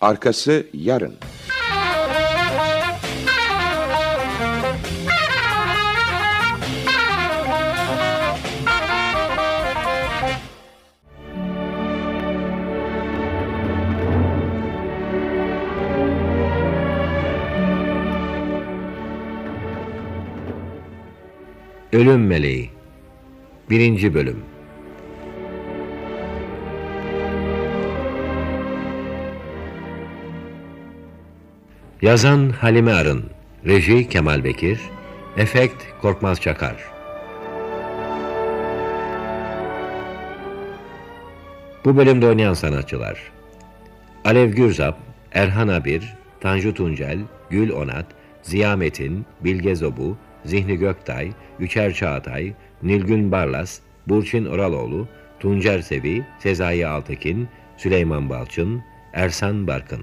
Arkası yarın. Ölüm Meleği 1. Bölüm Yazan Halime Arın Reji Kemal Bekir Efekt Korkmaz Çakar Bu bölümde oynayan sanatçılar Alev Gürzap, Erhan Abir, Tanju Tuncel, Gül Onat, Ziya Metin, Bilge Zobu, Zihni Göktay, Üçer Çağatay, Nilgün Barlas, Burçin Oraloğlu, Tuncer Sevi, Sezai Altekin, Süleyman Balçın, Ersan Barkın.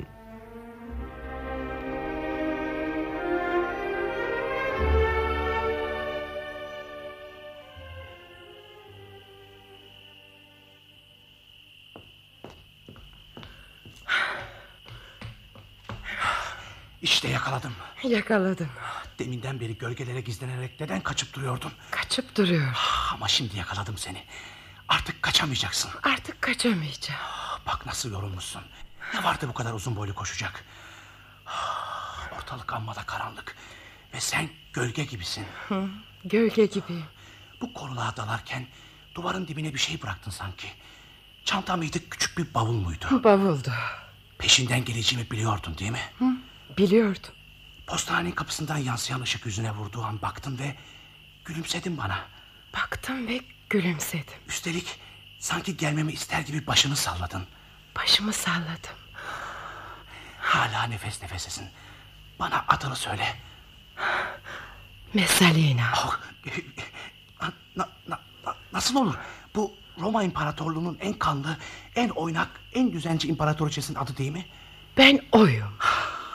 İşte yakaladım. Yakaladım. Deminden beri gölgelere gizlenerek neden kaçıp duruyordun? Kaçıp duruyor. Ama şimdi yakaladım seni. Artık kaçamayacaksın. Artık kaçamayacağım. Bak nasıl yorulmuşsun. Ne vardı bu kadar uzun boylu koşacak? Ortalık amma da karanlık. Ve sen gölge gibisin. Gölge gibiyim. Bu koruluğa dalarken duvarın dibine bir şey bıraktın sanki. Çanta mıydı küçük bir bavul muydu? Bavuldu. Peşinden geleceğimi biliyordun değil mi? Biliyordum. Postanenin kapısından yansıyan ışık yüzüne vurduğu an baktın ve gülümsedin bana. Baktım ve gülümsedim. Üstelik sanki gelmemi ister gibi başını salladın. Başımı salladım. Hala nefes nefesesin. Bana adını söyle. Mesalina. Oh, na- na- na- nasıl olur? Bu Roma İmparatorluğu'nun en kanlı, en oynak, en düzenci imparatoriçesinin adı değil mi? Ben oyum.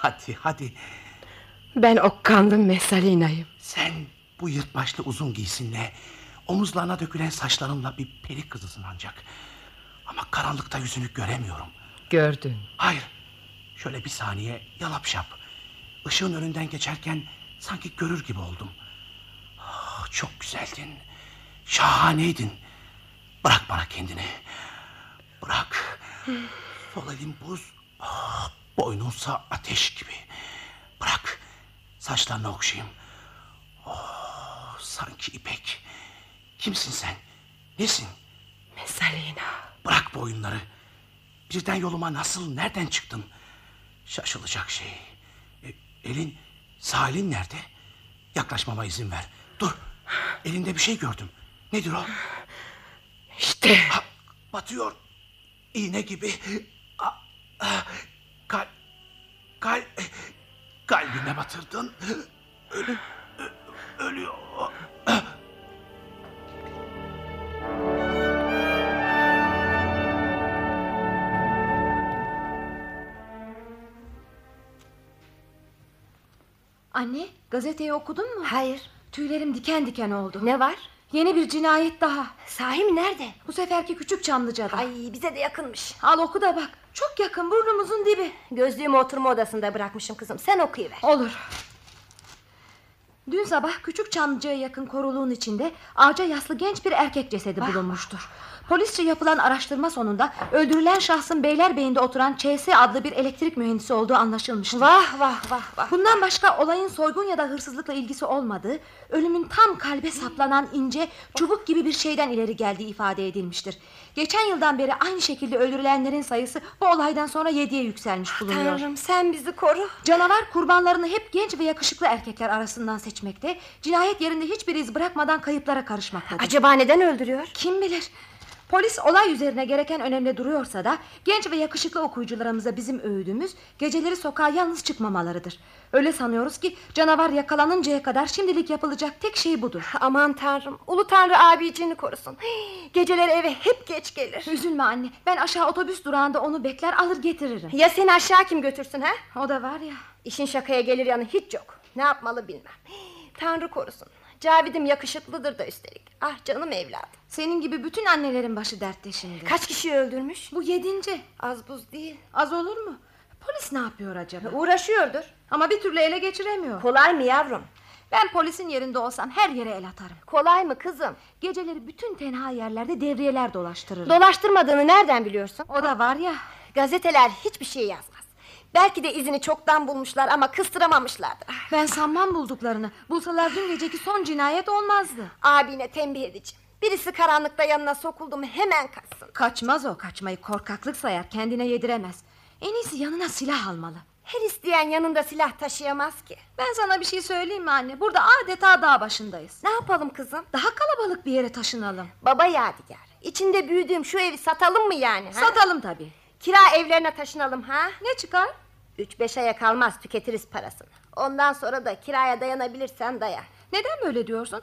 Hadi hadi. Ben o kanlı Mesalina'yım. Sen bu yırtmaçlı uzun giysinle, omuzlarına dökülen saçlarınla bir peri kızısın ancak. Ama karanlıkta yüzünü göremiyorum. Gördün. Hayır. Şöyle bir saniye yalapşap. Işığın önünden geçerken sanki görür gibi oldum. Ah, çok güzeldin. Şahaneydin. Bırak bana kendini. Bırak. Sol elin buz. ah, boynunsa ateş gibi. Bırak. Saçlarını okşayayım. Oh, sanki ipek. Kimsin sen? Nesin? Mesalina. Bırak bu oyunları. Birden yoluma nasıl, nereden çıktın? Şaşılacak şey. E, elin, sağ elin nerede? Yaklaşmama izin ver. Dur, elinde bir şey gördüm. Nedir o? İşte Ha, batıyor. İğne gibi. A, a, kal, kal, kalbine batırdın. Ölü- ö- ölüyor. Anne gazeteyi okudun mu? Hayır. Tüylerim diken diken oldu. Ne var? Yeni bir cinayet daha. Sahi mi nerede? Bu seferki küçük Çamlıca'da. Ay bize de yakınmış. Al oku da bak. Çok yakın burnumuzun dibi. Gözlüğümü oturma odasında bırakmışım kızım. Sen okuyuver. Olur. Dün sabah küçük Çamlıca'ya yakın koruluğun içinde ağaca yaslı genç bir erkek cesedi bulunmuştur. Polisçe yapılan araştırma sonunda öldürülen şahsın Beylerbeyi'nde oturan ÇS adlı bir elektrik mühendisi olduğu anlaşılmıştır. Vah vah vah vah. Bundan başka olayın soygun ya da hırsızlıkla ilgisi olmadığı, ölümün tam kalbe saplanan ince, çubuk gibi bir şeyden ileri geldiği ifade edilmiştir. Geçen yıldan beri aynı şekilde öldürülenlerin sayısı bu olaydan sonra yediye yükselmiş bulunuyor. Ah, Tanrım sen bizi koru. Canavar kurbanlarını hep genç ve yakışıklı erkekler arasından seçmekte, cinayet yerinde hiçbir iz bırakmadan kayıplara karışmaktadır. Acaba neden öldürüyor? Kim bilir? Polis olay üzerine gereken önemli duruyorsa da genç ve yakışıklı okuyucularımıza bizim öğüdümüz geceleri sokağa yalnız çıkmamalarıdır. Öyle sanıyoruz ki canavar yakalanıncaya kadar şimdilik yapılacak tek şey budur. Aman tanrım. Ulu tanrı abicini korusun. Hii, Geceleri eve hep geç gelir. Üzülme anne ben aşağı otobüs durağında onu bekler alır getiririm. Ya seni aşağı kim götürsün ha? O da var ya İşin şakaya gelir yanı hiç yok. Ne yapmalı bilmem. Hii, Tanrı korusun. Cavidim yakışıklıdır da üstelik. Ah canım evladım. senin gibi bütün annelerin başı dertte şimdi. Kaç kişiyi öldürmüş? Bu yedinci Az buz değil. az olur mu? Polis ne yapıyor acaba? Uğraşıyordur. Ama bir türlü ele geçiremiyor. Kolay mı yavrum? Ben polisin yerinde olsam her yere el atarım. Kolay mı kızım? Geceleri bütün tenha yerlerde devriyeler dolaştırırım. Dolaştırmadığını nereden biliyorsun? o da var ya. Gazeteler hiçbir şey yazmaz. Belki de izini çoktan bulmuşlar ama kıstıramamışlardır. Ah, Ben sanmam bulduklarını. Bulsalar dün geceki son cinayet olmazdı. Abine tembih edeceğim. Birisi karanlıkta yanına sokuldu mu hemen kaçsın. Kaçmaz o kaçmayı korkaklık sayar kendine yediremez. En iyisi yanına silah almalı. Her isteyen yanında silah taşıyamaz ki. Ben sana bir şey söyleyeyim mi anne? Burada adeta dağ başındayız. Ne yapalım kızım? Daha kalabalık bir yere taşınalım. Baba yadigar. İçinde büyüdüğüm şu evi satalım mı yani? Ha? Satalım tabii. Kira evlerine taşınalım ha? Ne çıkar? Üç beş aya kalmaz tüketiriz parasını. Ondan sonra da kiraya dayanabilirsen dayan. Neden böyle diyorsun?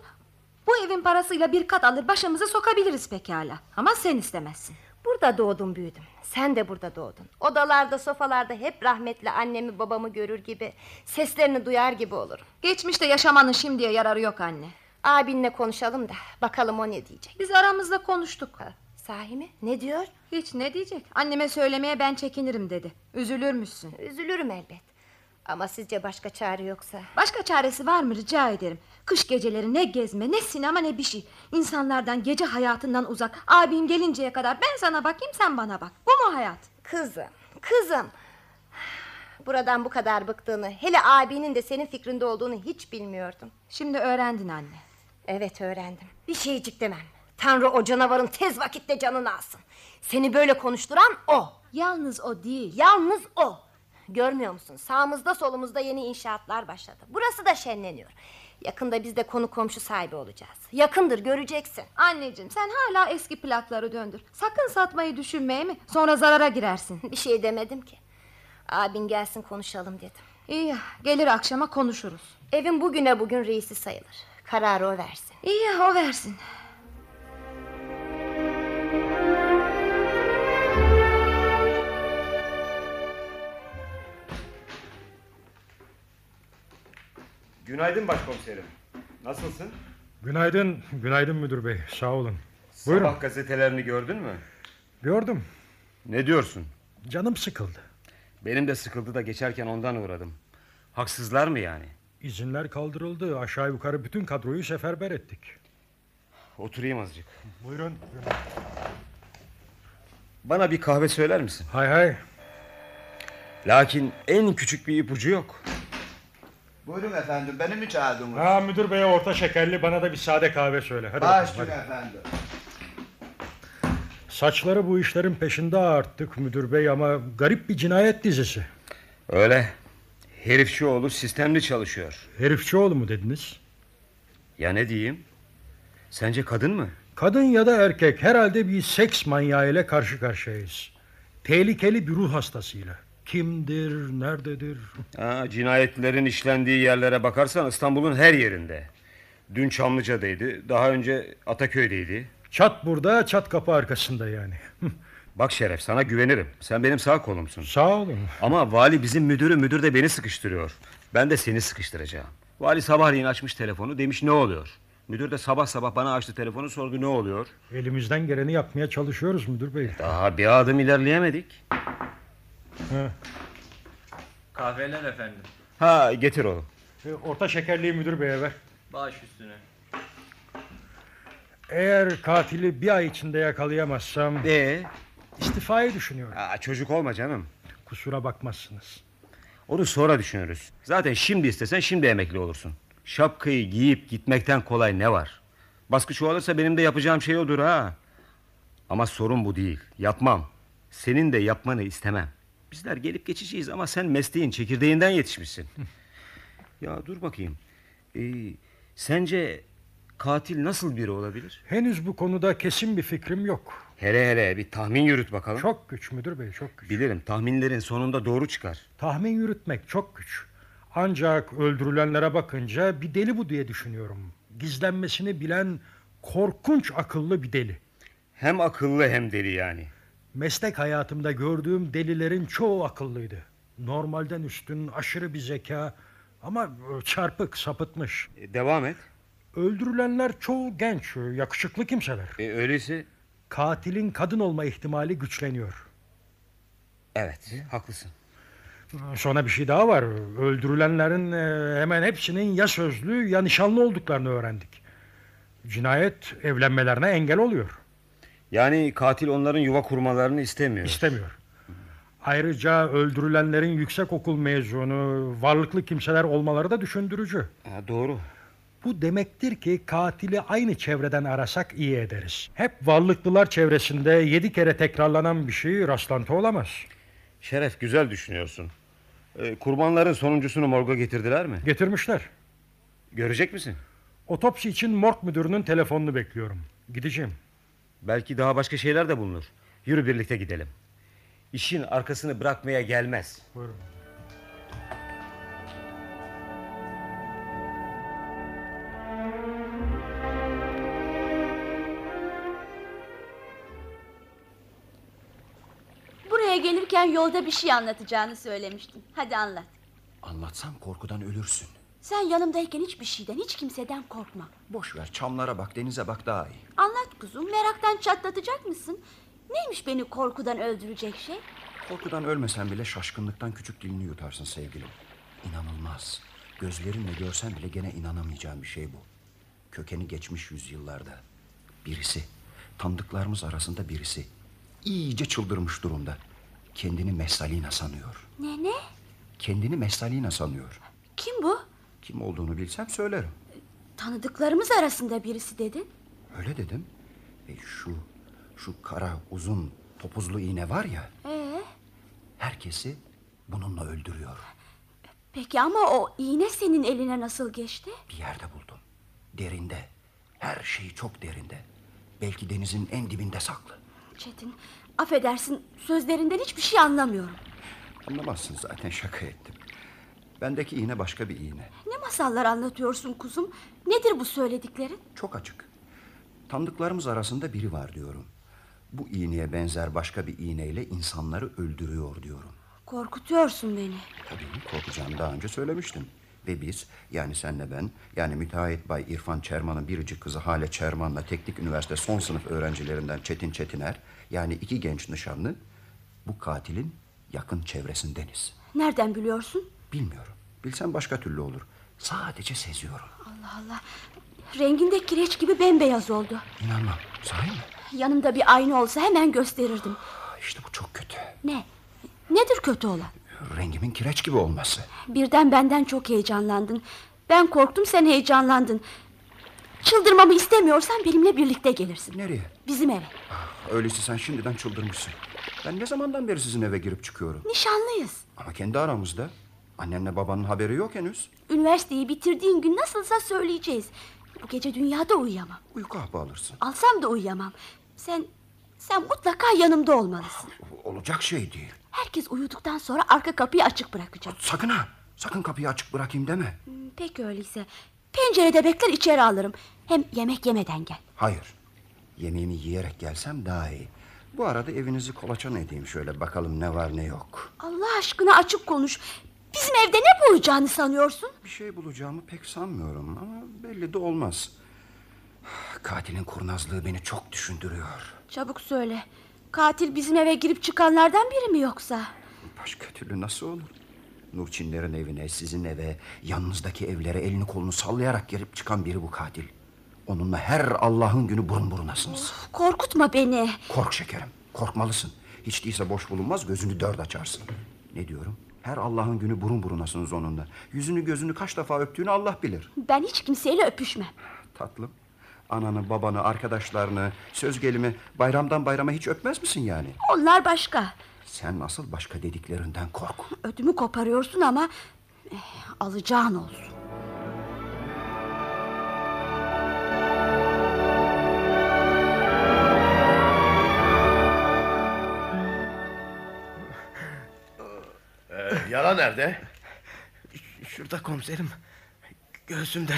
Bu evin parasıyla bir kat alır başımızı sokabiliriz pekala. Ama sen istemezsin. Burada doğdum büyüdüm. Sen de burada doğdun. Odalarda sofalarda hep rahmetli annemi babamı görür gibi... ...seslerini duyar gibi olurum. Geçmişte yaşamanın şimdiye yararı yok anne. Abinle konuşalım da bakalım o ne diyecek. Biz aramızda konuştuk. Sahi mi? Ne diyor? Hiç ne diyecek? Anneme söylemeye ben çekinirim dedi. Üzülür müsün? Üzülürüm elbet. Ama sizce başka çare yoksa? Başka çaresi var mı rica ederim. Kış geceleri ne gezme ne sinema ne bir şey. İnsanlardan gece hayatından uzak. Abim gelinceye kadar ben sana bakayım sen bana bak. Bu mu hayat? Kızım, kızım. Buradan bu kadar bıktığını, hele abinin de senin fikrinde olduğunu hiç bilmiyordum. Şimdi öğrendin anne. Evet öğrendim. Bir şeycik demem. Tanrı o canavarın tez vakitte canını alsın. Seni böyle konuşturan o. Yalnız o değil. Yalnız o. Görmüyor musun? Sağımızda solumuzda yeni inşaatlar başladı. Burası da şenleniyor. Yakında biz de konu komşu sahibi olacağız. Yakındır göreceksin. Anneciğim sen hala eski plakları döndür. Sakın satmayı düşünmeye mi? Sonra zarara girersin. Bir şey demedim ki. Abin gelsin konuşalım dedim. İyi ya, gelir akşama konuşuruz. Evin bugüne bugün reisi sayılır. Kararı o versin. İyi ya, o versin. Günaydın başkomiserim. Nasılsın? Günaydın, günaydın müdür bey. Sağ olun. Buyurun. Sabah gazetelerini gördün mü? Gördüm. Ne diyorsun? Canım sıkıldı. Benim de sıkıldı da geçerken ondan uğradım. Haksızlar mı yani? İzinler kaldırıldı. Aşağı yukarı bütün kadroyu seferber ettik. Oturayım azıcık. Buyurun. Bana bir kahve söyler misin? Hay hay. Lakin en küçük bir ipucu yok. Buyurun efendim, beni mi çağırdınız? Ha müdür beye orta şekerli bana da bir sade kahve söyle. Hadi Baş bakalım, üstüne hadi. efendim. Saçları bu işlerin peşinde arttık müdür bey ama garip bir cinayet dizisi. Öyle. Herifçioğlu sistemli çalışıyor. Herifçioğlu mu dediniz? Ya ne diyeyim? Sence kadın mı? Kadın ya da erkek herhalde bir seks manyağı ile karşı karşıyayız. Tehlikeli bir ruh hastasıyla. Kimdir, nerededir? Ha, cinayetlerin işlendiği yerlere bakarsan İstanbul'un her yerinde. Dün Çamlıca'daydı, daha önce Ataköy'deydi. Çat burada, çat kapı arkasında yani. Bak Şeref sana güvenirim. Sen benim sağ kolumsun. Sağ olun. Ama vali bizim müdürü müdür de beni sıkıştırıyor. Ben de seni sıkıştıracağım. Vali sabahleyin açmış telefonu demiş ne oluyor? Müdür de sabah sabah bana açtı telefonu sordu ne oluyor? Elimizden geleni yapmaya çalışıyoruz müdür bey. Daha bir adım ilerleyemedik. Kahveler efendim. Ha getir onu. E, Orta şekerliği müdür beye ver. Baş üstüne. Eğer katili bir ay içinde yakalayamazsam Ee? istifayı düşünüyorum. Aa, çocuk olma canım. Kusura bakmazsınız. Onu sonra düşünürüz. Zaten şimdi istesen şimdi emekli olursun. Şapkayı giyip gitmekten kolay ne var? Baskı çoğalırsa benim de yapacağım şey odur ha. Ama sorun bu değil. Yapmam. Senin de yapmanı istemem. Bizler gelip geçeceğiz ama sen mesleğin çekirdeğinden yetişmişsin. ya dur bakayım. Ee, sence katil nasıl biri olabilir? Henüz bu konuda kesin bir fikrim yok. Hele hele bir tahmin yürüt bakalım. Çok güç müdür bey, çok güç. Bilirim tahminlerin sonunda doğru çıkar. Tahmin yürütmek çok güç. Ancak öldürülenlere bakınca bir deli bu diye düşünüyorum. Gizlenmesini bilen korkunç akıllı bir deli. Hem akıllı hem deli yani. Meslek hayatımda gördüğüm delilerin çoğu akıllıydı. Normalden üstün, aşırı bir zeka ama çarpık, sapıtmış. E, devam et. Öldürülenler çoğu genç, yakışıklı kimseler. E, öyleyse Katilin kadın olma ihtimali güçleniyor. Evet, haklısın. Sonra bir şey daha var. Öldürülenlerin e, hemen hepsinin ya sözlü ya nişanlı olduklarını öğrendik. Cinayet evlenmelerine engel oluyor. Yani katil onların yuva kurmalarını istemiyor. İstemiyor. Ayrıca öldürülenlerin yüksekokul mezunu, varlıklı kimseler olmaları da düşündürücü. Ha, doğru. Bu demektir ki katili aynı çevreden arasak iyi ederiz. Hep varlıklılar çevresinde yedi kere tekrarlanan bir şey rastlantı olamaz. Şeref güzel düşünüyorsun. Ee, kurbanların sonuncusunu morga getirdiler mi? Getirmişler. Görecek misin? Otopsi için morg müdürünün telefonunu bekliyorum. Gideceğim. Belki daha başka şeyler de bulunur. Yürü birlikte gidelim. İşin arkasını bırakmaya gelmez. Buyurun. Buraya gelirken yolda bir şey anlatacağını söylemiştin. Hadi anlat. Anlatsam korkudan ölürsün. Sen yanımdayken hiçbir şeyden, hiç kimseden korkma. Boş ver çamlara bak denize bak daha iyi. Anlat kuzum, meraktan çatlatacak mısın? Neymiş beni korkudan öldürecek şey? Korkudan ölmesen bile şaşkınlıktan küçük dilini yutarsın sevgilim. İnanılmaz. Gözlerinle görsen bile gene inanamayacağın bir şey bu. Kökeni geçmiş yüzyıllarda. Birisi. Tanıdıklarımız arasında birisi. İyice çıldırmış durumda. Kendini Messalina sanıyor. Nene, Kendini Messalina sanıyor. kim bu? Kim olduğunu bilsem söylerim. Tanıdıklarımız arasında birisi dedin. Öyle dedim. E şu, şu kara uzun topuzlu iğne var ya. Ee, Herkesi bununla öldürüyor. peki ama o iğne senin eline nasıl geçti? Bir yerde buldum. Derinde. Her şey çok derinde. Belki denizin en dibinde saklı. Çetin, affedersin sözlerinden hiçbir şey anlamıyorum. Anlamazsın zaten şaka ettim. Bendeki iğne başka bir iğne. Ne masallar anlatıyorsun kuzum? Nedir bu söylediklerin? Çok açık. Tanıdıklarımız arasında biri var diyorum. Bu iğneye benzer başka bir iğneyle insanları öldürüyor diyorum. Korkutuyorsun beni. Tabii korkacağını daha önce söylemiştim. Ve biz yani senle ben yani müteahhit Bay İrfan Çerman'ın biricik kızı Hale Çerman'la Teknik Üniversite son sınıf öğrencilerinden Çetin Çetiner yani iki genç nişanlı bu katilin yakın çevresindeniz. Nereden biliyorsun? Bilmiyorum. Bilsem başka türlü olur. Sadece seziyorum. Allah Allah. Renginde kireç gibi bembeyaz oldu. İnanmam. Sahi mi? Yanımda bir ayna olsa hemen gösterirdim. Aa, İşte Ah, bu çok kötü. Ne? Nedir kötü olan? Rengimin kireç gibi olması. Birden benden çok heyecanlandın. Ben korktum sen heyecanlandın. Çıldırmamı istemiyorsan benimle birlikte gelirsin. Nereye? Bizim eve. Öyleyse sen şimdiden çıldırmışsın. Ben ne zamandan beri sizin eve girip çıkıyorum? Nişanlıyız. Ama kendi aramızda. Annenle babanın haberi yok henüz. Üniversiteyi bitirdiğin gün nasılsa söyleyeceğiz. Bu gece dünyada uyuyamam. Uyku hapı alırsın. Alsam da uyuyamam. Sen sen mutlaka yanımda olmalısın. Olacak şey değil. Herkes uyuduktan sonra arka kapıyı açık bırakacağım. Sakın ha. Sakın kapıyı açık bırakayım deme. Hmm, Peki öyleyse. Pencerede bekler içeri alırım. Hem yemek yemeden gel. Hayır. Yemeğimi yiyerek gelsem daha iyi. Bu arada evinizi kolaçan edeyim şöyle bakalım ne var ne yok. Allah aşkına açık konuş. Bizim evde ne bulacağını sanıyorsun? Bir şey bulacağımı pek sanmıyorum ama belli de olmaz. Katilin kurnazlığı beni çok düşündürüyor. Çabuk söyle. Katil bizim eve girip çıkanlardan biri mi yoksa? Başka türlü nasıl olur? Nurçinlerin evine, sizin eve, yanınızdaki evlere elini kolunu sallayarak girip çıkan biri bu katil. Onunla her Allah'ın günü burun burunasınız. Korkutma beni. Kork şekerim, korkmalısın. Hiç değilse boş bulunmaz, gözünü dört açarsın. Ne diyorum? Her Allah'ın günü burun burunasınız onunla. Yüzünü gözünü kaç defa öptüğünü Allah bilir. Ben hiç kimseyle öpüşmem. Tatlım, ananı, babanı, arkadaşlarını, söz gelimi bayramdan bayrama hiç öpmez misin yani? Onlar başka. Sen nasıl başka dediklerinden kork. Ödümü koparıyorsun ama eh, alacağın olsun. Yara Ee, nerede? Şurada komiserim. Göğsümde.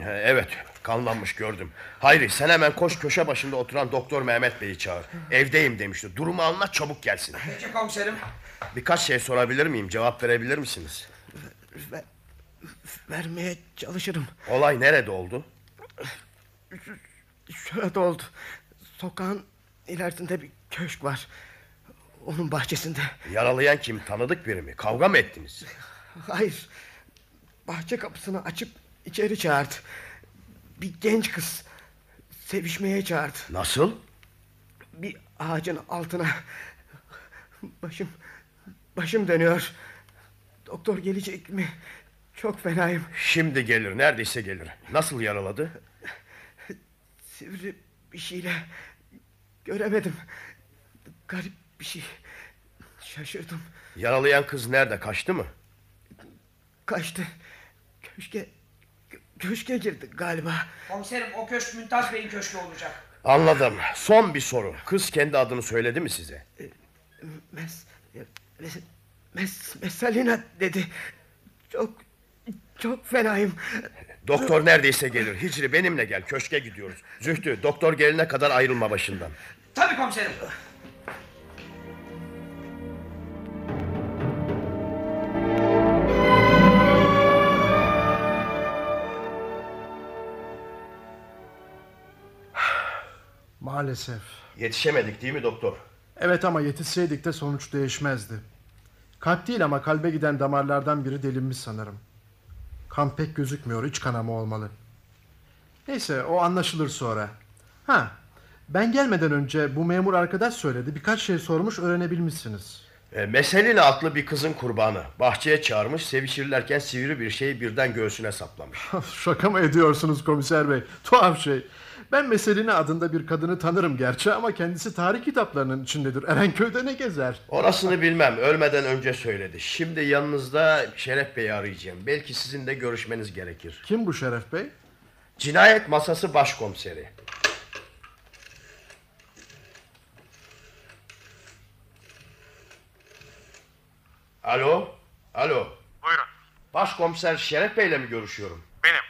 Ee, Evet, kanlanmış gördüm. Hayri, sen hemen koş köşe başında oturan Doktor Mehmet Bey'i çağır. Evdeyim demişti. Durumu anlat, çabuk gelsin. Peki komiserim. Birkaç şey sorabilir miyim? Cevap verebilir misiniz? Ver- vermeye çalışırım. Olay nerede oldu? Şurada oldu. Sokağın ilerisinde bir köşk var. Onun bahçesinde. Yaralayan kim? Tanıdık biri mi? Kavga mı ettiniz? Hayır. Bahçe kapısını açıp içeri çağırdı. Bir genç kız sevişmeye çağırdı. Nasıl? Bir ağacın altına. Başım başım dönüyor. Doktor gelecek mi? Çok fenayım. Şimdi gelir. Neredeyse gelir. Nasıl yaraladı? Sivri bir şeyle göremedim. Garip bir şey. Şaşırdım. Yaralayan kız nerede? Kaçtı mı? Kaçtı. Köşke köşke girdi galiba. Komiserim o köşk Mümtaz Bey'in köşkü olacak. Anladım. Son bir soru. Kız kendi adını söyledi mi size? Ee, Mes, mes, mes, mesalina dedi. Çok çok fenayım. Doktor neredeyse gelir. Hicri benimle gel. Köşke gidiyoruz. Zühtü doktor gelene kadar ayrılma başından. Tabii komiserim. Maalesef. Yetişemedik değil mi doktor? Evet ama yetişseydik de sonuç değişmezdi. Kalp değil ama kalbe giden damarlardan biri delinmiş sanırım. Kan pek gözükmüyor, iç kanama olmalı. Neyse o anlaşılır sonra. Ha, ben gelmeden önce bu memur arkadaş söyledi. Birkaç şey sormuş öğrenebilmişsiniz. E, Meselina adlı bir kızın kurbanı. Bahçeye çağırmış, sevişirlerken sivri bir şey birden göğsüne saplamış. Şaka mı ediyorsunuz komiser bey? Tuhaf şey. Ben Meseline adında bir kadını tanırım gerçi ama kendisi tarih kitaplarının içindedir. Erenköy'de ne gezer? Orasını bilmem, ölmeden önce söyledi. Şimdi yanınızda Şeref Bey'i arayacağım. Belki sizin de görüşmeniz gerekir. Kim bu Şeref Bey? Cinayet masası başkomiseri. Alo, alo. Buyurun. Başkomiser Şeref Bey'le mi görüşüyorum? Benim.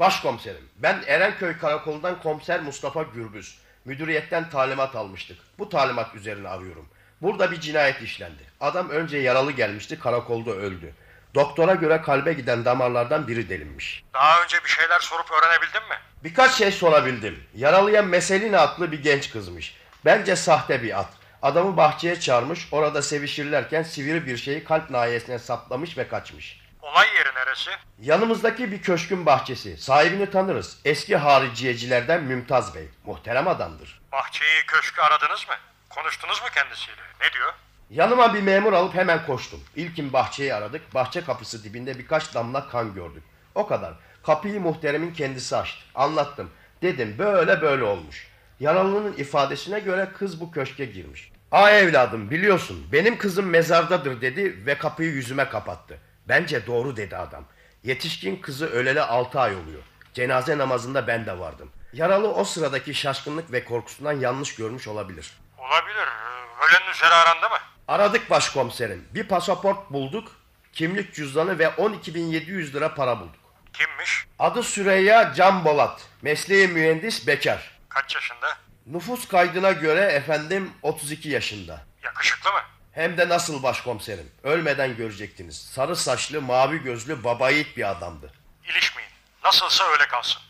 Başkomiserim, ben Erenköy Karakolu'ndan komiser Mustafa Gürbüz. Müdüriyetten talimat almıştık. Bu talimat üzerine arıyorum. Burada bir cinayet işlendi. Adam önce yaralı gelmişti, karakolda öldü. Doktora göre kalbe giden damarlardan biri delinmiş. Daha önce bir şeyler sorup öğrenebildin mi? Birkaç şey sorabildim. Yaralayan Meselina adlı bir genç kızmış. Bence sahte bir at. Adamı bahçeye çağırmış, orada sevişirlerken sivri bir şeyi kalp nahiyesine saplamış ve kaçmış. Olay yeri neresi? Yanımızdaki bir köşkün bahçesi. Sahibini tanırız. Eski hariciyecilerden Mümtaz Bey. Muhterem adamdır. Bahçeyi, köşkü aradınız mı? Konuştunuz mu kendisiyle? Ne diyor? Yanıma bir memur alıp hemen koştum. İlkin bahçeyi aradık. Bahçe kapısı dibinde birkaç damla kan gördük. O kadar. Kapıyı muhteremin kendisi açtı. Anlattım. Dedim böyle böyle olmuş. Yaralının ifadesine göre kız bu köşke girmiş. Aa evladım biliyorsun benim kızım mezardadır dedi ve kapıyı yüzüme kapattı. Bence doğru dedi adam. Yetişkin kızı öleli 6 ay oluyor. Cenaze namazında ben de vardım. Yaralı o sıradaki şaşkınlık ve korkusundan yanlış görmüş olabilir. Olabilir. Ee, Ölenin üzeri arandı mı? Aradık başkomiserim. Bir pasaport bulduk. Kimlik cüzdanı ve 12.700 lira para bulduk. Kimmiş? Adı Süreyya Can Bolat. Mesleği mühendis bekar. Kaç yaşında? Nüfus kaydına göre efendim 32 yaşında. Yakışıklı mı? Hem de nasıl başkomiserim. Ölmeden görecektiniz. Sarı saçlı, mavi gözlü, babayit bir adamdı. İlişmeyin. Nasılsa öyle kalsın.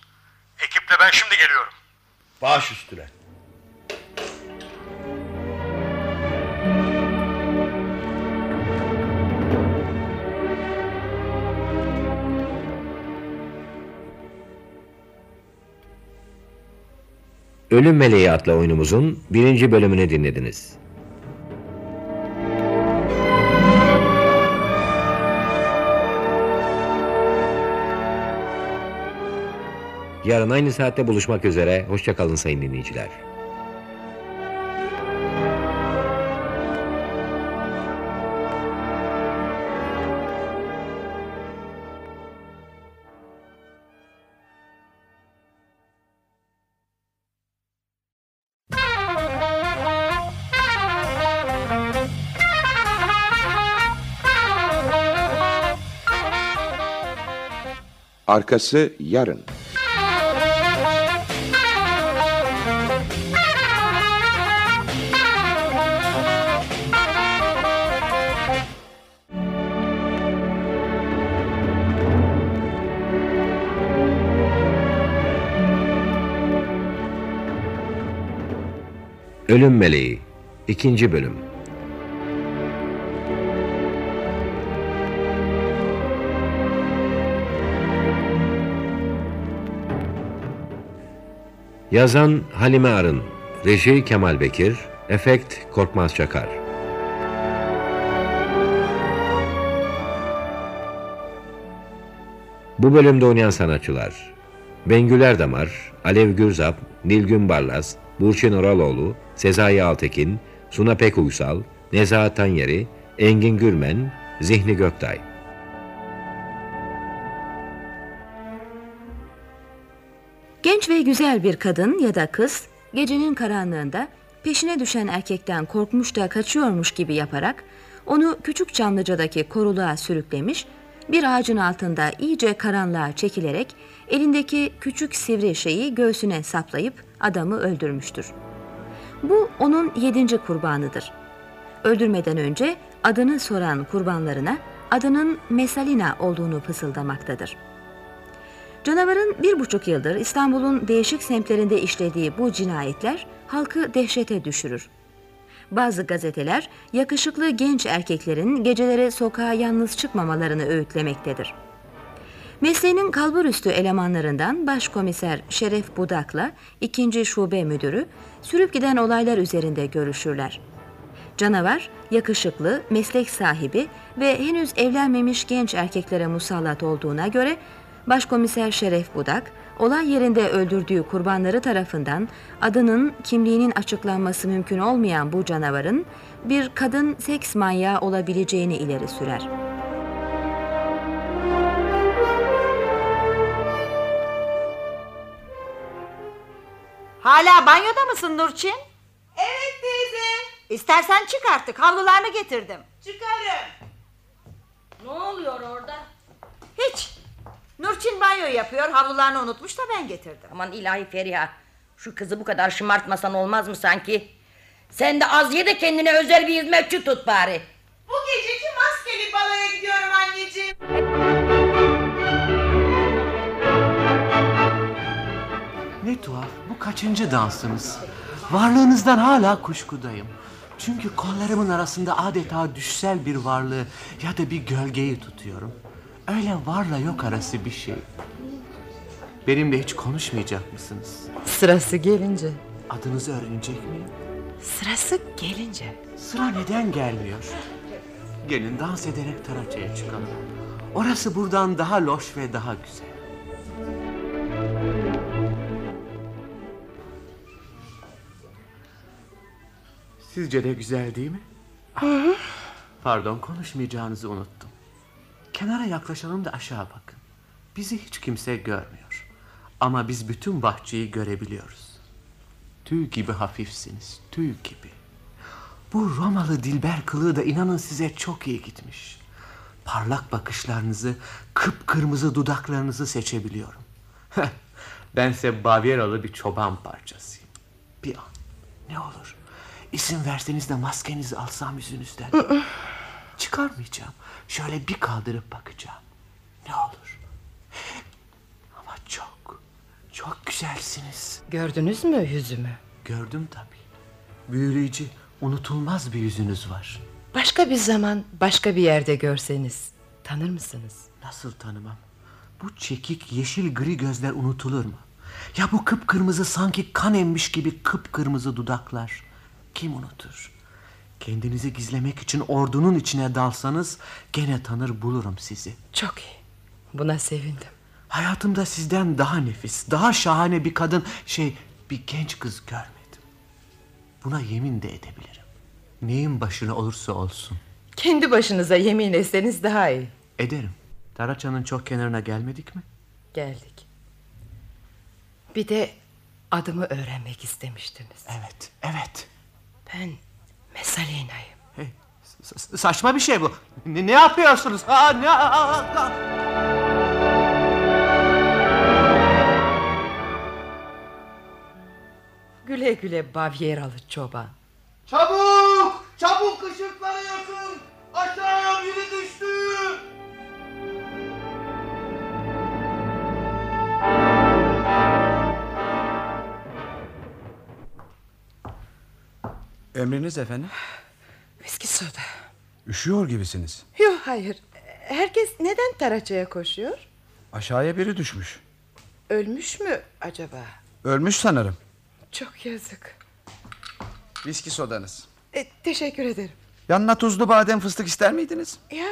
Ekiple ben şimdi geliyorum. Baş üstüne. Ölüm Meleği adlı oyunumuzun birinci bölümünü dinlediniz. Yarın aynı saatte buluşmak üzere. Hoşçakalın sayın dinleyiciler. Arkası yarın. Ölüm Meleği 2. Bölüm Yazan Halime Arın, reji Kemal Bekir, efekt Korkmaz Çakar. Bu bölümde oynayan sanatçılar Bengüler Damar, Alev Gürzap, Nilgün Barlas, Burçin Oraloğlu, Sezai Altekin, Suna Pek Uysal, Nezahat Tanyeri, Engin Gürmen, Zihni Göktay. Genç ve güzel bir kadın ya da kız gecenin karanlığında peşine düşen erkekten korkmuş da kaçıyormuş gibi yaparak onu küçük Çamlıca'daki koruluğa sürüklemiş, bir ağacın altında iyice karanlığa çekilerek elindeki küçük sivri şeyi göğsüne saplayıp adamı öldürmüştür. Bu onun yedinci kurbanıdır. Öldürmeden önce adını soran kurbanlarına adının Mesalina olduğunu fısıldamaktadır. Canavarın bir buçuk yıldır İstanbul'un değişik semtlerinde işlediği bu cinayetler halkı dehşete düşürür. Bazı gazeteler yakışıklı genç erkeklerin geceleri sokağa yalnız çıkmamalarını öğütlemektedir. Mesleğinin kalburüstü elemanlarından Başkomiser Şeref Budak'la 2. Şube Müdürü sürüp giden olaylar üzerinde görüşürler. Canavar, yakışıklı, meslek sahibi ve henüz evlenmemiş genç erkeklere musallat olduğuna göre Başkomiser Şeref Budak, olay yerinde öldürdüğü kurbanları tarafından adının, kimliğinin açıklanması mümkün olmayan bu canavarın bir kadın seks manyağı olabileceğini ileri sürer. Hala banyoda mısın Nurçin? Evet teyze. İstersen çık artık havlularını getirdim. Çıkarım. Ne oluyor orada? Hiç. Nurçin banyo yapıyor havlularını unutmuş da ben getirdim. Aman ilahi Feriha. Şu kızı bu kadar şımartmasan olmaz mı sanki? Sen de az ye de kendine özel bir hizmetçi tut bari. Bu geceki maskeli baloya gidiyorum anneciğim. Ne tuhaf, bu kaçıncı dansınız? Varlığınızdan hala kuşkudayım. Çünkü kollarımın arasında adeta düşsel bir varlığı ya da bir gölgeyi tutuyorum. Öyle varla yok arası bir şey. Benimle hiç konuşmayacak mısınız? Sırası gelince. Adınızı öğrenecek miyim? Sırası gelince. Sıra neden gelmiyor? Gelin dans ederek taraçaya çıkalım. Orası buradan daha loş ve daha güzel. Sizce de güzel değil mi? Pardon konuşmayacağınızı unuttum. Kenara yaklaşalım da aşağı bakın. Bizi hiç kimse görmüyor. Ama biz bütün bahçeyi görebiliyoruz. Tüy gibi hafifsiniz, tüy gibi. Bu Romalı dilber kılığı da inanın size çok iyi gitmiş. Parlak bakışlarınızı, kıpkırmızı dudaklarınızı seçebiliyorum. Bense Bavyeralı bir çoban parçasıyım. Bir an, ne olur. İsim verseniz de maskenizi alsam yüzünüzden. Çıkarmayacağım. Şöyle bir kaldırıp bakacağım. Ne olur. Ama çok, çok güzelsiniz. Gördünüz mü yüzümü? Gördüm tabii. Büyüleyici, unutulmaz bir yüzünüz var. Başka bir zaman, başka bir yerde görseniz tanır mısınız? Nasıl tanımam? Bu çekik yeşil gri gözler unutulur mu? Ya bu kıpkırmızı sanki kan emmiş gibi kıpkırmızı dudaklar. Kim unutur? Kendinizi gizlemek için ordunun içine dalsanız gene tanır bulurum sizi. Çok iyi. Buna sevindim. Hayatımda sizden daha nefis, daha şahane bir kadın, şey bir genç kız görmedim. Buna yemin de edebilirim. Neyin başına olursa olsun. Kendi başınıza yemin etseniz daha iyi. Ederim. Taraçanın çok kenarına gelmedik mi? Geldik. Bir de adımı öğrenmek istemiştiniz. Evet, evet. Ben Mesalina'yım. Hey, sa- sa- saçma bir şey bu. Ne, ne yapıyorsunuz? Ha, ne, aa, aa. Güle güle Bavyeralı çoban. Çabuk! Çabuk ışıklara yakın! Aşağıya biri düştü! Emriniz efendim. Viski soda. Üşüyor gibisiniz. Yok hayır. Herkes neden taraçaya koşuyor? Aşağıya biri düşmüş. Ölmüş mü acaba? Ölmüş sanırım. Çok yazık. Viski sodanız. E, teşekkür ederim. Yanına tuzlu badem fıstık ister miydiniz? Ya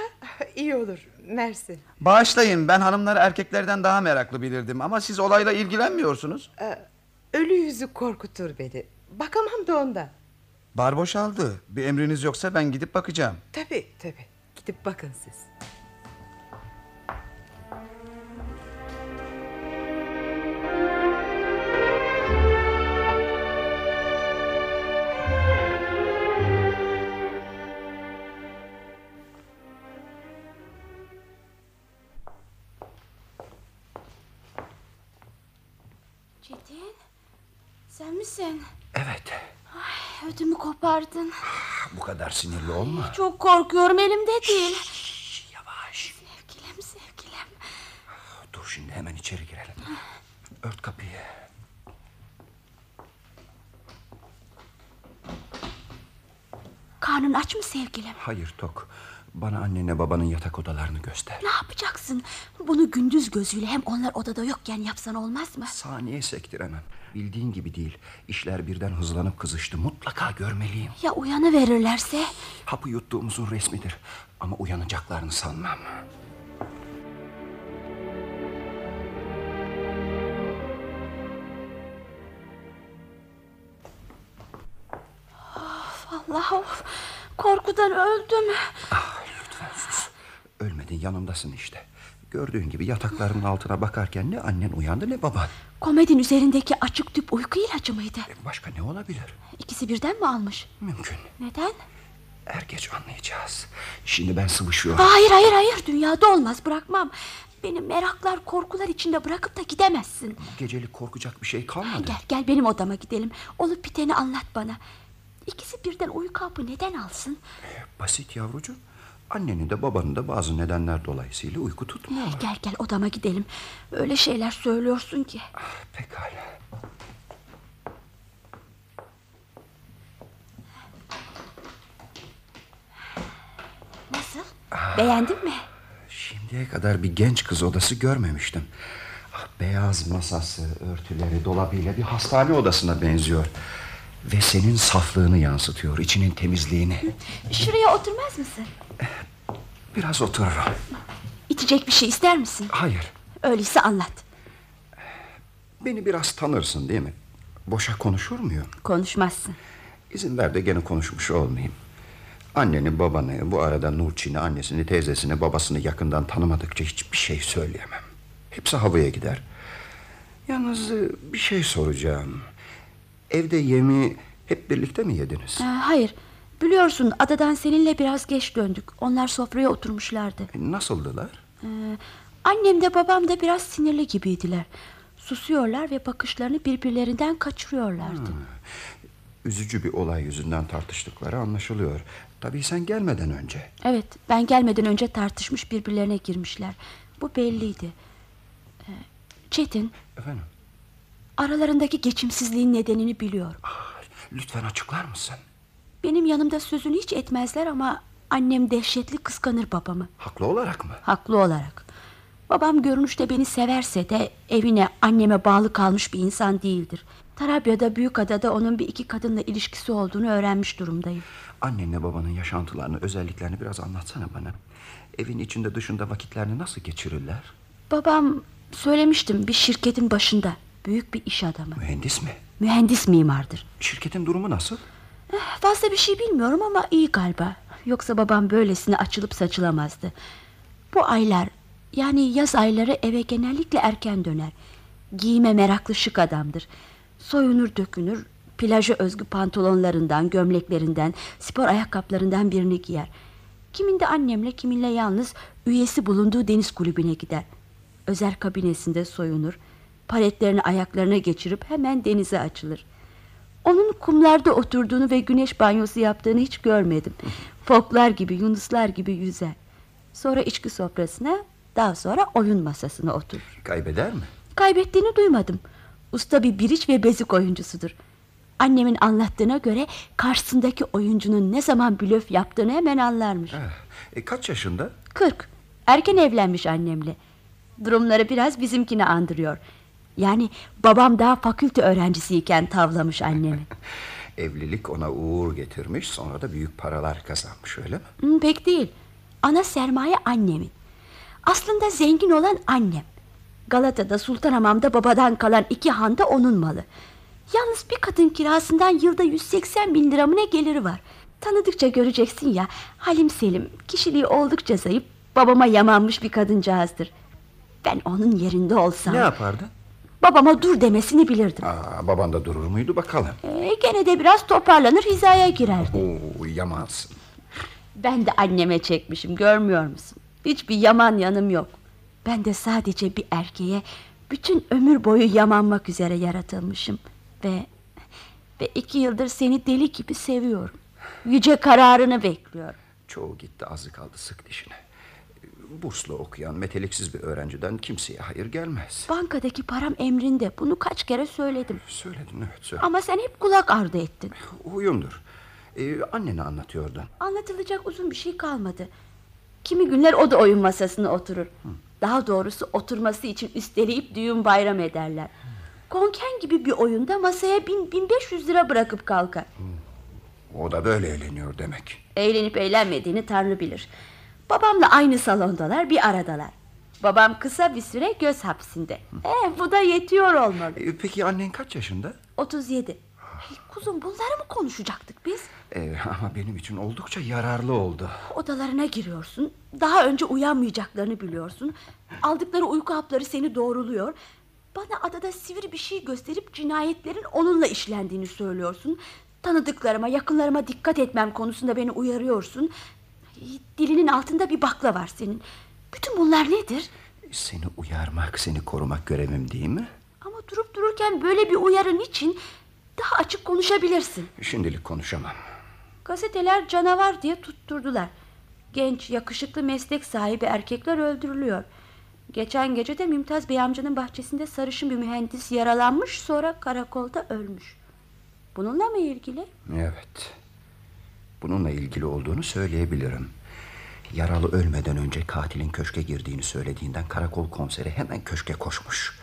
iyi olur. Mersi. Bağışlayın ben hanımları erkeklerden daha meraklı bilirdim ama siz olayla ilgilenmiyorsunuz. E, ölü yüzü korkutur beni. Bakamam da ondan. Bar boşaldı. Bir emriniz yoksa ben gidip bakacağım. Tabii tabii. Gidip bakın siz. Çetin sen misin? Evet Ay, ödümü kopardın. bu kadar sinirli olma. Çok korkuyorum elimde değil. yavaş. Sevgilim sevgilim. Dur şimdi hemen içeri girelim. Ört kapıyı. Karnın aç mı sevgilim? Hayır Tok. Bana annenle babanın yatak odalarını göster. Ne yapacaksın? Bunu gündüz gözüyle hem onlar odada yokken yapsan olmaz mı? Saniye sektiremem. Bildiğin gibi değil. İşler birden hızlanıp kızıştı. Mutlaka görmeliyim. Ya uyanı verirlerse? Hapı yuttuğumuzun resmidir. Ama uyanacaklarını sanmam. Allah of. Korkudan öldüm. Ölmedin yanımdasın işte. Gördüğün gibi yatakların altına bakarken ne annen uyandı ne baban. E, Komedin üzerindeki açık tüp uyku ilacı mıydı? Başka ne olabilir? İkisi birden mi almış? Mümkün. Neden? Er geç anlayacağız. Şimdi ben sıvışıyorum. Hayır hayır hayır dünyada olmaz bırakmam. Beni meraklar korkular içinde bırakıp da gidemezsin. Gecelik korkacak bir şey kalmadı. Gel gel benim odama gidelim. Olup biteni anlat bana. İkisi birden uyku hapı neden alsın? E, Basit yavrucuğum. Anneni de babanı da bazı nedenler dolayısıyla uyku tutmuyor. Gel gel odama gidelim. Öyle şeyler söylüyorsun ki. Pekala. Nasıl? Beğendin mi? Şimdiye kadar bir genç kız odası görmemiştim. Ah, Beyaz masası, örtüleri, dolabıyla bir hastane odasına benziyor. Ve senin saflığını yansıtıyor, içinin temizliğini. Şuraya oturmaz mısın? Biraz otururum. İçecek bir şey ister misin? Hayır. Öyleyse anlat. Beni biraz tanırsın değil mi? Boşa konuşur muyum? Konuşmazsın. İzin ver de gene konuşmuş olmayayım. Anneni, babanı, bu arada Nurçin'i, annesini, teyzesini, babasını yakından tanımadıkça hiçbir şey söyleyemem. Hepsi havaya gider. Yalnız e, bir şey soracağım. Evde yemeği hep birlikte mi yediniz? Ee, hayır. Biliyorsun adadan seninle biraz geç döndük. Onlar sofraya oturmuşlardı. Nasıldılar? Ee, annem de babam da biraz sinirli gibiydiler. Susuyorlar ve bakışlarını birbirlerinden kaçırıyorlardı. Üzücü bir olay yüzünden tartıştıkları anlaşılıyor. Tabii sen gelmeden önce. Evet, ben gelmeden önce tartışmış birbirlerine girmişler. Bu belliydi. Ee, Çetin, Efendim, aralarındaki geçimsizliğin nedenini biliyorum. Ah, lütfen açıklar mısın? Benim yanımda sözünü hiç etmezler ama annem dehşetli kıskanır babamı. Haklı olarak mı? Haklı olarak. Babam görünüşte beni severse de evine anneme bağlı kalmış bir insan değildir. Tarabya'da Büyükada'da onun bir iki kadınla ilişkisi olduğunu öğrenmiş durumdayım. Annenle babanın yaşantılarını, özelliklerini biraz anlatsana bana. Evin içinde dışında vakitlerini nasıl geçirirler? Babam söylemiştim bir şirketin başında. Büyük bir iş adamı. Mühendis mi? Mühendis mimardır. Şirketin durumu nasıl? Eh, Fazla bir şey bilmiyorum ama iyi galiba. Yoksa babam böylesine açılıp saçılamazdı. Bu aylar yani yaz ayları eve genellikle erken döner. Giyime meraklı şık adamdır. Soyunur dökünür, plaja özgü pantolonlarından, gömleklerinden, spor ayakkabılarından birini giyer. Kiminde annemle, kiminle yalnız üyesi bulunduğu deniz kulübüne gider. Özel kabinesinde soyunur, paletlerini ayaklarına geçirip hemen denize açılır. Onun kumlarda oturduğunu ve güneş banyosu yaptığını hiç görmedim. Foklar gibi, yunuslar gibi yüzer. Sonra içki sofrasına, daha sonra oyun masasına oturur. Kaybeder mi? Kaybettiğini duymadım. Usta bir biriç ve bezik oyuncusudur. Annemin anlattığına göre karşısındaki oyuncunun ne zaman blöf yaptığını hemen anlarmış. E, kaç yaşında? 40. Erken evlenmiş annemle. Durumları biraz bizimkini andırıyor. Yani babam daha fakülte öğrencisiyken tavlamış annemi. Evlilik ona uğur getirmiş sonra da büyük paralar kazanmış öyle mi? Hı, pek değil. Ana sermaye annemin. Aslında zengin olan annem. Galata'da Sultanhamam'da babadan kalan iki han da onun malı. Yalnız bir katın kirasından yılda 180 bin lira mı ne geliri var. Tanıdıkça göreceksin ya Halim Selim kişiliği oldukça zayıf babama yamanmış bir kadıncağızdır. Ben onun yerinde olsam Ne yapardı? babama dur demesini bilirdim. Aa, baban da durur muydu bakalım. Ee, gene de biraz toparlanır hizaya girer. Oo, yamansın. Ben de anneme çekmişim görmüyor musun? Hiçbir yaman yanım yok. Ben de sadece bir erkeğe bütün ömür boyu yamanmak üzere yaratılmışım. Ve, ve iki yıldır seni deli gibi seviyorum. Yüce kararını bekliyorum. Çoğu gitti azı kaldı sık dişine. Burslu okuyan meteliksiz bir öğrenciden kimseye hayır gelmez. Bankadaki param emrinde. Bunu kaç kere söyledim. Söyledin evet söyle. Ama sen hep kulak ardı ettin. Uyumdur. Ee, annene anlatıyordun. Anlatılacak uzun bir şey kalmadı. Kimi günler o da oyun masasına oturur. Daha doğrusu oturması için üsteleyip düğün bayram ederler. Konken gibi bir oyunda masaya bin, 1500 lira bırakıp kalkar. O da böyle eğleniyor demek. Eğlenip eğlenmediğini Tanrı bilir. Babamla aynı salondalar, bir aradalar. Babam kısa bir süre göz hapsinde. E, bu da yetiyor olmalı. Ee, peki annen kaç yaşında? Ah. 37. Hey, kuzum bunları mı konuşacaktık biz? Ee, ama benim için oldukça yararlı oldu. Odalarına giriyorsun. Daha önce uyanmayacaklarını biliyorsun. Aldıkları uyku hapları seni doğruluyor. Bana adada sivri bir şey gösterip cinayetlerin onunla işlendiğini söylüyorsun. Tanıdıklarıma, yakınlarıma dikkat etmem konusunda beni uyarıyorsun. Dilinin altında bir bakla var senin. Bütün bunlar nedir? Seni uyarmak, seni korumak görevim değil mi? Ama durup dururken böyle bir uyarın için daha açık konuşabilirsin. Şimdilik konuşamam. Gazeteler canavar diye tutturdular. Genç, yakışıklı meslek sahibi erkekler öldürülüyor. Geçen gece de Mümtaz Bey amcanın bahçesinde sarışın bir mühendis yaralanmış sonra karakolda ölmüş. Bununla mı ilgili? Evet. Bununla ilgili olduğunu söyleyebilirim. Yaralı ölmeden önce katilin köşke girdiğini söylediğinden karakol konseri hemen köşke koşmuş.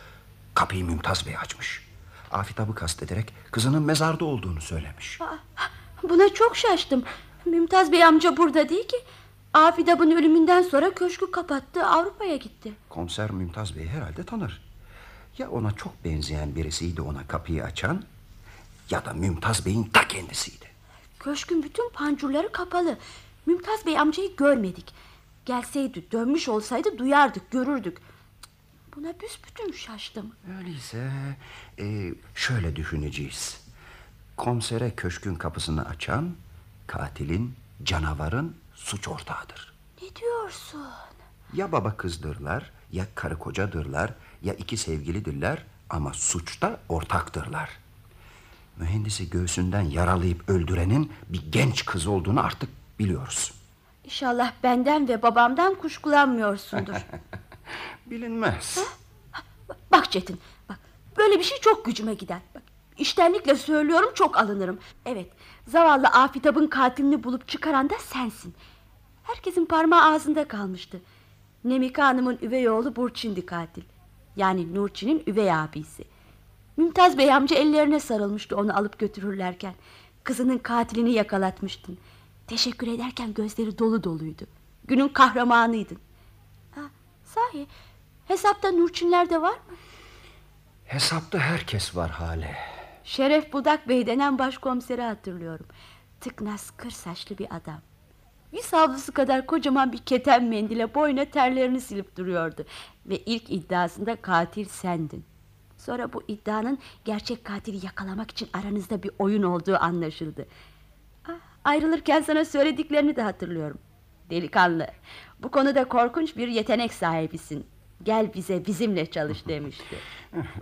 Kapıyı Mümtaz Bey açmış. Afitabı kastederek kızının mezarda olduğunu söylemiş. Aa, Buna çok şaştım. Mümtaz Bey amca burada değil ki. Afidab'ın ölümünden sonra köşkü kapattı Avrupa'ya gitti. Komiser Mümtaz Bey'i herhalde tanır. Ya ona çok benzeyen birisiydi ona kapıyı açan ya da Mümtaz Bey'in ta kendisiydi. Köşkün bütün pancurları kapalı. Mümtaz Bey amcayı görmedik. Gelseydi dönmüş olsaydı duyardık görürdük. Cık, Buna büsbütün şaştım. Öyleyse e, şöyle düşüneceğiz. Komisere köşkün kapısını açan katilin, canavarın suç ortağıdır. Ne diyorsun? Ya baba kızdırlar, ya karı kocadırlar, ya iki sevgilidirler ama suçta ortaktırlar. Mühendisi göğsünden yaralayıp öldürenin bir genç kız olduğunu artık biliyoruz. İnşallah benden ve babamdan kuşkulanmıyorsundur. Bilinmez. Bak Çetin, bak böyle bir şey çok gücüme gider. Bak, iştenlikle söylüyorum çok alınırım. Evet, zavallı Afitab'ın katilini bulup çıkaran da sensin. Herkesin parmağı ağzında kalmıştı. Nemika Hanım'ın üvey oğlu Burçin'di katil. Yani Nurçin'in üvey abisi. Mümtaz Bey amca ellerine sarılmıştı onu alıp götürürlerken. Kızının katilini yakalatmıştın. Teşekkür ederken gözleri dolu doluydu. Günün kahramanıydın. Ha, sahi hesapta Nurçinler de var mı? Hesapta herkes var hale. Şeref Budak Bey denen başkomiseri hatırlıyorum. Tıknaz kır saçlı bir adam. Yüz havlusu kadar kocaman bir keten mendile boyuna terlerini silip duruyordu. Ve ilk iddiasında katil sendin. Sonra bu iddianın gerçek katili yakalamak için aranızda bir oyun olduğu anlaşıldı. Ah, Ayrılırken sana söylediklerini de hatırlıyorum. Delikanlı, bu konuda korkunç bir yetenek sahibisin. Gel bize bizimle çalış demişti.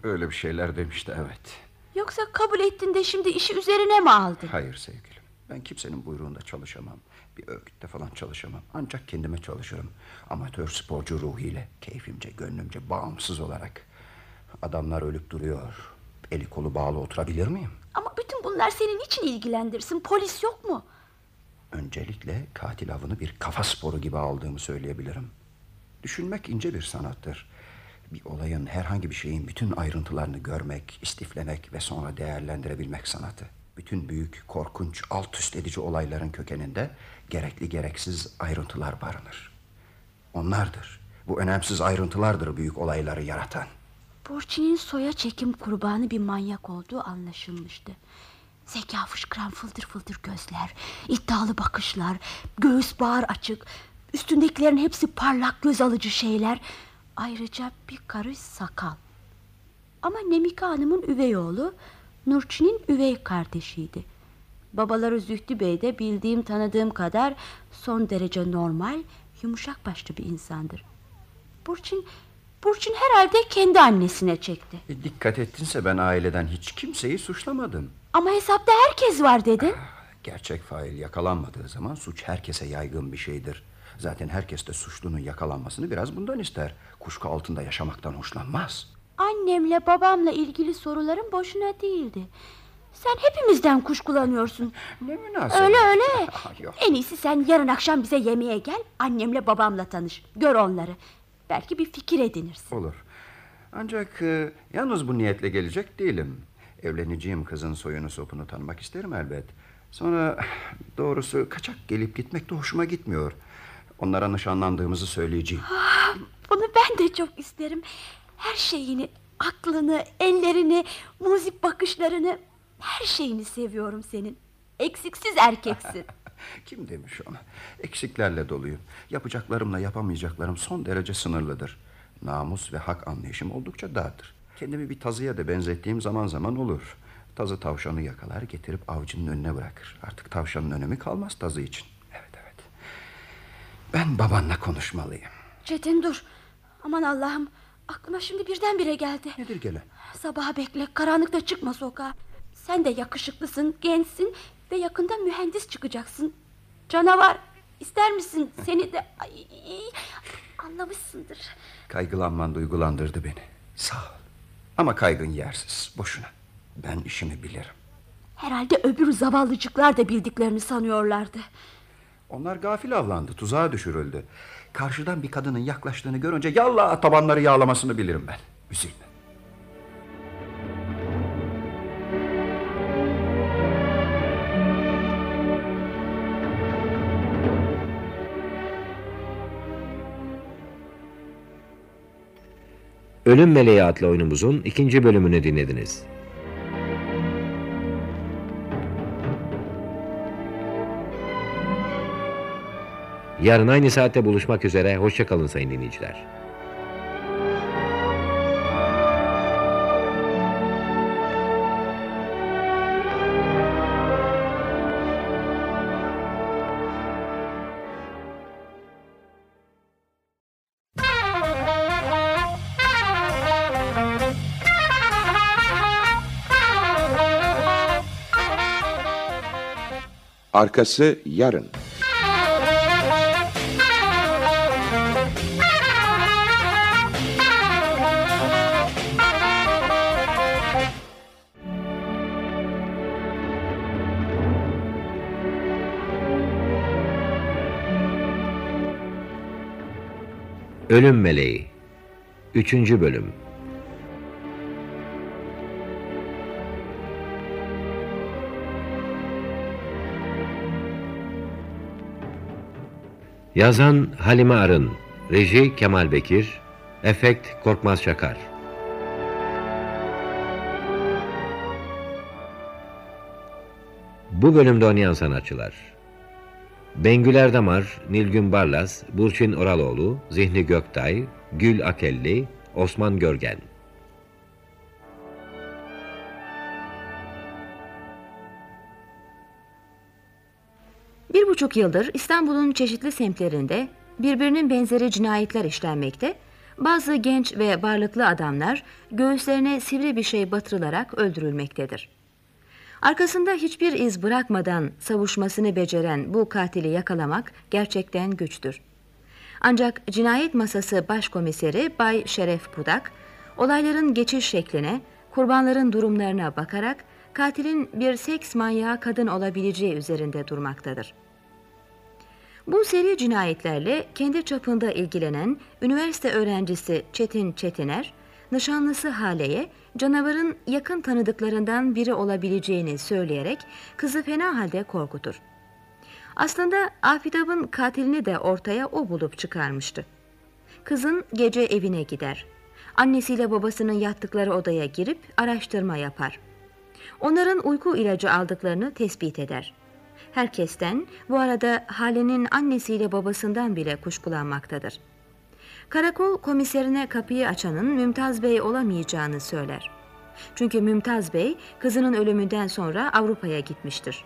Öyle bir şeyler demişti evet. Yoksa kabul ettin de şimdi işi üzerine mi aldın? Hayır sevgilim. Ben kimsenin buyruğunda çalışamam. Bir örgütte falan çalışamam. Ancak kendime çalışırım. Amatör sporcu ruhuyla, keyfimce, gönlümce, bağımsız olarak. Adamlar ölüp duruyor. Eli kolu bağlı oturabilir miyim? Ama bütün bunlar seni niçin ilgilendirsin? Polis yok mu? Öncelikle katil avını bir kafa sporu gibi aldığımı söyleyebilirim. Düşünmek ince bir sanattır. Bir olayın, herhangi bir şeyin bütün ayrıntılarını görmek, istiflemek ve sonra değerlendirebilmek sanatı. Bütün büyük, korkunç, alt üst edici olayların kökeninde gerekli gereksiz ayrıntılar barınır. Onlardır. Bu önemsiz ayrıntılardır büyük olayları yaratan. Borçin'in soya çekim kurbanı bir manyak olduğu anlaşılmıştı. Zeka fışkıran fıldır fıldır gözler, iddialı bakışlar, göğüs bağır açık, üstündekilerin hepsi parlak göz alıcı şeyler. Ayrıca bir karış sakal. Ama Nemika Hanım'ın üvey oğlu Nurçin'in üvey kardeşiydi. Babaları Zühtü Bey de bildiğim tanıdığım kadar son derece normal, yumuşak başlı bir insandır. Burçin, Burçin herhalde kendi annesine çekti. E, dikkat ettinse ben aileden hiç kimseyi suçlamadım. Ama hesapta herkes var dedin. Gerçek fail yakalanmadığı zaman suç herkese yaygın bir şeydir. Zaten herkes de suçlunun yakalanmasını biraz bundan ister. Kuşku altında yaşamaktan hoşlanmaz. Annemle babamla ilgili sorularım boşuna değildi. Sen hepimizden kuşkulanıyorsun. Ne münasebet. Öyle öyle. en iyisi sen yarın akşam bize yemeğe gel. Annemle babamla tanış. Gör onları. Belki bir fikir edinirsin. Olur. Ancak e, yalnız bu niyetle gelecek değilim. Evleneceğim kızın soyunu sopunu tanımak isterim elbet. Sonra doğrusu kaçak gelip gitmek de hoşuma gitmiyor. Onlara nişanlandığımızı söyleyeceğim. Ah, Bunu ben de çok isterim. Her şeyini, aklını, ellerini, müzik bakışlarını, her şeyini seviyorum senin. Eksiksiz erkeksin. Kim demiş ona? Eksiklerle doluyum. Yapacaklarımla yapamayacaklarım son derece sınırlıdır. Namus ve hak anlayışım oldukça dardır. Kendimi bir tazıya da benzettiğim zaman zaman olur. Tazı tavşanı yakalar getirip avcının önüne bırakır. Artık tavşanın önemi kalmaz tazı için. Evet evet. Ben babanla konuşmalıyım. Çetin dur. Aman Allah'ım. Aklıma şimdi birdenbire geldi. Nedir gele? Sabaha bekle, karanlıkta çıkma sokağa. Sen de yakışıklısın, gençsin ve yakında mühendis çıkacaksın. Canavar, ister misin seni de... Ay, anlamışsındır. Kaygılanman duygulandırdı beni. Sağ ol. Ama kaygın yersiz. Boşuna. Ben işimi bilirim. Herhalde öbür zavallıcıklar da bildiklerini sanıyorlardı. Onlar gafil avlandı. Tuzağa düşürüldü. Karşıdan bir kadının yaklaştığını görünce yallah tabanları yağlamasını bilirim ben. Üzülme. Ölüm Meleği adlı oyunumuzun ikinci bölümünü dinlediniz. Yarın aynı saatte buluşmak üzere. Hoşçakalın sayın dinleyiciler. Arkası yarın. Ölüm Meleği 3. Bölüm Yazan Halime Arın Reji Kemal Bekir Efekt Korkmaz Çakar Bu bölümde oynayan sanatçılar Bengül Erdamar, Nilgün Barlas, Burçin Oraloğlu, Zihni Göktay, Gül Akelli, Osman Görgen. Bir buçuk yıldır İstanbul'un çeşitli semtlerinde birbirinin benzeri cinayetler işlenmekte, bazı genç ve varlıklı adamlar göğüslerine sivri bir şey batırılarak öldürülmektedir. Arkasında hiçbir iz bırakmadan savuşmasını beceren bu katili yakalamak gerçekten güçtür. Ancak cinayet masası başkomiseri Bay Şeref Pudak, olayların geçiş şekline, kurbanların durumlarına bakarak katilin bir seks manyağı kadın olabileceği üzerinde durmaktadır. Bu seri cinayetlerle kendi çapında ilgilenen üniversite öğrencisi Çetin Çetiner, nişanlısı Hale'ye canavarın yakın tanıdıklarından biri olabileceğini söyleyerek kızı fena halde korkutur. Aslında Afidab'ın katilini de ortaya o bulup çıkarmıştı. Kızın gece evine gider. Annesiyle babasının yattıkları odaya girip araştırma yapar. Onların uyku ilacı aldıklarını tespit eder. Herkesten, bu arada Hale'nin annesiyle babasından bile kuşkulanmaktadır. Karakol komiserine kapıyı açanın Mümtaz Bey olamayacağını söyler. Çünkü Mümtaz Bey kızının ölümünden sonra Avrupa'ya gitmiştir.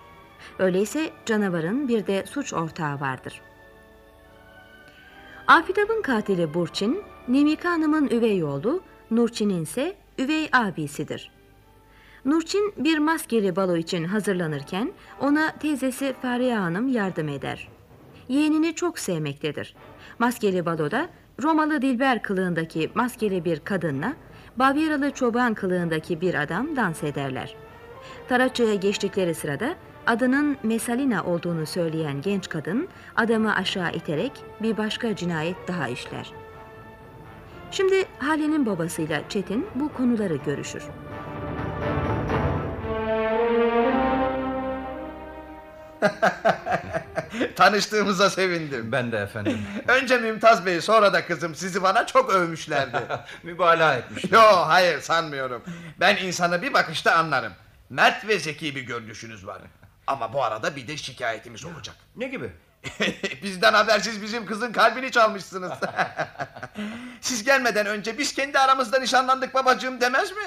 Öyleyse canavarın bir de suç ortağı vardır. Afidab'ın katili Burçin, Nemika Hanım'ın üvey oğlu, Nurçin'in ise üvey abisidir. Nurçin bir maskeli balo için hazırlanırken ona teyzesi Fariye Hanım yardım eder. Yeğenini çok sevmektedir. Maskeli baloda Romalı Dilber kılığındaki maskeli bir kadınla Bavyeralı çoban kılığındaki bir adam dans ederler. Taraççı'ya geçtikleri sırada adının Mesalina olduğunu söyleyen genç kadın adamı aşağı iterek bir başka cinayet daha işler. Şimdi Hale'nin babasıyla Çetin bu konuları görüşür. Tanıştığımıza sevindim. Ben de efendim. Önce Mümtaz Bey sonra da kızım sizi bana çok övmüşlerdi. Mübalağa etmişler. Yo hayır sanmıyorum. Ben insanı bir bakışta anlarım. Mert ve zeki bir görünüşünüz var. Ama bu arada bir de şikayetimiz olacak. Ne gibi? Bizden habersiz bizim kızın kalbini çalmışsınız. Siz gelmeden önce biz kendi aramızda nişanlandık babacığım demez mi?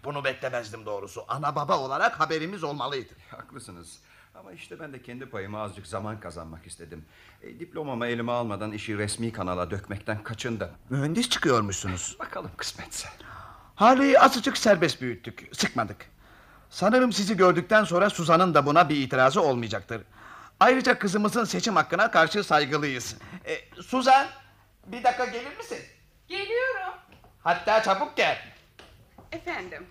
E, Bunu beklemezdim doğrusu. Ana baba olarak haberimiz olmalıydı. Haklısınız. Ama işte ben de kendi payıma azıcık zaman kazanmak istedim. E, diplomamı elime almadan işi resmi kanala dökmekten kaçındım. Mühendis çıkıyormuşsunuz. Bakalım kısmetse. Hale'yi azıcık serbest büyüttük, sıkmadık. Sanırım sizi gördükten sonra Suzan'ın da buna bir itirazı olmayacaktır. Ayrıca kızımızın seçim hakkına karşı saygılıyız. E, Suzan, bir dakika gelir misin? Geliyorum. Hatta çabuk gel. Efendim.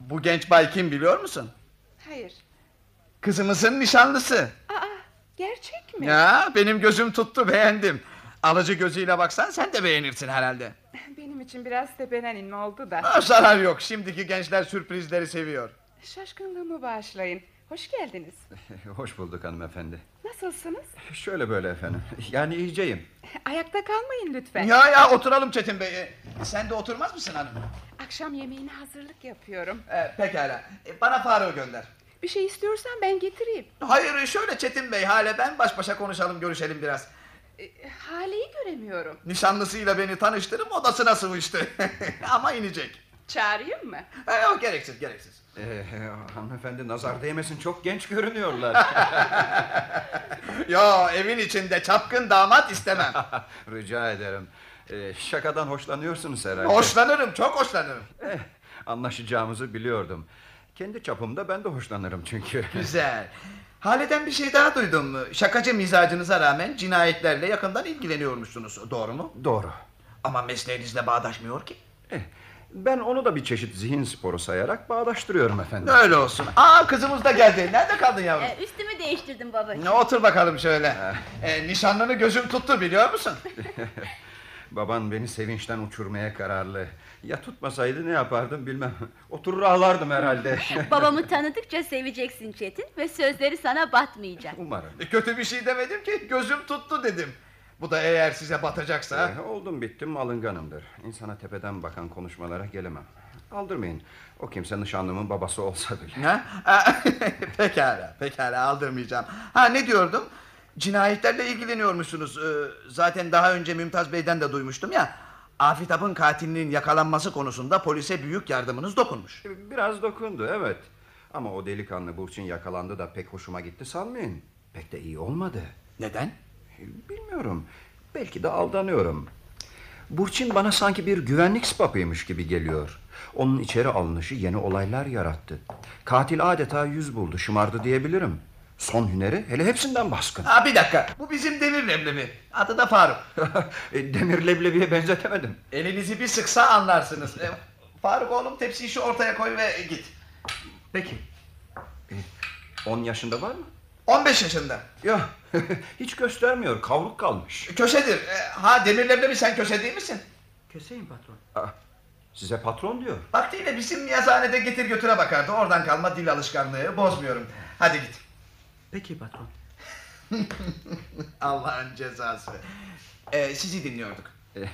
Bu genç bay kim biliyor musun? Hayır. Kızımızın nişanlısı. Aa, gerçek mi? Ya benim gözüm tuttu beğendim. Alıcı gözüyle baksan sen de beğenirsin herhalde. Benim için biraz tepeden inme oldu da. Ha, zarar yok şimdiki gençler sürprizleri seviyor. Şaşkınlığımı bağışlayın. Hoş geldiniz. Hoş bulduk hanımefendi. Nasılsınız? Şöyle böyle efendim. Yani iyiceyim. Ayakta kalmayın lütfen. Ya ya oturalım Çetin Bey. E, Sen de oturmaz mısın hanım? Akşam yemeğine hazırlık yapıyorum. E, pekala. E, bana Faruk'u gönder. Bir şey istiyorsan ben getireyim. Hayır şöyle Çetin Bey hale ben baş başa konuşalım görüşelim biraz. E, Hale'yi göremiyorum. Nişanlısıyla beni tanıştırıp odasına sıvıştı. Ama inecek. Çağırayım mı? E, yok gereksiz gereksiz. Ee, hanımefendi nazar değmesin çok genç görünüyorlar. Ya evin içinde çapkın damat istemem. Rica ederim. Ee, şakadan hoşlanıyorsunuz herhalde. Eh, hoşlanırım çok hoşlanırım. Anlaşacağımızı biliyordum. Kendi çapımda ben de hoşlanırım çünkü. Güzel. Hale'den bir şey daha duydum. Şakacı mizacınıza rağmen cinayetlerle yakından ilgileniyormuşsunuz. Doğru mu? Doğru. Eh, Ama mesleğinizle bağdaşmıyor ki. Ben onu da bir çeşit zihin sporu sayarak bağdaştırıyorum efendim. Öyle olsun. Aa kızımız da geldi. Nerede kaldın yavrum? Ee, Üstümü değiştirdim babacığım. Ne otur bakalım şöyle. Eh. Ee, nişanlını gözüm tuttu biliyor musun? Baban beni sevinçten uçurmaya kararlı. Ya tutmasaydı ne yapardım bilmem. Oturur ağlardım herhalde. Babamı tanıdıkça seveceksin Çetin ve sözleri sana batmayacak. Umarım. E, Kötü bir şey demedim ki gözüm tuttu dedim. Bu da eğer size batacaksa. Ee, oldum bittim alınganımdır. İnsana tepeden bakan konuşmalara gelemem. Aldırmayın. O kimse nişanlımın babası olsa bile. Ha? Aa, pekala, pekala aldırmayacağım. Ha ne diyordum? Cinayetlerle ilgileniyormuşsunuz. Ee, zaten daha önce Mümtaz Bey'den de duymuştum ya. Afitap'ın katilinin yakalanması konusunda polise büyük yardımınız dokunmuş. Biraz dokundu evet. Ama o delikanlı Burçin yakalandı da pek hoşuma gitti sanmayın. Pek de iyi olmadı. E, Neden? Bilmiyorum. Belki de aldanıyorum. Burçin bana sanki bir güvenlik spapıymış gibi geliyor. Onun içeri alınışı yeni olaylar yarattı. Katil adeta yüz buldu, şımardı diyebilirim. Son hüneri hele hepsinden baskın. Ha bir dakika. Bu bizim demir leblebi. Adı da Faruk. E, Demir leblebiye benzetemedim. Elinizi bir sıksa anlarsınız. E, Faruk oğlum tepsiyi şu ortaya koy ve git. Peki. 10 yaşında var mı? 15 yaşında. Ya hiç göstermiyor kavruk kalmış. Kösedir. E, Ha demir leblebi sen köse değil misin? Köseyim patron. Aa, size patron diyor. Vaktiyle bizim yazıhanede getir götüre bakardı. Oradan kalma dil alışkanlığı. Bozmuyorum. Hadi git. Peki patron. Allah'ın cezası. Ee, sizi dinliyorduk.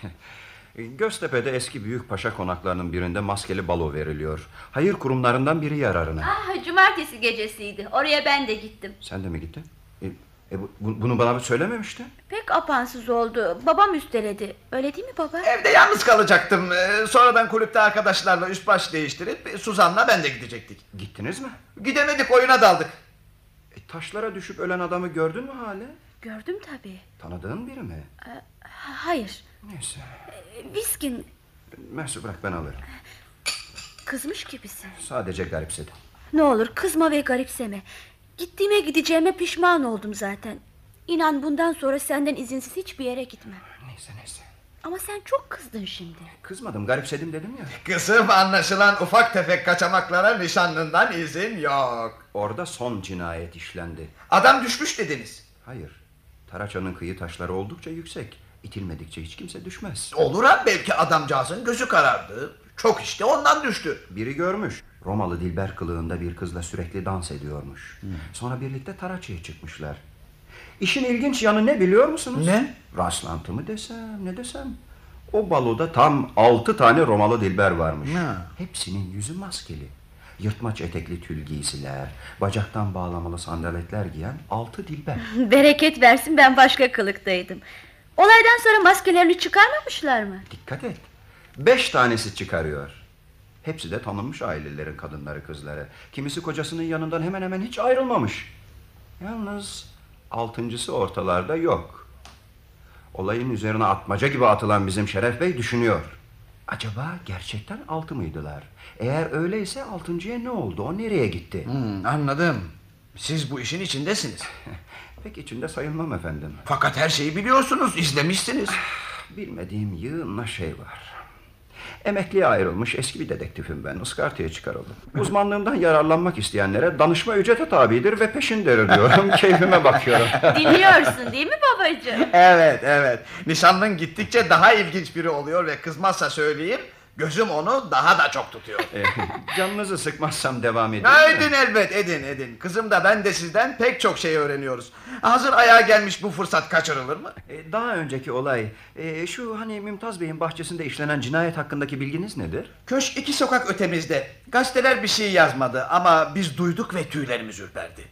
Göztepe'de eski büyük paşa konaklarının birinde maskeli balo veriliyor. Hayır kurumlarından biri yararına. Ah, cumartesi gecesiydi. Oraya ben de gittim. Sen de mi gittin? E, e, bu- bu- bunu bana söylememişti. Pek apansız oldu. Babam üsteledi. Öyle değil mi baba? Evde E, yalnız kalacaktım. Ee, sonradan kulüpte arkadaşlarla üst baş değiştirip e, Suzan'la ben de gidecektik. Gittiniz mi? Gidemedik oyuna daldık. E, Taşlara düşüp ölen adamı gördün mü hala? Gördüm tabii. Ee, Tanıdığın biri mi? Ha- Hayır. Ee, Neyse. Viskin Mersi bırak ben alırım. kızmış gibisin. Sadece garipsedi. Ne olur kızma ve garipseme. Gittiğime gideceğime pişman oldum zaten. İnan bundan sonra senden izinsiz hiçbir yere gitmem. Neyse neyse. E, Ama sen çok kızdın şimdi. Kızmadım garipsedim dedim ya. Kızım anlaşılan ufak tefek kaçamaklara nişanlından izin yok. Orada son cinayet işlendi. Adam düşmüş dediniz. Hayır. Taraçanın kıyı taşları oldukça yüksek. İtilmedikçe hiç kimse düşmez. Olur ha belki adamcağızın gözü karardı. Çok işte ondan düştü. Biri görmüş. Romalı Dilber kılığında bir kızla sürekli dans ediyormuş. Sonra birlikte Taraça'ya çıkmışlar. İşin ilginç yanı ne biliyor musunuz? Ne? Rastlantı mı desem ne desem. O baloda tam altı tane Romalı Dilber varmış. Hepsinin yüzü maskeli. Yırtmaç etekli tül giysiler, bacaktan bağlamalı sandaletler giyen altı Dilber. Bereket versin ben başka kılıktaydım. Olaydan sonra maskelerini çıkarmamışlar mı? Dikkat et. Beş tanesi çıkarıyor. Hepsi de tanınmış ailelerin kadınları kızları. Kimisi kocasının yanından hemen hemen hiç ayrılmamış. Yalnız altıncısı ortalarda yok. Olayın üzerine atmaca gibi atılan bizim Şeref Bey düşünüyor. Acaba gerçekten altı mıydılar? Eğer öyleyse altıncıya Şey, ne oldu? O nereye gitti? Hmm, anladım. Siz bu işin içindesiniz. Pek içinde sayılmam efendim. Fakat her şeyi biliyorsunuz, izlemişsiniz. Bilmediğim yığınla şey var. Emekliye ayrılmış eski bir dedektifim ben. Iskarta'ya çıkarıldım. Uzmanlığımdan yararlanmak isteyenlere danışma ücrete tabidir ve peşindir diyorum. Keyfime bakıyorum. Dinliyorsun değil mi babacığım? Evet, evet. Nişanlın gittikçe daha ilginç biri oluyor ve kızmazsa söyleyeyim, gözüm onu daha da çok tutuyor. Eh, Canınızı sıkmazsam devam edeyim. Ya mi? edin elbet, edin, edin. Kızım da ben de sizden pek çok şey öğreniyoruz. Hazır ayağa gelmiş bu fırsat kaçırılır mı? Eh, Daha önceki olay, eh, şu hani Mümtaz Bey'in bahçesinde işlenen cinayet hakkındaki bilginiz nedir? Köşk iki sokak ötemizde. Gazeteler bir şey yazmadı ama biz duyduk ve tüylerimiz ürperdi.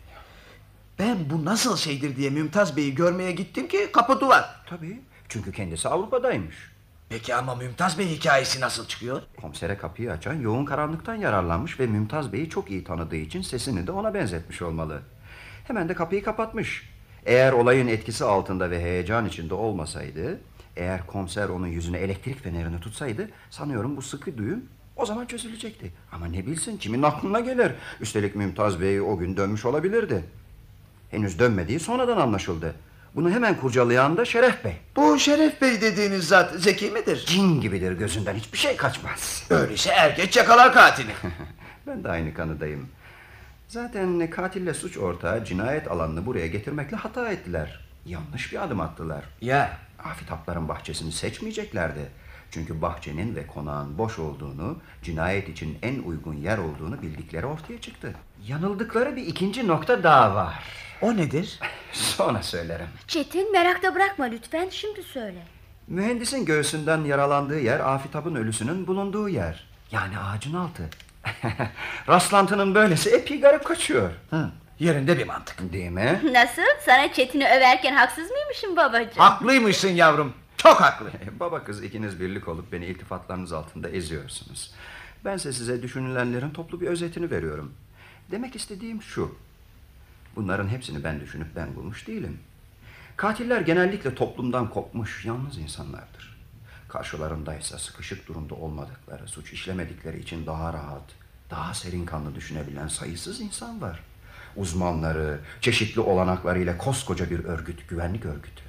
Ben bu nasıl şeydir diye Mümtaz Bey'i görmeye gittim ki kapı duvar. Tabii. Çünkü kendisi Avrupa'daymış. Peki ama Mümtaz Bey hikayesi nasıl çıkıyor? Komisere kapıyı açan yoğun karanlıktan yararlanmış ve Mümtaz Bey'i çok iyi tanıdığı için sesini de ona benzetmiş olmalı. Hemen de kapıyı kapatmış. Eğer olayın etkisi altında ve heyecan içinde olmasaydı, eğer komiser onun yüzüne elektrik fenerini tutsaydı sanıyorum bu sıkı düğüm o zaman çözülecekti. Ama ne bilsin kimin aklına gelir. Üstelik Mümtaz Bey o gün dönmüş olabilirdi. Henüz dönmediği sonradan anlaşıldı. Bunu hemen kurcalayan da Şeref Bey. Bu Şeref Bey dediğiniz zat zeki midir? Cin gibidir gözünden hiçbir şey kaçmaz. Öyleyse er geç yakalar katili. ben de aynı kanıdayım. Zaten katille suç ortağı cinayet alanını buraya getirmekle hata ettiler. Yanlış bir adım attılar. Ya. Afitapların bahçesini seçmeyeceklerdi. Çünkü bahçenin ve konağın boş olduğunu, cinayet için en uygun yer olduğunu bildikleri ortaya çıktı. Yanıldıkları bir ikinci nokta daha var. O nedir? Sonra söylerim. Çetin merakta bırakma lütfen şimdi söyle. Mühendisin göğsünden yaralandığı yer Afitap'ın ölüsünün bulunduğu yer. Yani ağacın altı. Rastlantının böylesi epey garip kaçıyor. Yerinde bir mantık. Değil mi? Nasıl? Sana Çetin'i överken haksız mıymışım babacığım? Haklıymışsın yavrum. Çok haklı. Baba kız ikiniz birlik olup beni iltifatlarınız altında eziyorsunuz. Bense size düşünülenlerin toplu bir özetini veriyorum. Demek istediğim şu. Bunların hepsini ben düşünüp ben bulmuş değilim. Katiller genellikle toplumdan kopmuş, yalnız insanlardır. Karşılarındaysa sıkışık durumda olmadıkları, suç işlemedikleri için daha rahat, daha serin kanlı düşünebilen sayısız insan var. Uzmanları, çeşitli olanaklarıyla koskoca bir örgüt, güvenlik örgütü.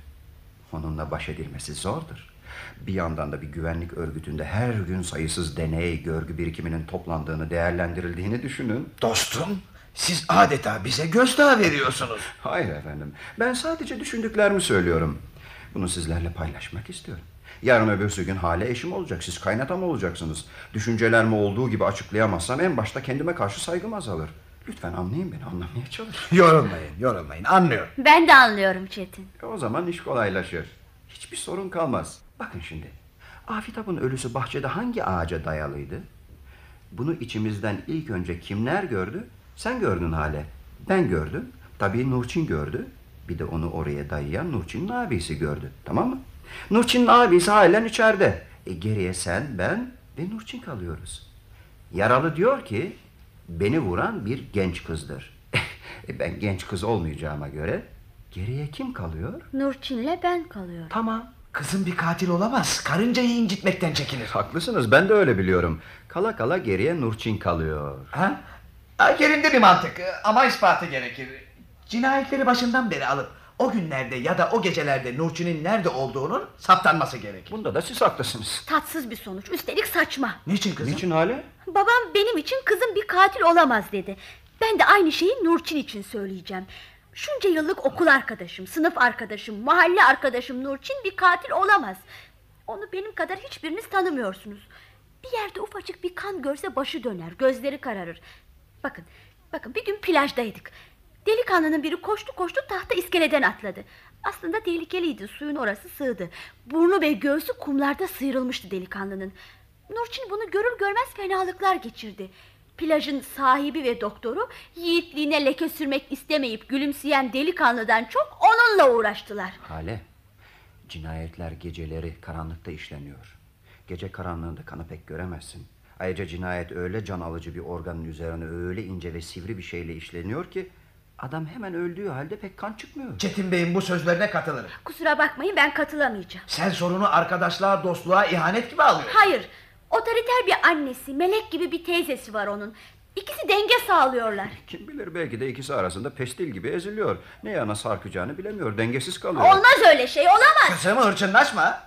Onunla baş edilmesi zordur. Bir yandan da bir güvenlik örgütünde her gün sayısız deney, görgü birikiminin toplandığını, değerlendirildiğini düşünün. Dostum, Siz adeta bize gözdağı veriyorsunuz. Hayır efendim. Ben sadece düşündüklerimi söylüyorum. Bunu sizlerle paylaşmak istiyorum. Yarın öbürsü gün hale eşim olacak. Siz kaynatam olacaksınız. Düşüncelerimi olduğu gibi açıklayamazsam en başta kendime karşı saygım azalır. Lütfen anlayın beni, anlamaya çalışın. Yorulmayın, yorulmayın. Anlıyorum. Ben de anlıyorum Çetin. O zaman iş kolaylaşır. Hiçbir sorun kalmaz. Bakın şimdi. Afitap'ın ölüsü bahçede hangi ağaca dayalıydı? Bunu içimizden ilk önce kimler gördü? Sen gördün hale. Ben gördüm. Tabii Nurçin gördü. Bir de onu oraya dayayan Nurçin'in abisi gördü. Tamam mı? Nurçin'in abisi halen içeride. E, geriye sen, ben ve Nurçin kalıyoruz. Yaralı diyor ki beni vuran bir genç kızdır. E, ben genç kız olmayacağıma göre geriye kim kalıyor? Nurçin'le ben kalıyorum. Tamam. Kızın bir katil olamaz. Karıncayı incitmekten çekinir. Haklısınız ben de öyle biliyorum. Kala kala geriye Nurçin kalıyor. Ha? Ha, Yerinde bir mantık e, ama ispatı gerekir. Cinayetleri başından beri alıp o günlerde ya da o gecelerde Nurçin'in nerede olduğunun saptanması gerek. Bunda da siz haklısınız. Tatsız bir sonuç. Üstelik saçma. Niçin kızım? Niçin hale? Babam benim için kızım bir katil olamaz dedi. Ben de aynı şeyi Nurçin için söyleyeceğim. Şunca yıllık okul arkadaşım, sınıf arkadaşım, mahalle arkadaşım Nurçin bir katil olamaz. Onu benim kadar hiçbiriniz tanımıyorsunuz. Bir yerde ufacık bir kan görse başı döner, gözleri kararır. Bakın, bakın bir gün plajdaydık. Delikanlının biri koştu koştu tahta iskeleden atladı. Aslında tehlikeliydi, suyun orası sığdı. Burnu ve göğsü kumlarda sıyrılmıştı delikanlının. Nurçin bunu görür görmez fenalıklar geçirdi. Plajın sahibi ve doktoru yiğitliğine leke sürmek istemeyip gülümseyen delikanlıdan çok onunla uğraştılar. Hale, cinayetler geceleri karanlıkta işleniyor. Gece karanlığında kanı pek göremezsin. Ayrıca cinayet öyle can alıcı bir organın üzerine öyle ince ve sivri bir şeyle işleniyor ki adam hemen öldüğü halde pek kan çıkmıyor. Çetin Bey'in bu sözlerine katılırım. Kusura bakmayın ben katılamayacağım. Sen sorunu arkadaşlığa, dostluğa ihanet gibi alıyorsun. Hayır, otoriter bir annesi, melek gibi bir teyzesi var onun. İkisi denge sağlıyorlar. Kim bilir belki de ikisi arasında pestil gibi eziliyor. Ne yana sarkacağını bilemiyor. Dengesiz kalıyor. Olmaz öyle şey, olamaz. Kızım hırçınlaşma.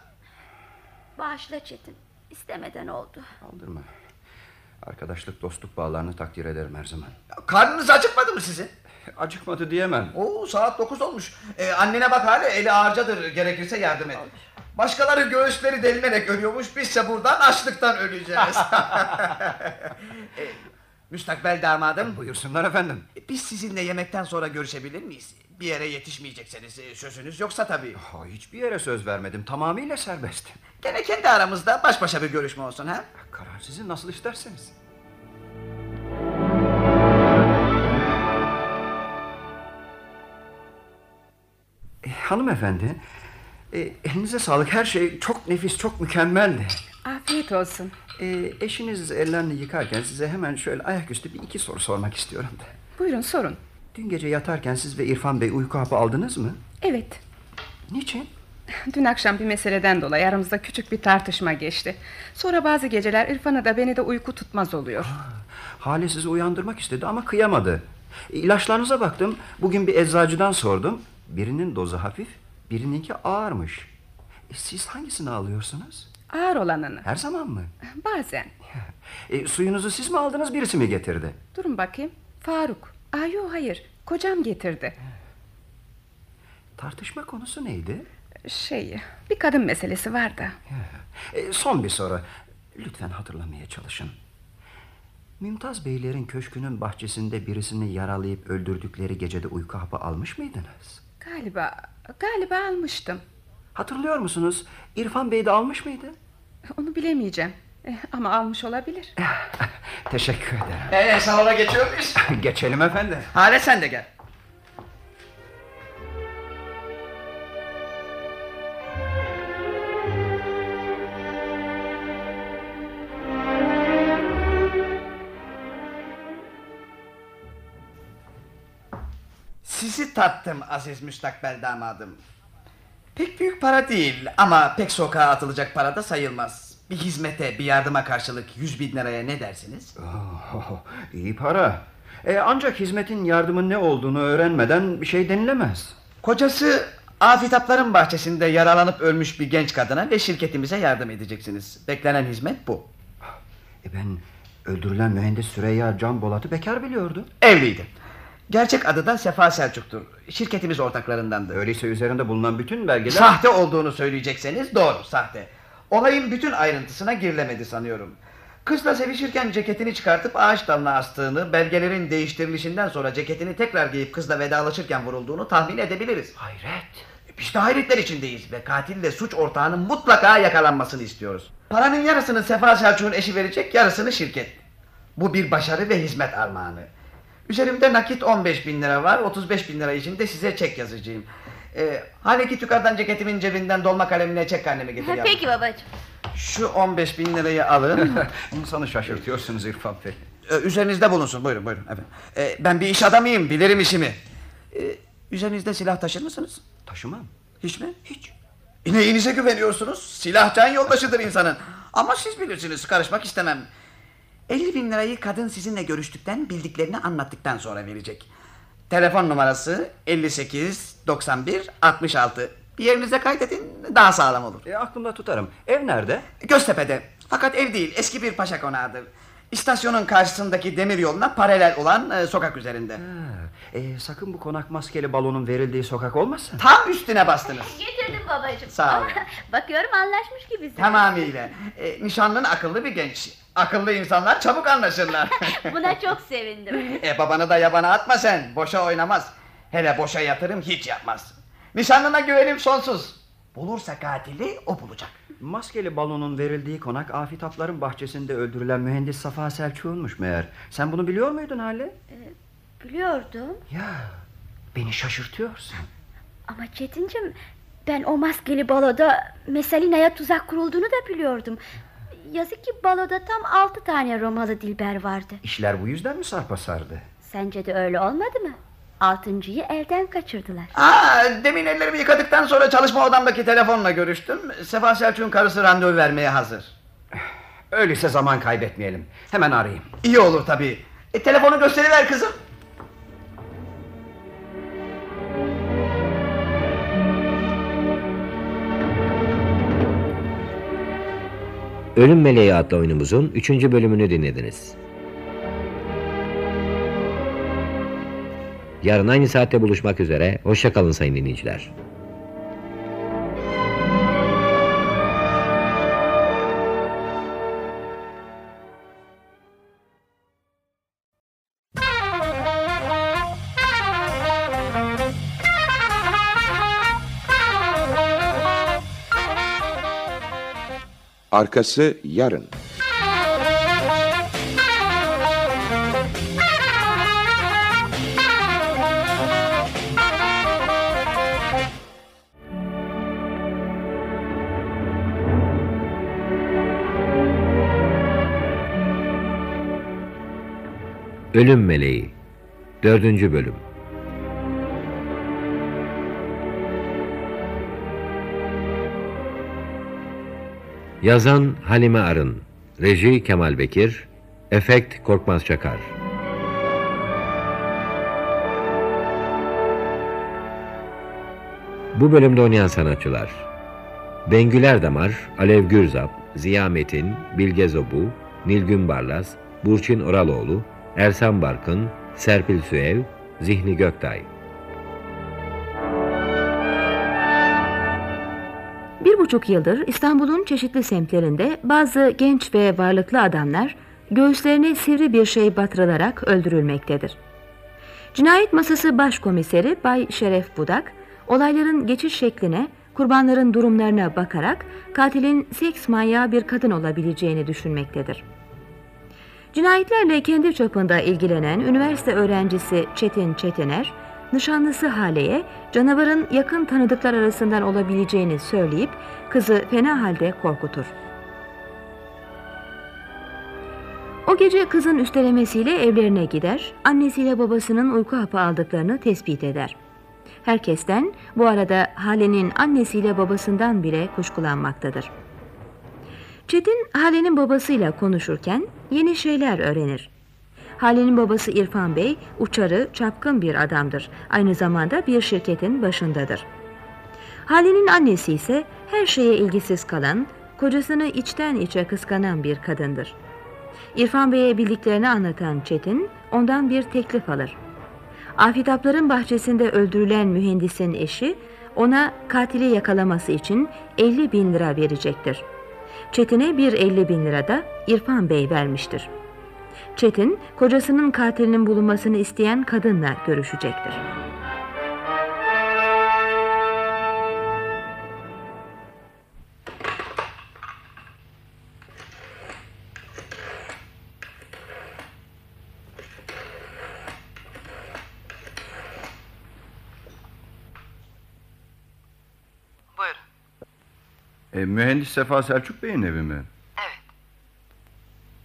Bağışla Çetin, istemeden oldu. Aldırma. Arkadaşlık, dostluk bağlarını takdir ederim her zaman. Karnınız acıkmadı mı sizin? Acıkmadı diyemem. Oo saat 9 olmuş. Ee, annene bak hali eli ağırcadır gerekirse yardım et. Başkaları göğüsleri delinerek ölüyormuş. Bizse buradan açlıktan öleceğiz. Ee, Müstakbel damadım. E, Buyursunlar efendim. Biz sizinle yemekten sonra görüşebilir miyiz? Bir yere yetişmeyecekseniz e, sözünüz yoksa tabii. Ha, hiçbir yere söz vermedim. Tamamıyla serbest. Gene kendi aramızda baş başa bir görüşme olsun ha? Karar sizin nasıl isterseniz. E, hanımefendi, e, elinize sağlık. Her şey çok nefis, çok mükemmeldi. Afiyet olsun. E, eşiniz ellerini yıkarken size hemen şöyle ayaküstü bir iki soru sormak istiyorum da. Buyurun sorun. Dün gece yatarken siz ve İrfan Bey uyku hapı aldınız mı? Evet. Niçin? Dün akşam bir meseleden dolayı aramızda küçük bir tartışma geçti. Sonra bazı geceler İrfan'ı da beni de uyku tutmaz oluyor. Ah. Hale sizi uyandırmak istedi ama kıyamadı. E, İlaçlarınıza baktım. Bugün bir eczacıdan sordum. Birinin dozu hafif, birininki ağırmış. E, siz hangisini alıyorsunuz? Ağır olanını. Her zaman mı? Bazen. E, suyunuzu siz mi aldınız, birisi mi getirdi? Durun bakayım. Faruk. Aa yok hayır. Kocam getirdi. Tartışma konusu neydi? Şey bir kadın meselesi var da. E, son bir soru. Lütfen hatırlamaya çalışın. Mümtaz Beylerin köşkünün bahçesinde birisini yaralayıp öldürdükleri gecede uyku hapı almış mıydınız? Galiba galiba almıştım. Hatırlıyor musunuz? İrfan Bey de almış mıydı? Onu bilemeyeceğim. Eh, ama almış olabilir. Eh. Teşekkür ederim. Ee salona geçiyor muyuz? Geçelim efendim. Hale sen de gel. Sizi tattım aziz müstakbel damadım. Pek büyük para değil ama pek sokağa atılacak para da sayılmaz. Bir hizmete, bir yardıma karşılık 100 bin liraya ne dersiniz? Oh, iyi para. E, ancak hizmetin yardımın ne olduğunu öğrenmeden bir şey denilemez. Kocası Afitapların bahçesinde yaralanıp ölmüş bir genç kadına ve şirketimize yardım edeceksiniz. Beklenen hizmet bu. E ben Öldürülen mühendis Süreyya Can Bolat'ı bekar biliyordu. Evliydi. Gerçek adı da Sefa Selçuk'tur. Şirketimiz ortaklarındandı. Öyleyse üzerinde bulunan bütün belgeler... Sahte olduğunu söyleyecekseniz doğru sahte. Olayın bütün ayrıntısına girilemedi sanıyorum. Kızla sevişirken ceketini çıkartıp ağaç dalına astığını, belgelerin değiştirilişinden sonra ceketini tekrar giyip kızla vedalaşırken vurulduğunu tahmin edebiliriz. Hayret. Biz de hayretler içindeyiz ve katille suç ortağının mutlaka yakalanmasını istiyoruz. Paranın yarısını Sefa Selçuk'un eşi verecek, yarısını şirket. Bu bir başarı ve hizmet armağanı. Üzerimde nakit 15 bin lira var, 35 bin lira için de size çek yazacağım. Ee, hani ki tükardan ceketimin cebinden dolma kalemine çek karnemi getir yavrum. Peki babacığım. Şu 15 bin lirayı alın. İnsanı şaşırtıyorsunuz İrfan Bey. Ee, Üzerinizde bulunsun. Buyurun buyurun. Efendim. Ee, ben bir iş adamıyım. Bilirim işimi. Ee, üzerinizde silah taşır mısınız? Taşımam. Hiç mi? Hiç. İneğinize güveniyorsunuz. Silah can yoldaşıdır insanın. Ama siz bilirsiniz. Karışmak istemem. 50 bin lirayı kadın sizinle görüştükten bildiklerini anlattıktan sonra verecek. Telefon numarası 58 91 66. Bir yerinize kaydedin daha sağlam olur. E, aklımda tutarım. Ev nerede? Göztepe'de. Fakat ev değil, eski bir paşa konağıdır. İstasyonun karşısındaki demir yoluna paralel olan e, sokak üzerinde. E, sakın bu konak maskeli balonun verildiği sokak olmasın. Tam üstüne bastınız. Getirdim babacığım. Sağ ol. Ama Bakıyorum anlaşmış gibisin. Tamamıyla. E, nişanlın akıllı bir genç. Akıllı insanlar çabuk anlaşırlar. Buna çok sevindim. e, babanı da yabana atma sen. Boşa oynamaz. Hele boşa yatırım hiç yapmaz. Nişanlına güvenim sonsuz. Bulursa katili o bulacak. Maskeli balonun verildiği konak Afitapların bahçesinde öldürülen mühendis Safa Selçuk'unmuş meğer. Sen bunu biliyor muydun Hale? Ee, Biliyordum. Ya beni şaşırtıyorsun. Ama Çetincim ben o maskeli baloda Meselina'ya tuzak kurulduğunu da biliyordum. Yazık ki baloda tam altı tane Romalı Dilber vardı. İşler bu yüzden mi sarpa sardı? Sence de öyle olmadı mı? Altıncıyı elden kaçırdılar. Aa, demin ellerimi yıkadıktan sonra çalışma odamdaki telefonla görüştüm. Sefa Selçuk'un karısı randevu vermeye hazır. Öyleyse zaman kaybetmeyelim. Hemen arayayım. İyi olur tabii. E, telefonu gösteriver kızım. Ölüm Meleği adlı oyunumuzun 3. bölümünü dinlediniz. Yarın aynı saatte buluşmak üzere. Hoşçakalın sayın dinleyiciler. Arkası yarın. Ölüm Meleği 4. Bölüm Yazan Halime Arın Reji Kemal Bekir Efekt Korkmaz Çakar Bu bölümde oynayan sanatçılar Bengüler Damar, Alev Gürzap, Ziya Metin, Bilge Zobu, Nilgün Barlas, Burçin Oraloğlu, Ersan Barkın, Serpil Süev, Zihni Göktay. Bir buçuk yıldır İstanbul'un çeşitli semtlerinde bazı genç ve varlıklı adamlar göğüslerine sivri bir şey batırılarak öldürülmektedir. Cinayet Masası Başkomiseri Bay Şeref Budak, olayların geçiş şekline, kurbanların durumlarına bakarak katilin seks manyağı bir kadın olabileceğini düşünmektedir. Cinayetlerle kendi çapında ilgilenen üniversite öğrencisi Çetin Çetiner, nişanlısı Hale'ye canavarın yakın tanıdıklar arasından olabileceğini söyleyip kızı fena halde korkutur. O gece kızın üstelemesiyle evlerine gider, annesiyle babasının uyku hapı aldıklarını tespit eder. Herkesten, bu arada Hale'nin annesiyle babasından bile kuşkulanmaktadır. Çetin, Hale'nin babasıyla konuşurken yeni şeyler öğrenir. Hale'nin babası İrfan Bey, uçarı, çapkın bir adamdır. Aynı zamanda bir şirketin başındadır. Hale'nin annesi ise her şeye ilgisiz kalan, kocasını içten içe kıskanan bir kadındır. İrfan Bey'e bildiklerini anlatan Çetin ondan bir teklif alır. Afitapların bahçesinde öldürülen mühendisin eşi ona katili yakalaması için 50 bin lira verecektir. Çetin'e bir 50 bin lira da İrfan Bey vermiştir. Çetin, kocasının katilinin bulunmasını isteyen kadınla görüşecektir. Buyurun. E, mühendis Sefa Selçuk Bey'in evi mi? Evet.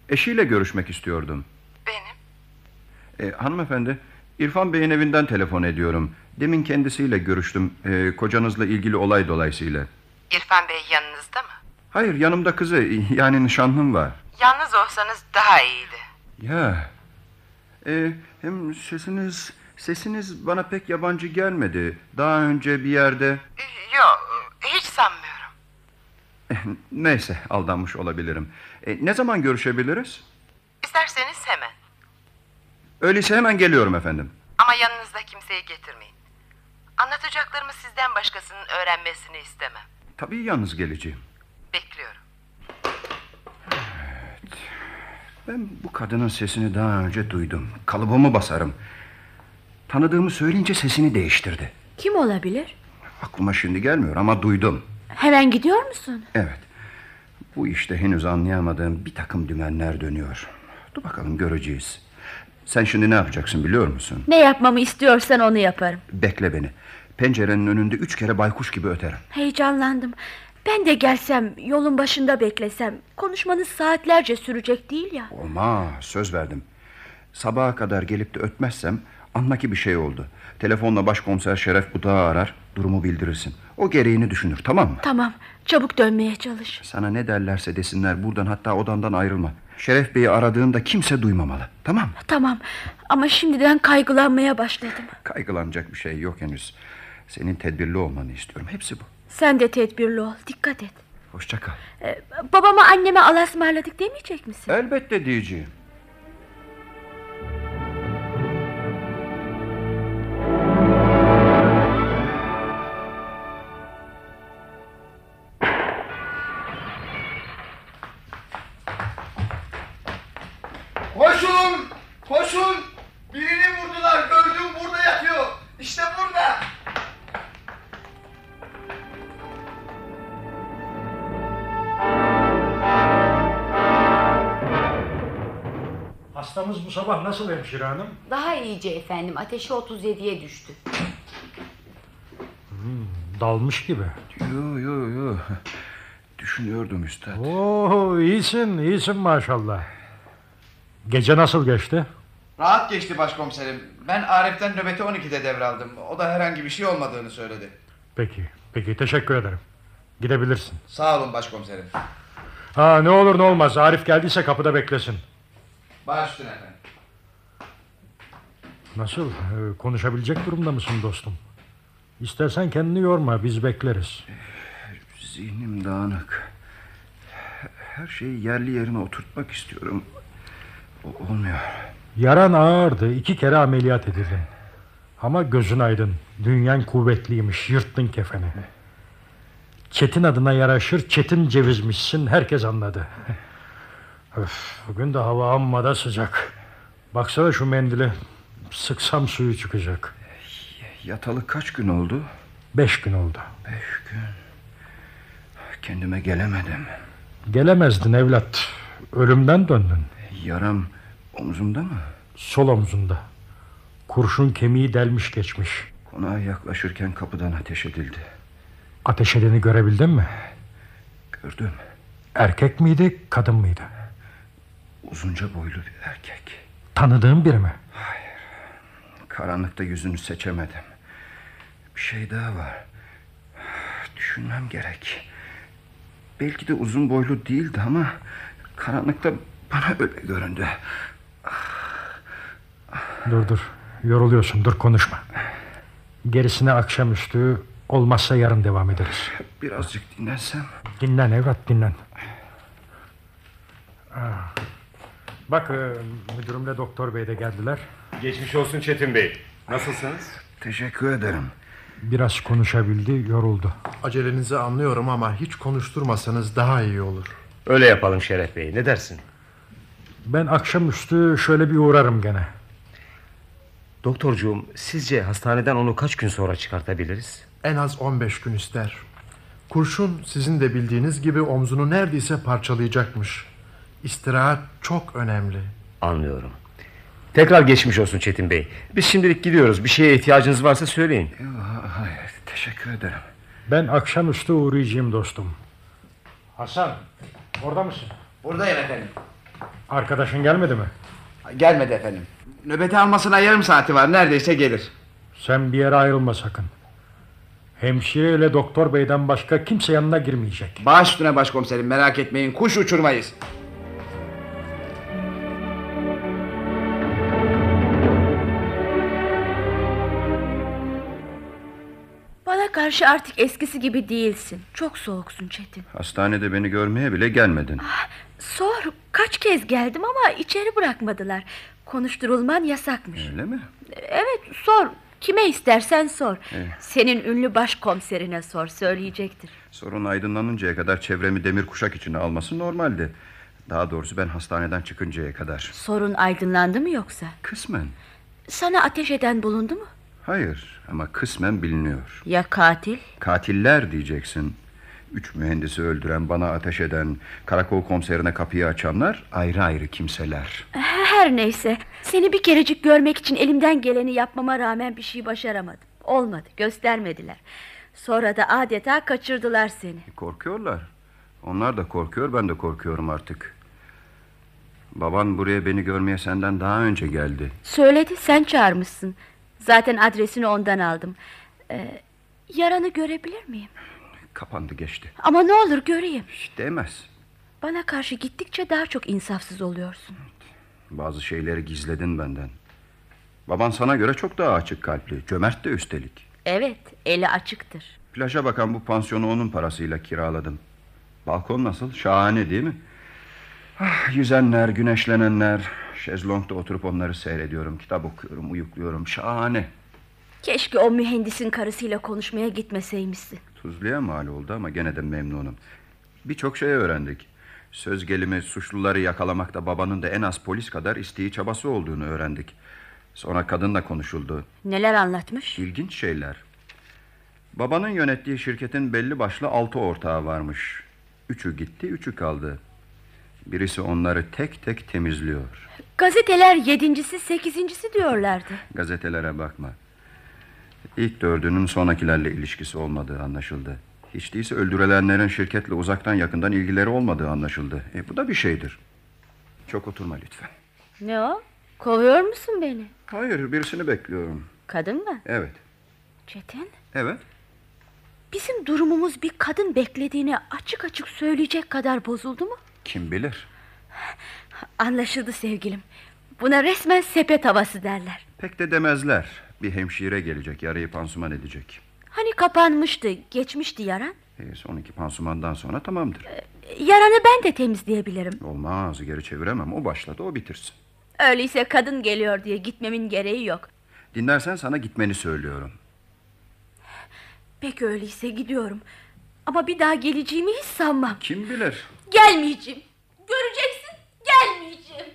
Eşiyle görüşmek istiyordum. Benim. E, hanımefendi, İrfan Bey'in evinden telefon ediyorum. Demin kendisiyle görüştüm. e, kocanızla ilgili olay dolayısıyla. İrfan Bey yanınızda mı? Hayır, yanımda kızı, yani nişanlım var. Yalnız olsanız daha iyiydi. Ya. E, hem sesiniz, sesiniz bana pek yabancı gelmedi. Daha önce bir yerde... Yok hiç sanmıyorum. eh, Neyse, aldanmış olabilirim. E, ne zaman görüşebiliriz? İsterseniz hemen. Öyleyse hemen geliyorum efendim. Ama yanınızda kimseyi getirmeyin. Anlatacaklarımı sizden başkasının öğrenmesini istemem. Tabii yalnız geleceğim. Bekliyorum. Ben bu kadının sesini daha önce duydum. Kalıbımı basarım. Tanıdığımı söyleyince sesini değiştirdi. Kim olabilir? Aklıma şimdi gelmiyor ama duydum. Hemen gidiyor musun? Evet. Bu işte henüz anlayamadığım bir takım dümenler dönüyor. Dur bakalım göreceğiz. Sen şimdi ne yapacaksın biliyor musun? Ne yapmamı istiyorsan onu yaparım. Bekle beni. Pencerenin önünde üç kere baykuş gibi öterim. Heyecanlandım. Ben de gelsem, yolun başında beklesem, konuşmanız saatlerce sürecek değil ya. Olmaz söz verdim. Sabaha kadar gelip de ötmezsem anla ki bir şey oldu. Telefonla başkomiser Şeref Budağı arar durumu bildirirsin. O gereğini düşünür tamam mı? Tamam, çabuk dönmeye çalış. Sana ne derlerse desinler buradan hatta odandan ayrılma. Şeref Bey'i aradığında kimse duymamalı tamam mı? Tamam, ama şimdiden kaygılanmaya başladım. Kaygılanacak bir şey yok henüz. Senin tedbirli olmanı istiyorum hepsi bu. Sen de tedbirli ol, dikkat et. Hoşça kal. Ee, babama anneme Allah'a ısmarladık demeyecek misin? Elbette diyeceğim. Koşun! Koşun! Birini vurdular gördüm burada yatıyor. İşte burada. Hastamız bu sabah nasıl hemşire hanım? Daha iyice efendim. Ateşi 37'ye düştü. Hmm, Dalmış gibi. Yo yo yo. Düşünüyordum üstad. Oo iyisin iyisin maşallah. Gece nasıl geçti? Rahat geçti başkomiserim. Ben Arif'ten nöbeti 12'de devraldım. O da herhangi bir şey olmadığını söyledi. Peki peki teşekkür ederim. Gidebilirsin. Sağ olun başkomiserim. Ha ne olur ne olmaz Arif geldiyse kapıda beklesin. Baş üstüne efendim. Nasıl ee, konuşabilecek durumda mısın dostum? İstersen kendini yorma biz bekleriz. Zihnim dağınık. Her şeyi yerli yerine oturtmak istiyorum. O- olmuyor. Yaran ağırdı iki kere ameliyat edildin. Ama gözün aydın dünyen kuvvetliymiş yırttın kefeni. Çetin adına yaraşır çetin cevizmişsin herkes anladı. Öf, bugün de hava amma da sıcak. Baksana şu mendili sıksam suyu çıkacak. Yatalı kaç gün oldu? Beş gün oldu. Beş gün. Kendime gelemedim. Gelemezdin evlat. Ölümden döndün. Yaram omzumda mı? Sol omzunda. Kurşun kemiği delmiş geçmiş. Konağa yaklaşırken kapıdan ateş edildi. Ateş edeni görebildin mi? Gördüm. Erkek miydi, kadın mıydı? Uzunca boylu bir erkek. Tanıdığın biri mi? Karanlıkta yüzünü seçemedim. Bir şey daha var. Düşünmem gerek. Belki de uzun boylu değildi ama karanlıkta bana öyle göründü. Dur dur. Yoruluyorsun. Dur konuşma. Gerisine akşamüstü olmazsa yarın devam ederiz. Birazcık dinlensem. Dinlen evlat dinlen. Ah. Bak e, müdürümle doktor bey de geldiler. Geçmiş olsun Çetin Bey. Nasılsınız? Teşekkür ederim. Biraz konuşabildi, yoruldu. Acelenizi anlıyorum ama hiç konuşturmasanız daha iyi olur. Öyle yapalım Şeref Bey. Ne dersin? Ben akşamüstü şöyle bir uğrarım gene. Doktorcuğum sizce hastaneden onu kaç gün sonra çıkartabiliriz? En az 15 gün ister. Kurşun sizin de bildiğiniz gibi omzunu neredeyse parçalayacakmış. İstirahat çok önemli. Anlıyorum. Tekrar geçmiş olsun Çetin Bey. Biz şimdilik gidiyoruz. Bir şeye ihtiyacınız varsa söyleyin. Hayır, teşekkür ederim. Ben akşamüstü uğrayacağım dostum. Hasan, orada mısın? Buradayım efendim. Arkadaşın gelmedi mi? Gelmedi efendim. Nöbeti almasına yarım saati var. Neredeyse gelir. Sen bir yere ayrılma sakın. Hemşire ile doktor beyden başka kimse yanına girmeyecek. Baş üstüne başkomiserim merak etmeyin. Kuş uçurmayız. Bana karşı artık eskisi gibi değilsin. Çok soğuksun Çetin. Hastanede beni görmeye bile gelmedin. Sor kaç kez geldim ama içeri bırakmadılar. Konuşturulman yasakmış. Öyle mi? Evet sor. Kime istersen sor. Eh. Senin ünlü başkomiserine sor söyleyecektir. Sorun aydınlanıncaya kadar çevremi demir kuşak içine alması normaldi. Daha doğrusu ben hastaneden çıkıncaya kadar. Sorun aydınlandı mı yoksa? Kısmen. Sana ateş eden bulundu mu? Hayır ama kısmen biliniyor. Ya katil? Katiller diyeceksin. Üç mühendisi öldüren, bana ateş eden, karakol komiserine kapıyı açanlar ayrı ayrı kimseler. Her neyse. Seni bir kerecik görmek için elimden geleni yapmama rağmen bir şey başaramadım. Olmadı göstermediler. Sonra da adeta kaçırdılar seni. E, Korkuyorlar. Onlar da korkuyor, ben de korkuyorum artık. Baban buraya beni görmeye senden daha önce geldi. Söyledi sen çağırmışsın. Zaten adresini ondan aldım. Ee, yaranı görebilir miyim? Kapandı geçti. Ama ne olur göreyim. Hiç değmez. Bana karşı gittikçe daha çok insafsız oluyorsun. Bazı şeyleri gizledin benden. Baban sana göre çok daha açık kalpli. Cömert de üstelik. Evet eli açıktır. Plaja bakan bu pansiyonu onun parasıyla kiraladım. Balkon nasıl? Şahane değil mi? Ah, yüzenler, güneşlenenler. Şezlong'da oturup onları seyrediyorum. Kitap okuyorum, uyukluyorum. Şahane. Keşke o mühendisin karısıyla konuşmaya gitmeseymişsin. Tuzlu'ya mal oldu ama gene de memnunum. Birçok şey öğrendik. Söz gelimi suçluları yakalamakta babanın da en az polis kadar isteği çabası olduğunu öğrendik. Sonra kadınla konuşuldu. Neler anlatmış? İlginç şeyler. Babanın yönettiği şirketin belli başlı altı ortağı varmış. Üçü gitti, üçü kaldı. Birisi onları tek tek temizliyor. Gazeteler yedincisi sekizincisi diyorlardı. Gazetelere bakma. İlk dördünün sonrakilerle ilişkisi olmadığı anlaşıldı. Hiç değilse öldürülenlerin şirketle uzaktan yakından ilgileri olmadığı anlaşıldı. E, bu da bir şeydir. Çok oturma lütfen. Ne o? Kovuyor musun beni? Hayır, birisini bekliyorum. Kadın mı? Evet, Çetin? evet. Bizim durumumuz bir kadın beklediğini açık açık söyleyecek kadar bozuldu mu? Kim bilir? Anlaşıldı sevgilim. Buna resmen sepet havası derler. Pek de demezler. Bir hemşire gelecek, yarayı pansuman edecek. Hani kapanmıştı, geçmişti yaran. E, son iki pansumandan sonra tamamdır. Yaranı ben de temizleyebilirim. Olmaz, geri çeviremem. O başladı, o bitirsin. Öyleyse kadın geliyor diye gitmemin gereği yok. Dinlersen sana gitmeni söylüyorum. Peki öyleyse gidiyorum. Ama bir daha geleceğimi hiç sanmam. Kim bilir? Gelmeyeceğim. Göreceksin gelmeyeceğim.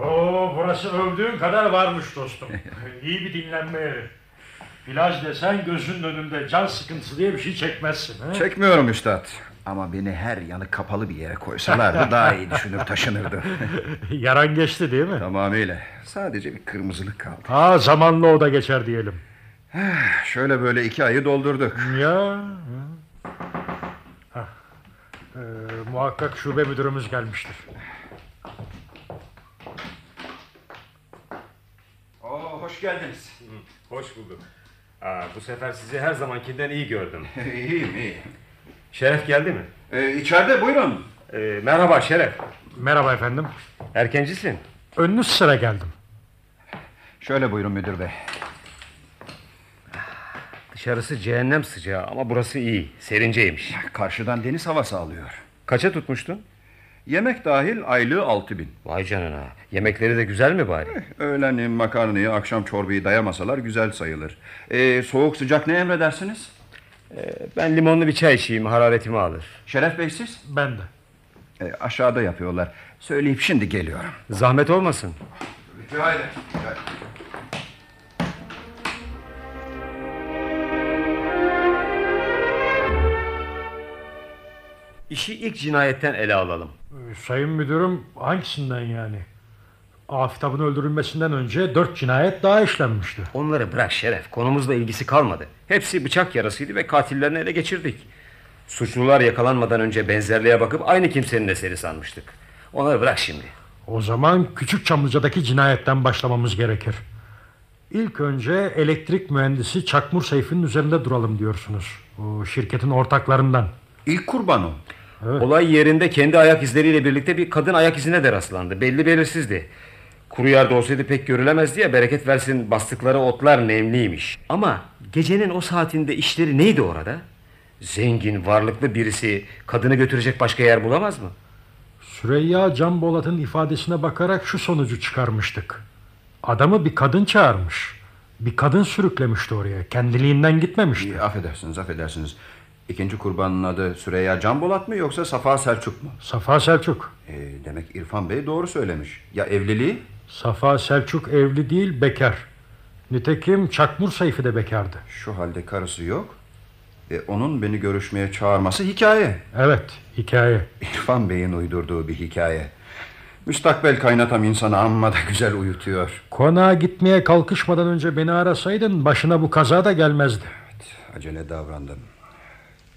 Oo, burası övdüğün kadar varmış dostum. İyi bir dinlenme yeri. Plaj desen gözünün önünde can sıkıntısı diye bir şey çekmezsin. He? Çekmiyorum üstad. Ama beni her yanı kapalı bir yere koysalardı daha iyi düşünür taşınırdı. Yaran geçti değil mi? Tamamıyla. Sadece bir kırmızılık kaldı. Ha zamanla o da geçer diyelim. Şöyle böyle iki ayı doldurduk. Ya. Ee, muhakkak şube müdürümüz gelmiştir. Oo, hoş geldiniz. Hoş bulduk. Aa, bu sefer sizi her zamankinden iyi gördüm. İyiyim iyi. Şeref geldi mi? Ee, içeride buyurun. merhaba Şeref. Merhaba efendim. Erkencisin. Önünüz sıra geldim. Şöyle buyurun müdür bey. Dışarısı cehennem sıcağı ama burası iyi. Serinceymiş. Karşıdan deniz havası alıyor. Kaça tutmuştun? Yemek dahil aylığı altı bin. Vay canına. Yemekleri de güzel mi bari? Öğlen makarnayı, akşam çorbayı dayamasalar güzel sayılır. Ee, soğuk sıcak ne emredersiniz? Eh, ben limonlu bir çay içeyim, hararetimi alır. Şeref Bey siz? Ben de. Ee, aşağıda yapıyorlar. Söyleyip şimdi geliyorum. Zahmet olmasın. Rica ederim. İşi ilk cinayetten ele alalım. Ee, Sayın müdürüm hangisinden yani? Afitab'ın öldürülmesinden önce dört cinayet daha işlenmişti. Onları bırak Şeref. Konumuzla ilgisi kalmadı. Hepsi bıçak yarasıydı ve katillerini ele geçirdik. Suçlular yakalanmadan önce benzerliğe bakıp aynı kimsenin eseri sanmıştık. Onları bırak şimdi. O zaman Küçük Çamlıca'daki cinayetten başlamamız gerekir. İlk önce elektrik mühendisi Çakmur Seyfi'nin üzerinde duralım diyorsunuz. O şirketin ortaklarından. İlk kurban o. Olay yerinde kendi ayak izleriyle birlikte bir kadın ayak izine de rastlandı. Belli belirsizdi. Kuru yerde olsaydı pek görülemezdi ya bereket versin bastıkları otlar nemliymiş. Ama gecenin o saatinde işleri neydi orada? Zengin, varlıklı birisi kadını götürecek başka yer bulamaz mı? Süreyya Can Bolat'ın ifadesine bakarak şu sonucu çıkarmıştık. Adamı bir kadın çağırmış. Bir kadın sürüklemişti oraya. Kendiliğinden gitmemişti. affedersiniz, affedersiniz. İkinci kurbanın adı Süreyya Can Bolat mı yoksa Safa Selçuk mu? Safa Selçuk. Ee, demek İrfan Bey doğru söylemiş. Ya evliliği? Safa Selçuk evli değil bekar. Nitekim Çakmur Seyfi de bekardı. Şu halde karısı yok. E, onun beni görüşmeye çağırması hikaye. Evet, hikaye. İrfan Bey'in uydurduğu bir hikaye. Müstakbel kaynatam insanı amma da güzel uyutuyor. Konağa gitmeye kalkışmadan önce beni arasaydın başına bu kaza da gelmezdi. Acele davrandım.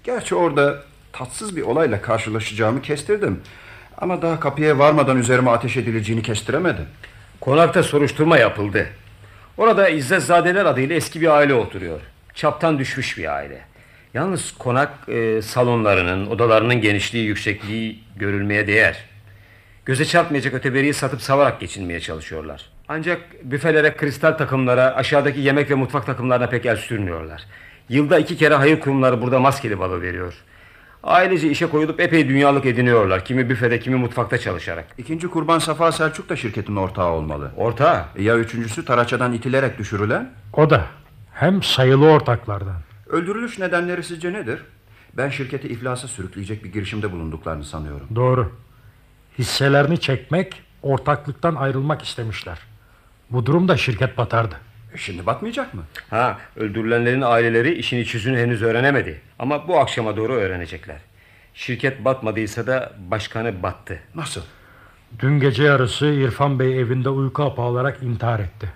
Gerçi orada tatsız bir olayla karşılaşacağımı kestirdim. Ama daha kapıya varmadan üzerime ateş edileceğini kestiremedim. Konakta soruşturma yapıldı. Orada İzzetzadeler adıyla eski bir aile oturuyor. Çaptan düşmüş bir aile. Yalnız konak e, salonlarının, odalarının genişliği, yüksekliği görülmeye değer. Göze çarpmayacak öteberiyi satıp savarak geçinmeye çalışıyorlar. Ancak büfelere, kristal takımlara, aşağıdaki yemek ve mutfak takımlarına pek el sürmüyorlar. Yılda iki kere hayır kurumları burada maskeli balo veriyor. Ailece işe koyulup epey dünyalık ediniyorlar. Kimi büfede, kimi mutfakta çalışarak. İkinci kurban Safa Selçuk da şirketin ortağı olmalı. Ortağı? Ya üçüncüsü taraçadan itilerek düşürülen? O da hem sayılı ortaklardan. Öldürülüş nedenleri sizce nedir? Ben şirketi iflasa sürükleyecek bir girişimde bulunduklarını sanıyorum. Doğru. Hisselerini çekmek, ortaklıktan ayrılmak istemişler. Bu durumda şirket batardı. Şimdi batmayacak mı? Ha, öldürülenlerin aileleri işin iç yüzünü henüz öğrenemedi. Ama bu akşama doğru öğrenecekler. Şirket batmadıysa da başkanı battı. Nasıl? Dün gece yarısı İrfan Bey evinde uyku hapı alarak intihar etti.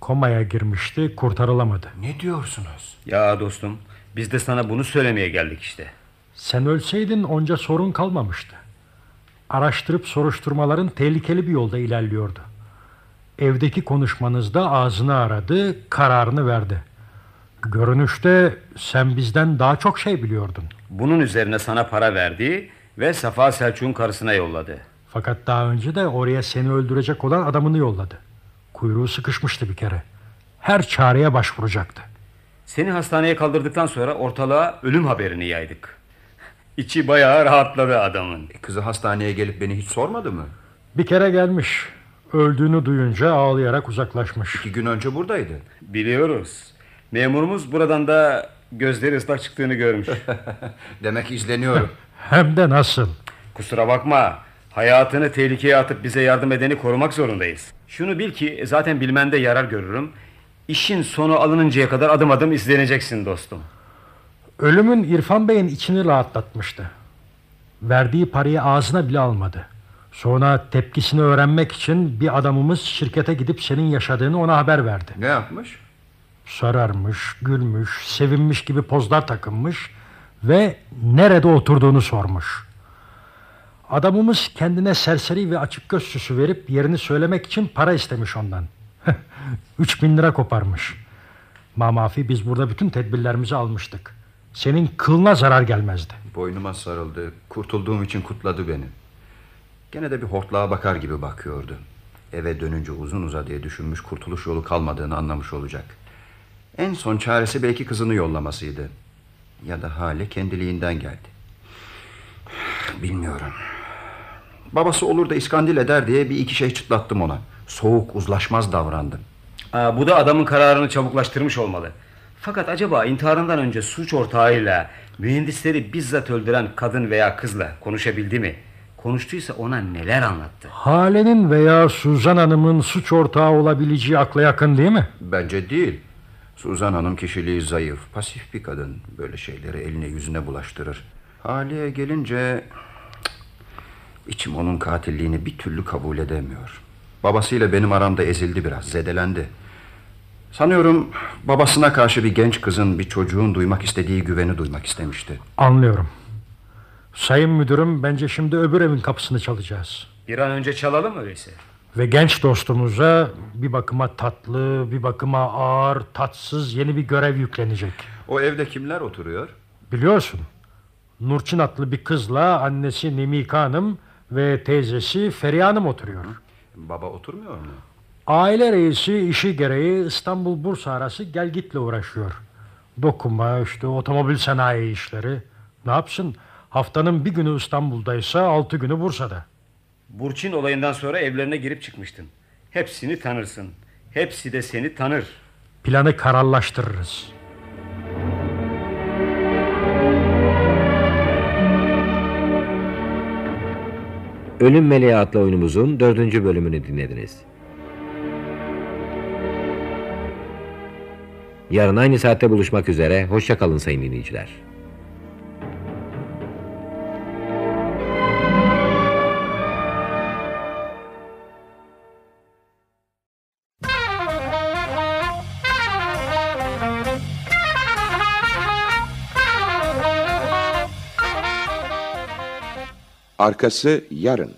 Komaya girmişti, kurtarılamadı. Ne diyorsunuz? Ya dostum, biz de sana bunu söylemeye geldik işte. Sen ölseydin onca sorun kalmamıştı. Araştırıp soruşturmaların tehlikeli bir yolda ilerliyordu. Evdeki konuşmanızda ağzını aradı, kararını verdi. Görünüşte sen bizden daha çok şey biliyordun. Bunun üzerine sana para verdi ve Safa Selçuk'un karısına yolladı. Fakat daha önce de oraya seni öldürecek olan adamını yolladı. Kuyruğu sıkışmıştı bir kere. Her çareye başvuracaktı. Seni hastaneye kaldırdıktan sonra ortalığa ölüm haberini yaydık. İçi bayağı rahatladı adamın. E, Kızı hastaneye gelip beni hiç sormadı mı? Bir kere gelmiş. Öldüğünü duyunca ağlayarak uzaklaşmış. İki gün önce buradaydı. Biliyoruz. Memurumuz buradan da gözleri ıslak çıktığını görmüş. Demek izleniyorum. Hem de nasıl? Kusura bakma. Hayatını tehlikeye atıp bize yardım edeni korumak zorundayız. Şunu bil ki e, zaten bilmende yarar görürüm. İşin sonu alınıncaya kadar adım adım izleneceksin dostum. Ölümün İrfan Bey'in içini rahatlatmıştı. Verdiği parayı ağzına bile almadı. Sonra tepkisini öğrenmek için bir adamımız şirkete gidip senin yaşadığını ona haber verdi. Ne yapmış? Sararmış, gülmüş, sevinmiş gibi pozlar takınmış ve nerede oturduğunu sormuş. Adamımız kendine serseri ve açık göz süsü verip yerini söylemek için para istemiş ondan. 3000 lira koparmış. Mamafi biz burada bütün tedbirlerimizi almıştık. Senin kılına zarar gelmezdi. Boynuma sarıldı. Kurtulduğum için kutladı beni. Gene de bir hortlağa bakar gibi bakıyordu. Eve dönünce uzun uzadıya düşünmüş kurtuluş yolu kalmadığını anlamış olacak. En son çaresi belki kızını yollamasıydı. Ya da hale kendiliğinden geldi. Bilmiyorum. Babası olur da iskandil eder diye bir iki şey çıtlattım ona. Soğuk uzlaşmaz davrandım. Aa, bu da adamın kararını çabuklaştırmış olmalı. Fakat acaba intiharından önce suç ortağıyla mühendisleri bizzat öldüren kadın veya kızla konuşabildi mi? Konuştuysa ona neler anlattı? Hale'nin veya Suzan Hanım'ın suç ortağı olabileceği akla yakın değil mi? Bence değil. Suzan Hanım kişiliği zayıf, pasif bir kadın. Böyle şeyleri eline yüzüne bulaştırır. Haliye gelince cık, içim onun katilliğini bir türlü kabul edemiyor. Babasıyla benim aramda ezildi biraz, zedelendi. Sanıyorum babasına karşı bir genç kızın bir çocuğun duymak istediği güveni duymak istemişti. Anlıyorum. Sayın müdürüm bence şimdi öbür evin kapısını çalacağız. Bir an önce çalalım öyleyse. Ve genç dostumuza bir bakıma tatlı, bir bakıma ağır, tatsız yeni bir görev yüklenecek. O evde kimler oturuyor? Biliyorsun Nurçin adlı bir kızla annesi Nemika Hanım ve teyzesi Feriha Hanım oturuyor. Baba oturmuyor mu? Aile reisi işi gereği İstanbul-Bursa arası gelgitle uğraşıyor. Dokunma işte otomobil sanayi işleri. Ne yapsın? Haftanın bir günü İstanbul'daysa altı günü Bursa'da. Burçin olayından sonra evlerine girip çıkmıştın. Hepsini tanırsın. Hepsi de seni tanır. Planı kararlaştırırız. Ölüm Meleği adlı oyunumuzun dördüncü bölümünü dinlediniz. Yarın aynı saatte buluşmak üzere. Hoşçakalın sayın dinleyiciler. Arkası yarın.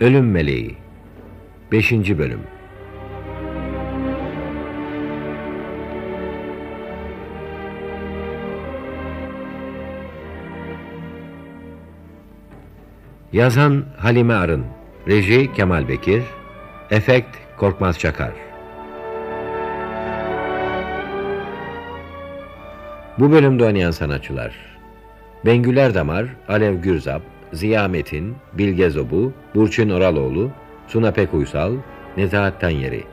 Ölüm Meleği 5. Bölüm Yazan Halime Arın Reji Kemal Bekir Efekt Korkmaz Çakar Bu bölümde oynayan sanatçılar Bengüler Damar, Alev Gürzap, Ziya Metin, Bilge Zobu, Burçin Oraloğlu, Suna Pek Uysal, Nezahat Tanyeri.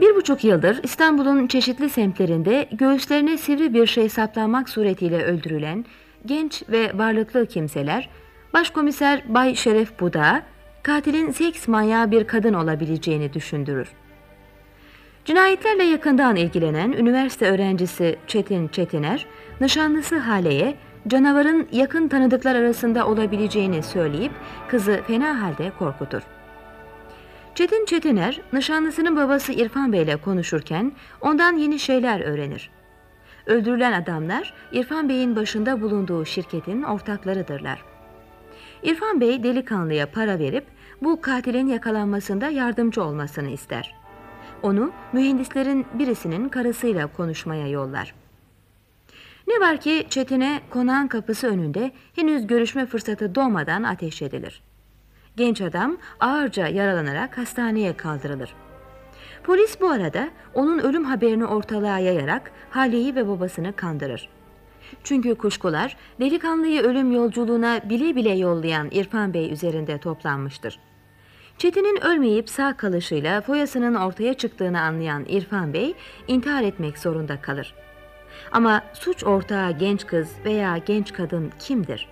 Bir buçuk yıldır İstanbul'un çeşitli semtlerinde göğüslerine sivri bir şey saplanmak suretiyle öldürülen genç ve varlıklı kimseler, Başkomiser Bay Şeref Buda, katilin seks manyağı bir kadın olabileceğini düşündürür. Cinayetlerle yakından ilgilenen üniversite öğrencisi Çetin Çetiner, nişanlısı Hale'ye canavarın yakın tanıdıklar arasında olabileceğini söyleyip kızı fena halde korkutur. Çetin Çetiner, nişanlısının babası İrfan Bey ile konuşurken ondan yeni şeyler öğrenir. Öldürülen adamlar İrfan Bey'in başında bulunduğu şirketin ortaklarıdırlar. İrfan Bey delikanlıya para verip bu katilin yakalanmasında yardımcı olmasını ister. Onu mühendislerin birisinin karısıyla konuşmaya yollar. Ne var ki Çetin'e konağın kapısı önünde henüz görüşme fırsatı doğmadan ateş edilir. Genç adam ağırca yaralanarak hastaneye kaldırılır. Polis bu arada onun ölüm haberini ortalığa yayarak Hale'yi ve babasını kandırır. Çünkü kuşkular delikanlıyı ölüm yolculuğuna bile bile yollayan İrfan Bey üzerinde toplanmıştır. Çetin'in ölmeyip sağ kalışıyla foyasının ortaya çıktığını anlayan İrfan Bey intihar etmek zorunda kalır. Ama suç ortağı genç kız veya genç kadın kimdir?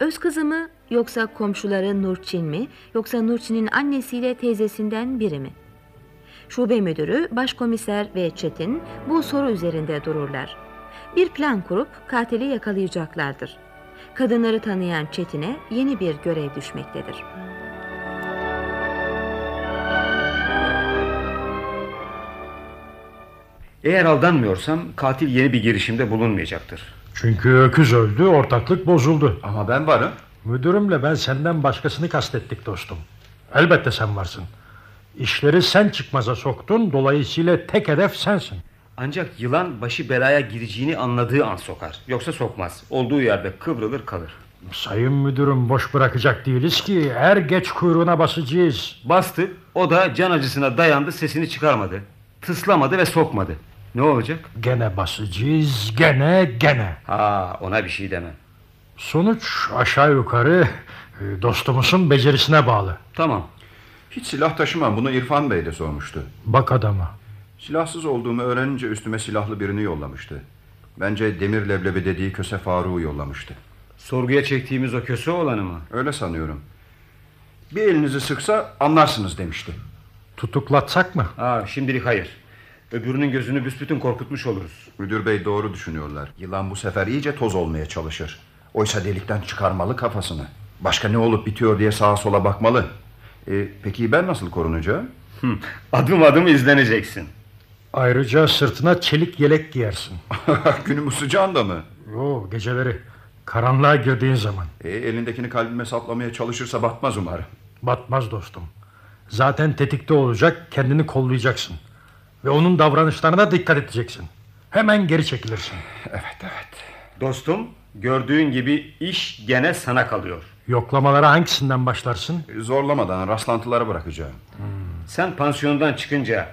Öz kızı mı yoksa komşuları Nurçin mi yoksa Nurçin'in annesiyle teyzesinden biri mi? Şube müdürü, başkomiser ve Çetin bu soru üzerinde dururlar. Bir plan kurup katili yakalayacaklardır. Kadınları tanıyan Çetin'e yeni bir görev düşmektedir. Eğer aldanmıyorsam katil yeni bir girişimde bulunmayacaktır. Çünkü öküz öldü, ortaklık bozuldu. Ama ben varım. Müdürümle ben senden başkasını kastettik dostum. Elbette sen varsın. İşleri sen çıkmaza soktun, dolayısıyla tek hedef sensin. Ancak yılan başı belaya gireceğini anladığı an sokar. Yoksa sokmaz. Olduğu yerde kıvrılır kalır. Sayın müdürüm boş bırakacak değiliz ki er geç kuyruğuna basacağız. Bastı. O da can acısına dayandı sesini çıkarmadı. Tıslamadı ve sokmadı. Ne olacak? Gene basacağız gene gene. Ha ona bir şey demem. Sonuç aşağı yukarı e, dostumuzun becerisine bağlı. Tamam. Hiç silah taşımam. Bunu İrfan Bey de sormuştu. Bak adama. Silahsız olduğumu öğrenince üstüme silahlı birini yollamıştı. Bence demir leblebi dediği köse Faruk'u yollamıştı. Sorguya çektiğimiz o köse olanı mı? Öyle sanıyorum. Bir elinizi sıksa anlarsınız demişti. Tutuklatsak mı? Aa, şimdilik hayır. Öbürünün gözünü büsbütün korkutmuş oluruz. Müdür bey doğru düşünüyorlar. Yılan bu sefer iyice toz olmaya çalışır. Oysa delikten çıkarmalı kafasını. Başka ne olup bitiyor diye sağa sola bakmalı. E, peki ben nasıl korunacağım? Hı, adım adım izleneceksin. Ayrıca sırtına çelik yelek giyersin. Günümüz sıcağında mı? Yo geceleri karanlığa girdiğin zaman. E, elindekini kalbime saplamaya çalışırsa batmaz umarım. Batmaz dostum. Zaten tetikte olacak kendini kollayacaksın. Ve onun davranışlarına dikkat edeceksin. Hemen geri çekilirsin. Evet evet. Dostum gördüğün gibi iş gene sana kalıyor. Yoklamalara hangisinden başlarsın? E, Zorlamadan rastlantılara bırakacağım. Hmm. Sen pansiyondan çıkınca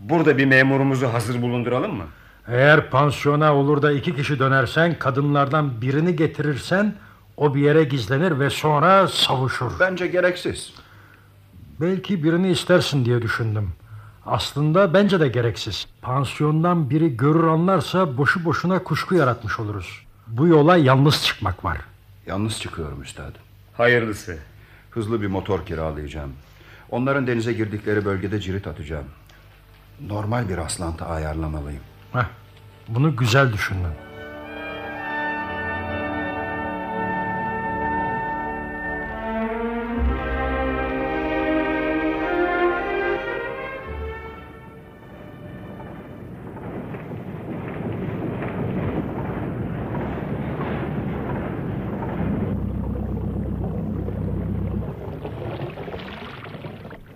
burada bir memurumuzu hazır bulunduralım mı? Eğer pansiyona olur da iki kişi dönersen kadınlardan birini getirirsen o bir yere gizlenir ve sonra savuşur. Bence gereksiz. Belki birini istersin diye düşündüm. Aslında bence de gereksiz. Pansiyondan biri görür anlarsa boşu boşuna kuşku yaratmış oluruz. Bu yola yalnız çıkmak var. Yalnız çıkıyorum üstadım. Hayırlısı. Hızlı bir motor kiralayacağım. Onların denize girdikleri bölgede cirit atacağım. Normal bir aslantı ayarlamalıyım. Heh, bunu güzel düşündün.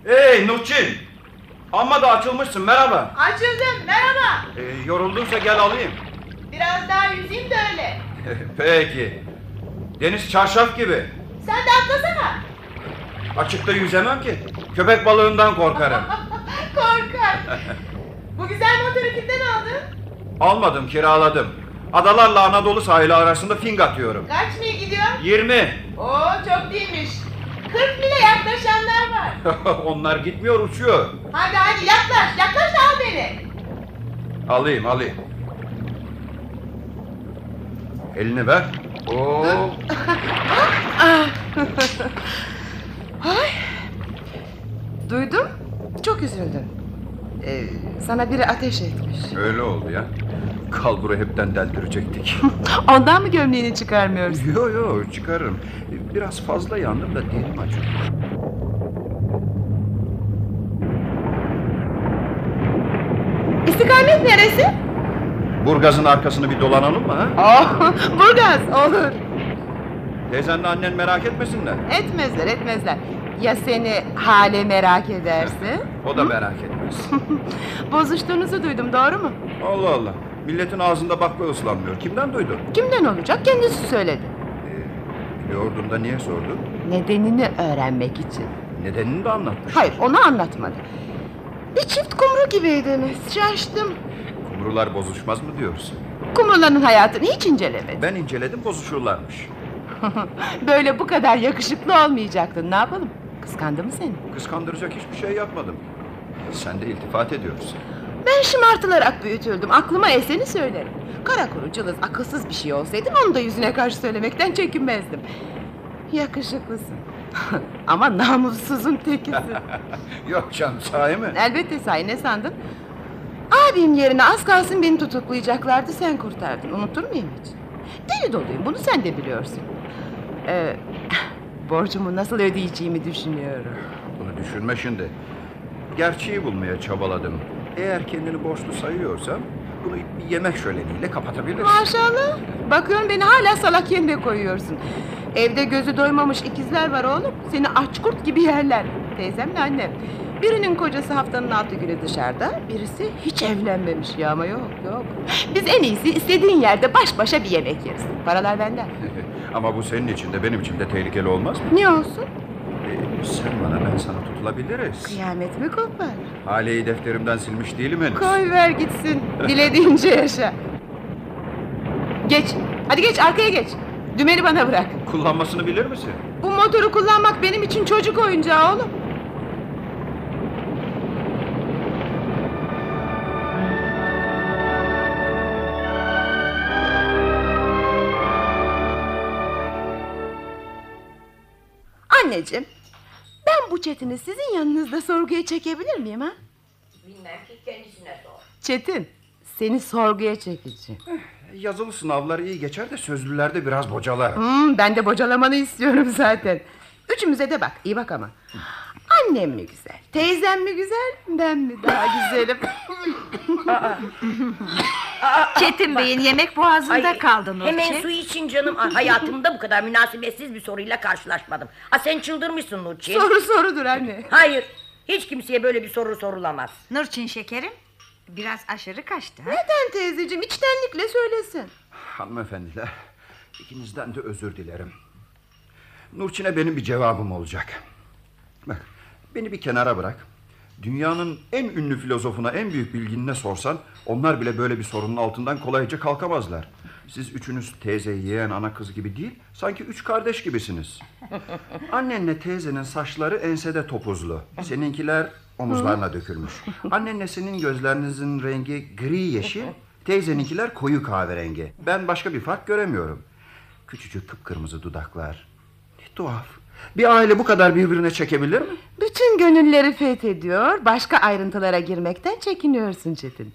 Hey Nurçin! Amma da açılmışsın merhaba. Açıldım merhaba. Ee, yoruldunsa gel alayım. Biraz daha yüzeyim de öyle. Peki. Deniz çarşaf gibi. Sen de atlasana. Açıkta yüzemem ki. Köpek balığından korkarım. Korkar. Bu güzel motoru kimden aldın? Almadım kiraladım. Adalarla Anadolu sahili arasında fing atıyorum. Kaç mil gidiyor? 20. Oo çok değilmiş. 40 mile yaklaşanlar var. Onlar gitmiyor uçuyor. Hadi hadi yaklaş yaklaş da al beni. Alayım alayım. Elini ver. Oo. Ah. Ay. Duydum. Çok üzüldüm. Ee, sana biri ateş etmiş. Öyle oldu ya. Kalburu hepten deldirecektik. Ondan mı gömleğini çıkarmıyorsun? yo yo çıkarırım. Biraz fazla yandım da dilim acıyor. İstikamet neresi? Burgaz'ın arkasını bir dolanalım mı? Ha? Oh, Burgaz olur. Teyzenle annen merak etmesinler. E? Etmezler etmezler. Ya seni hale merak ederse? O da merak etmez. Bozuştuğunuzu duydum doğru mu? Allah Allah. Milletin ağzında bakla ıslanmıyor. Kimden duydun? Kimden olacak kendisi söyledi. Biliyordun da niye sordun? Nedenini öğrenmek için. Nedenini de anlatmış. Hayır onu anlatmadı. Bir çift kumru gibiydiniz. Şaştım. Kumrular bozuşmaz mı diyorsun? Kumruların hayatını hiç incelemedim. Ben inceledim bozuşurlarmış. Böyle bu kadar yakışıklı olmayacaktın. Ne yapalım? Kıskandı mı seni? Kıskandıracak hiçbir şey yapmadım. Sen de iltifat ediyorsun. Ben şımartılarak büyütüldüm. Aklıma eseni söylerim. Kara kuru, cılız, akılsız bir şey olsaydım onu da yüzüne karşı söylemekten çekinmezdim. Yakışıklısın. Ama namussuzun tekisin. Yok canım sahi mi? Elbette sahi ne sandın? Abim yerine az kalsın beni tutuklayacaklardı sen kurtardın. Unutur muyum hiç? Deli doluyum bunu sen de biliyorsun. Ee, borcumu nasıl ödeyeceğimi düşünüyorum. Bunu düşünme şimdi. Gerçeği bulmaya çabaladım. Eğer kendini borçlu sayıyorsan Bunu bir yemek şöleniyle kapatabiliriz. Maşallah. Bakıyorum beni hala salak yerine koyuyorsun. Evde gözü doymamış ikizler var oğlum. Seni aç kurt gibi yerler. Teyzemle annem. Birinin kocası haftanın altı günü dışarıda, birisi hiç evlenmemiş ya ama yok yok. Biz en iyisi istediğin yerde baş başa bir yemek yeriz. Paralar benden. Ama bu senin için de benim için de tehlikeli olmaz mı? Ne olsun? Ee, sen bana ben sana tutulabiliriz. Kıyamet mi kopar? Haleyi defterimden silmiş değilim henüz. Koy ver gitsin. Dilediğince yaşa. Geç. Hadi geç arkaya geç. Dümeni bana bırak. Kullanmasını bilir misin? Bu motoru kullanmak benim için çocuk oyuncağı oğlum. Anneciğim, ben bu Çetin'i sizin yanınızda sorguya çekebilir miyim ha? Bilmem ki kendisine sor. Çetin, seni sorguya çekeceğim. Yazılı sınavlar iyi geçer de sözlülerde biraz bocalar. Hmm, ben de bocalamanı istiyorum zaten. Üçümüze de bak, iyi bak ama. Annem mi güzel, teyzem mi güzel, ben mi daha güzelim? Çetin Bey'in yemek boğazında kaldı Nurçin. Hemen su için canım. Ay, Hayatımda bu kadar münasebetsiz bir soruyla karşılaşmadım. Ha sen çıldırmışsın Nurçin. Soru sorudur anne. Hayır. Hiç kimseye böyle bir soru sorulamaz. Nurçin şekerim biraz aşırı kaçtı. ha? Neden teyzeciğim, içtenlikle söylesin. Hanımefendiler, ikinizden de özür dilerim. Nurçin'e benim bir cevabım olacak. Bak, beni bir kenara bırak. Dünyanın en ünlü filozofuna, en büyük bilginine sorsan... ...onlar bile böyle bir sorunun altından kolayca kalkamazlar. Siz üçünüz teyze, yeğen, ana kız gibi değil... ...sanki üç kardeş gibisiniz. Annenle teyzenin saçları ensede topuzlu. Seninkiler omuzlarına dökülmüş. Annenle senin gözlerinizin rengi gri yeşil... ...teyzeninkiler koyu kahverengi. Ben başka bir fark göremiyorum. Küçücük kıpkırmızı dudaklar. Ne tuhaf. Bir aile bu kadar birbirine çekebilir mi? Bütün gönülleri fethediyor, başka ayrıntılara girmekten çekiniyorsun Çetin.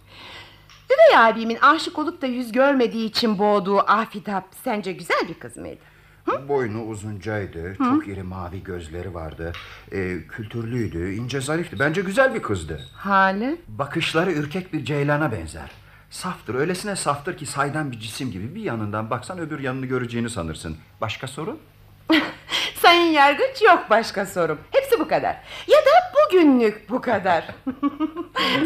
Üvey abimin aşık olup da yüz görmediği için boğduğu Afitap sence güzel bir kız mıydı? Boynu uzuncaydı, çok iri mavi gözleri vardı, Ee, kültürlüydü, ince zarifti. Bence güzel bir kızdı. Hali? Bakışları ürkek bir ceylana benzer. Saftır, öylesine saftır ki saydam bir cisim gibi. Bir yanından baksan öbür yanını göreceğini sanırsın. Başka sorun? Sayın Yargıç yok başka sorum. Hepsi bu kadar. Ya da bugünlük bu kadar.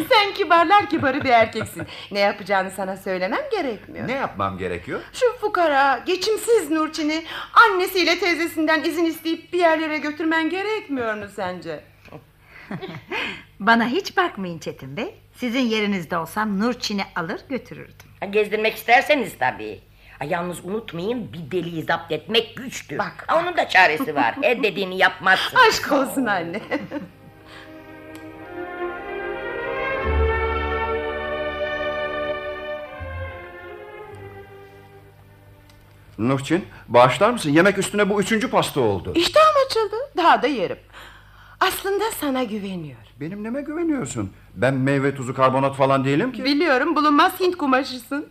Sen kibarlar kibarı bir erkeksin. Ne yapacağını sana söylemem gerekmiyor. Ne yapmam gerekiyor? Şu fukara, geçimsiz Nurçin'i annesiyle teyzesinden izin isteyip bir yerlere götürmen gerekmiyor mu sence? Bana hiç bakmayın Çetin Bey. Sizin yerinizde olsam Nurçin'i alır götürürdüm. Ha, gezdirmek isterseniz tabii. Ha, yalnız unutmayın bir deliyi zapt etmek güçtür. Bak, onun da çaresi var. El dediğini yapmazsın. Aşk olsun anne. Nurçin, bağışlar mısın? Yemek üstüne bu üçüncü pasta oldu. İştahım açıldı. Daha da yerim. Aslında sana güveniyorum. Benim neme güveniyorsun? Ben meyve tuzu karbonat falan değilim ki. Biliyorum bulunmaz Hint kumaşısın.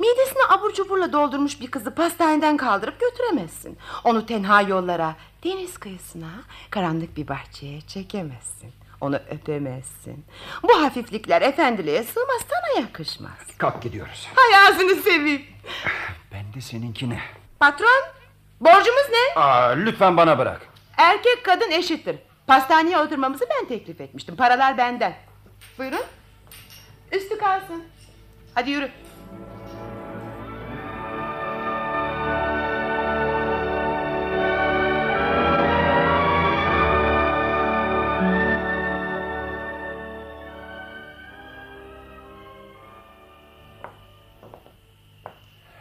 Midesini abur cuburla doldurmuş bir kızı pastaneden kaldırıp götüremezsin. Onu tenha yollara, deniz kıyısına, karanlık bir bahçeye çekemezsin. Onu öpemezsin. Bu hafiflikler efendiliğe sığmaz sana yakışmaz. Kalk gidiyoruz. Hay ağzını seveyim. Ben de seninkine. Patron borcumuz ne? Aa, lütfen bana bırak. Erkek kadın eşittir. Pastaneye oturmamızı ben teklif etmiştim. Paralar benden. Buyurun. Üstü kalsın. Hadi yürü.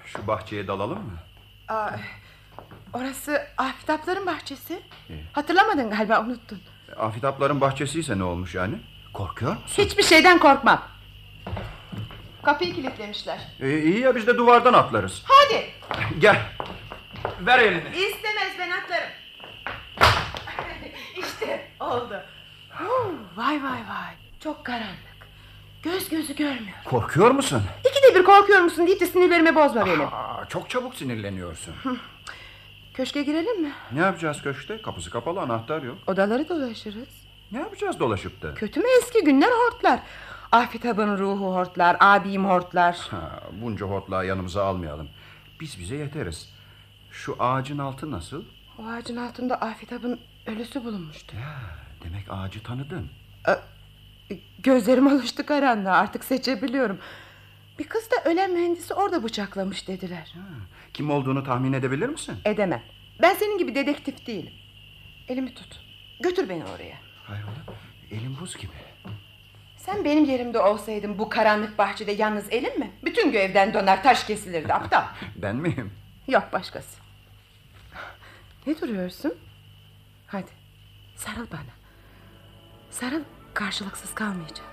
Şu bahçeye dalalım mı? Aa, orası Afitapların bahçesi. Hatırlamadın galiba unuttun. Afitapların bahçesiyse ne olmuş yani? Korkuyor musun? Hiçbir şeyden korkmam. Kapıyı kilitlemişler. E, iyi ya biz de duvardan atlarız. Hadi. Gel. Ver elini. İstemez ben atlarım. işte oldu. Huu, vay vay vay. Çok karanlık. Göz gözü görmüyor. Korkuyor musun? İkide bir korkuyor musun deyip de sinirlerimi bozma benim. Aa, çok çabuk sinirleniyorsun. Köşke girelim mi? ne yapacağız köşkte? Kapısı kapalı, anahtar yok. Odaları dolaşırız. Ne yapacağız dolaşıp da? Kötü mü eski günler hortlar. Afet Hanım'ın ruhu hortlar, abim hortlar. Ha, bunca hortlağı yanımıza almayalım. Biz bize yeteriz. Şu ağacın altı nasıl? O ağacın altında Afet Hanım'ın ölüsü bulunmuştu. Demek ağacı tanıdın. Gözlerim alıştı karanlığa artık seçebiliyorum. Bir kız da ölen mühendisi orada bıçaklamış dediler. Kim olduğunu tahmin edebilir misin? Edemem. Ben senin gibi dedektif değilim. Elimi tut. Götür beni oraya. Hayrola? Elim buz gibi. Sen benim yerimde olsaydın bu karanlık bahçede yalnız elin mi? Bütün göğevden donar taş kesilirdi aptal. Ben miyim? Yok başkası. Ne duruyorsun? Hadi sarıl bana. Sarıl karşılıksız kalmayacak.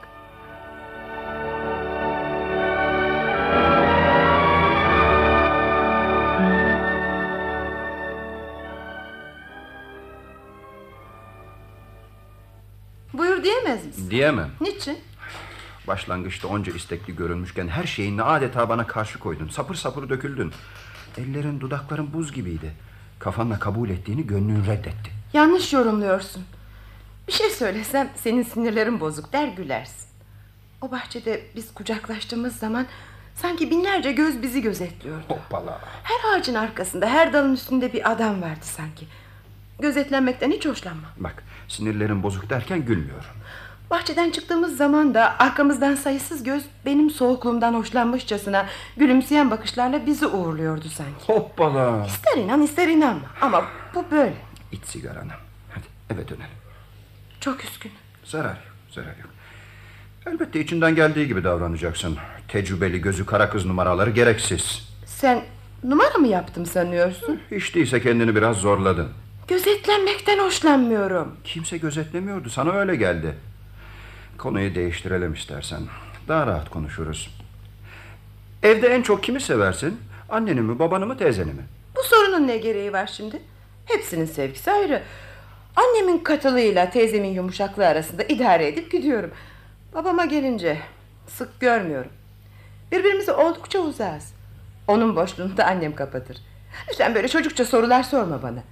Buyur diyemez misin? Diyemem. Niçin? Başlangıçta onca istekli görünmüşken her şeyinle adeta bana karşı koydun. Sapır sapır döküldün. Ellerin dudakların buz gibiydi. Kafanla kabul ettiğini gönlün reddetti. Yanlış yorumluyorsun. Bir şey söylesem senin sinirlerin bozuk der gülersin. O bahçede biz kucaklaştığımız zaman sanki binlerce göz bizi gözetliyordu. Hoppala. Her ağacın arkasında, her dalın üstünde bir adam vardı sanki. Gözetlenmekten hiç hoşlanmam. Bak sinirlerin bozuk derken gülmüyorum. Bahçeden çıktığımız zaman da arkamızdan sayısız göz benim soğukluğumdan hoşlanmışçasına gülümseyen bakışlarla bizi uğurluyordu sanki. Hoppala. İster inan ister inanma ama bu böyle. İç sigaranı. Hadi eve dönelim. Çok üzgün. Zarar yok, zarar yok. Elbette içinden geldiği gibi davranacaksın. Tecrübeli gözü kara kız numaraları gereksiz. Sen numara mı yaptım sanıyorsun? Hiç değilse kendini biraz zorladın. Gözetlenmekten hoşlanmıyorum. Kimse gözetlemiyordu, sana öyle geldi. Konuyu değiştirelim istersen. Daha rahat konuşuruz. Evde en çok kimi seversin? Anneni mi, babanı mı, teyzeni mi? Bu sorunun ne gereği var şimdi? Hepsinin sevgisi ayrı. Annemin katılığıyla teyzemin yumuşaklığı arasında idare edip gidiyorum. Babama gelince sık görmüyorum. Birbirimize oldukça uzağız. Onun boşluğunu da annem kapatır. Lütfen böyle çocukça sorular sorma bana.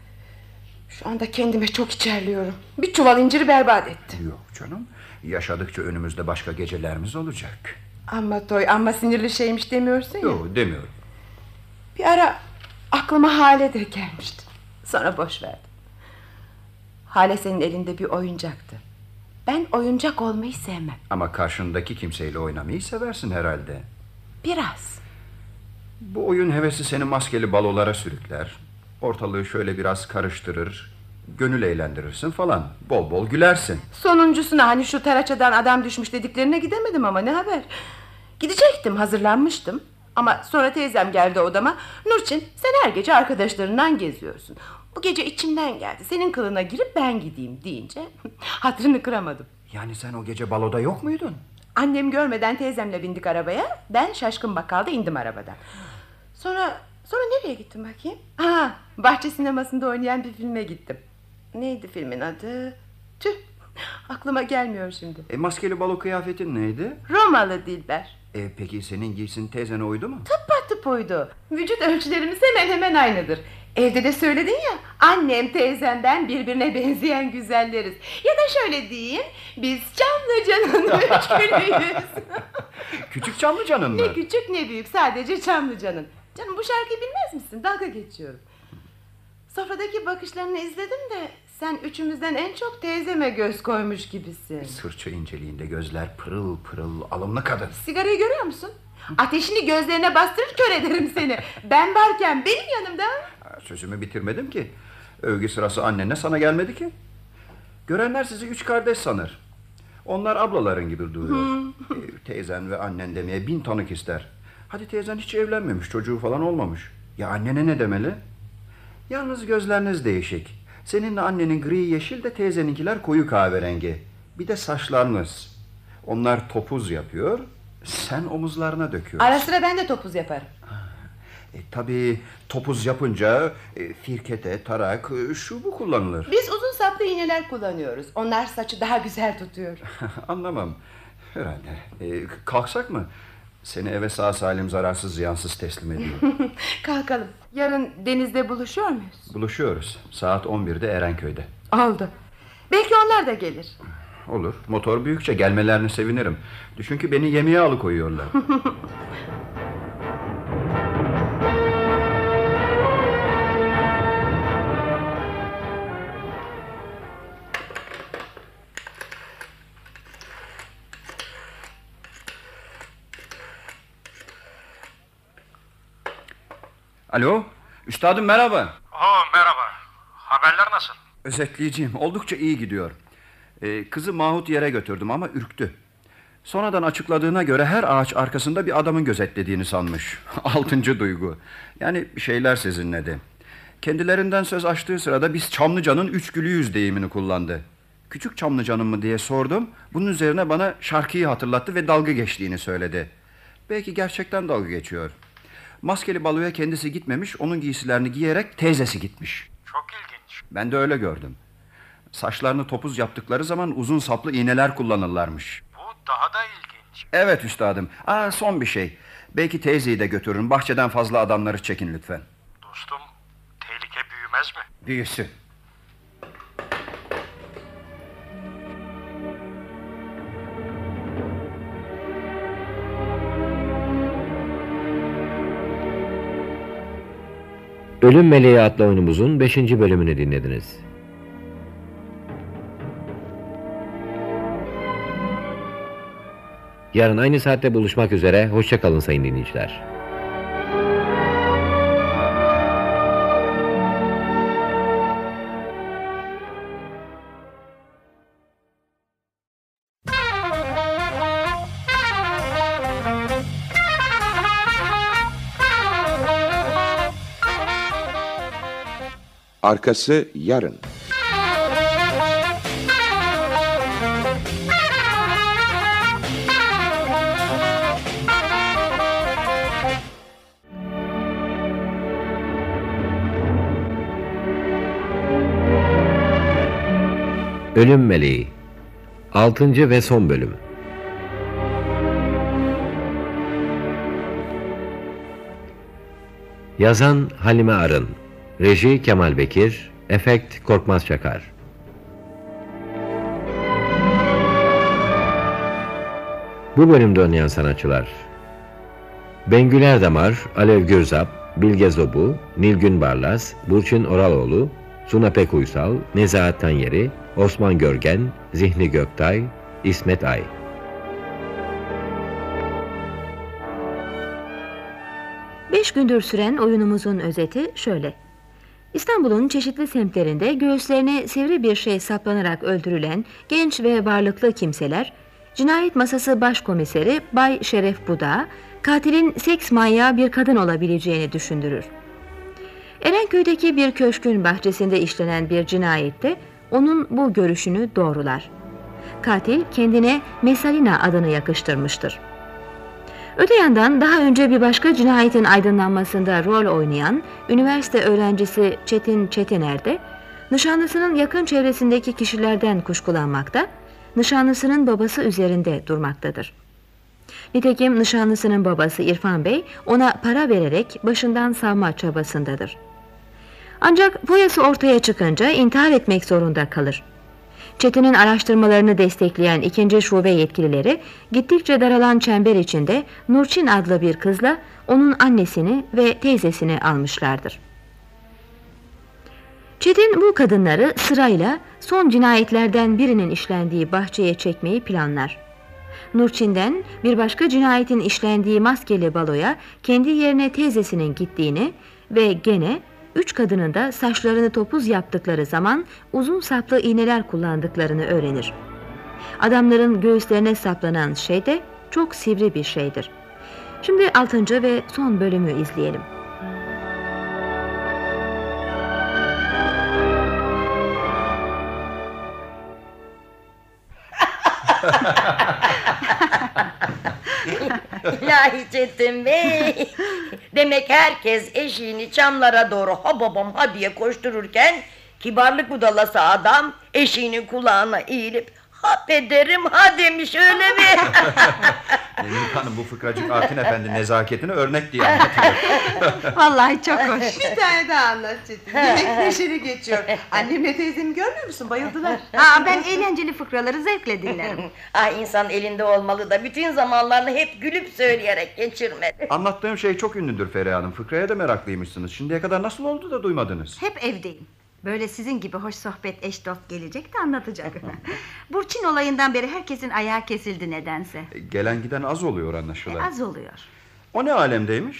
Şu anda kendime çok içerliyorum. Bir çuval inciri berbat ettim. Yok canım. Yaşadıkça önümüzde başka gecelerimiz olacak. Amma toy amma sinirli şeymiş demiyorsun ya. Yok demiyorum. Bir ara aklıma Hale de gelmişti. Sonra boş verdim. Hale senin elinde bir oyuncaktı. Ben oyuncak olmayı sevmem. Ama karşındaki kimseyle oynamayı seversin herhalde. Biraz. Bu oyun hevesi seni maskeli balolara sürükler. Ortalığı şöyle biraz karıştırır. Gönül eğlendirirsin falan. Bol bol gülersin. Sonuncusuna hani şu taraçadan adam düşmüş dediklerine gidemedim ama ne haber? Gidecektim hazırlanmıştım. Ama sonra teyzem geldi odama. Nurçin sen her gece arkadaşlarından geziyorsun. Bu gece içimden geldi. Senin kılına girip ben gideyim deyince hatırını kıramadım. Yani sen o gece baloda yok muydun? Annem görmeden teyzemle bindik arabaya. Ben şaşkın bakkalda indim arabadan. Sonra sonra nereye gittim bakayım? Ha, bahçe sinemasında oynayan bir filme gittim. Neydi filmin adı? Tüh, aklıma gelmiyor şimdi. E maskeli balo kıyafetin neydi? Romalı Dilber. E peki senin giysin teyzene uydu mu? Tıpatıp uydu. Vücut ölçülerimiz hemen hemen aynıdır. Evde de söyledin ya, annem teyzemden birbirine benzeyen güzelleriz. Ya da şöyle diyeyim, biz Çamlıca'nın üç gülüyüz. Küçük Çamlıca'nın mı? Ne küçük ne büyük sadece Çamlıca'nın. Canım bu şarkıyı bilmez misin? Dalga geçiyorum. Sofradaki bakışlarını izledim de sen üçümüzden en çok teyzeme göz koymuş gibisin. Sırça inceliğinde gözler pırıl pırıl alımlı kadın. Sigarayı görüyor musun? Ateşini gözlerine bastırır kör ederim seni. Ben varken benim yanımda. Ha, Sözümü bitirmedim ki. Övgü sırası annene sana gelmedi ki. Görenler sizi üç kardeş sanır. Onlar ablaların gibi duyuyor. E, teyzen ve annen demeye bin tanık ister. Hadi teyzen hiç evlenmemiş, çocuğu falan olmamış. Ya annene ne demeli? Yalnız gözleriniz değişik. Seninle annenin gri yeşil de teyzeninkiler koyu kahverengi. Bir de saçlarınız. Onlar topuz yapıyor, sen omuzlarına döküyorsun. Ara sıra ben de topuz yaparım. E, tabii topuz yapınca e, firkete, tarak, e, şu bu kullanılır. Biz uzun saplı iğneler kullanıyoruz. Onlar saçı daha güzel tutuyor. Anlamam. Herhalde. E, kalksak mı? Seni eve sağ salim zararsız ziyansız teslim ediyorum. Kalkalım. Yarın denizde buluşuyor muyuz? Buluşuyoruz. Saat 11'de Erenköy'de. Oldu. Belki onlar da gelir. Olur. Motor büyükçe gelmelerine sevinirim. Düşün ki beni yemeğe alıkoyuyorlar. Alo, üstadım merhaba. Oo merhaba. Haberler nasıl? Özetleyeceğim. Oldukça iyi gidiyor. Ee, kızı Mahut yere götürdüm ama ürktü. Sonradan açıkladığına göre her ağaç arkasında bir adamın gözetlediğini sanmış. Altıncı duygu. Yani bir şeyler sezinledi. Kendilerinden söz açtığı sırada biz Çamlıca'nın üç gülüyüz deyimini kullandı. Küçük Çamlıca'nın mı diye sordum. Bunun üzerine bana şarkıyı hatırlattı ve dalga geçtiğini söyledi. Belki gerçekten dalga geçiyor. Maskeli baloya kendisi gitmemiş, onun giysilerini giyerek teyzesi gitmiş. Çok ilginç. Ben de öyle gördüm. Saçlarını topuz yaptıkları zaman uzun saplı iğneler kullanırlarmış. Bu daha da ilginç. Evet üstadım. Aa, son bir şey. Belki teyzeyi de götürün. Bahçeden fazla adamları çekin lütfen. Dostum tehlike büyümez mi? Büyüsün. Ölüm Meleği adlı oyunumuzun 5. bölümünü dinlediniz. Yarın aynı saatte buluşmak üzere, hoşçakalın sayın dinleyiciler. Arkası yarın. Ölüm Meleği 6. ve son bölüm Yazan Halime Arın Reji Kemal Bekir Efekt Korkmaz Çakar Bu bölümde oynayan sanatçılar Bengül Erdamar, Alev Gürzap, Bilge Zobu, Nilgün Barlas, Burçin Oraloğlu, Suna Pek Uysal, Nezahat Tanyeri, Osman Görgen, Zihni Göktay, İsmet Ay. Beş gündür süren oyunumuzun özeti şöyle. İstanbul'un çeşitli semtlerinde göğüslerine sivri bir şey saplanarak öldürülen genç ve varlıklı kimseler, cinayet masası başkomiseri Bay Şeref Buda, katilin seks manyağı bir kadın olabileceğini düşündürür. Erenköy'deki bir köşkün bahçesinde işlenen bir cinayette onun bu görüşünü doğrular. Katil kendine Mesalina adını yakıştırmıştır. Öte yandan daha önce bir başka cinayetin aydınlanmasında rol oynayan üniversite öğrencisi Çetin Çetiner de nişanlısının yakın çevresindeki kişilerden kuşkulanmakta, nişanlısının babası üzerinde durmaktadır. Nitekim nişanlısının babası İrfan Bey ona para vererek başından savma çabasındadır. Ancak foyası ortaya çıkınca intihar etmek zorunda kalır. Çetin'in araştırmalarını destekleyen ikinci şube yetkilileri gittikçe daralan çember içinde Nurçin adlı bir kızla onun annesini ve teyzesini almışlardır. Çetin bu kadınları sırayla son cinayetlerden birinin işlendiği bahçeye çekmeyi planlar. Nurçin'den bir başka cinayetin işlendiği maskeli baloya kendi yerine teyzesinin gittiğini ve gene üç kadının da saçlarını topuz yaptıkları zaman uzun saplı iğneler kullandıklarını öğrenir. Adamların göğüslerine saplanan şey de çok sivri bir şeydir. Şimdi 6. ve son bölümü izleyelim. İlahi Çetin Bey. Demek herkes eşiğini çamlara doğru ha babam ha diye koştururken kibarlık budalası adam eşiğinin kulağına eğilip ha pederim ha demiş öyle mi? Mülk Hanım bu fıkracık Artin Efendi nezaketini örnek diye anlatıyor. Vallahi çok hoş. Bir tane daha anlat Çetin. Yemek neşeli geçiyor. Annemle teyzemi görmüyor musun? Bayıldılar. Eh, Aa, ben eğlenceli fıkraları zevkle dinlerim. ah insan elinde olmalı da bütün zamanlarını hep gülüp söyleyerek geçirmeli. Anlattığım şey çok ünlüdür Feriha Hanım. Fıkraya da meraklıymışsınız. Şimdiye kadar nasıl oldu da duymadınız? Hep evdeyim. Böyle sizin gibi hoş sohbet eş dost gelecek de anlatacak. Burçin olayından beri herkesin ayağı kesildi nedense. E, E, Gelen giden az oluyor anlaşılan. Az oluyor. O ne alemdeymiş?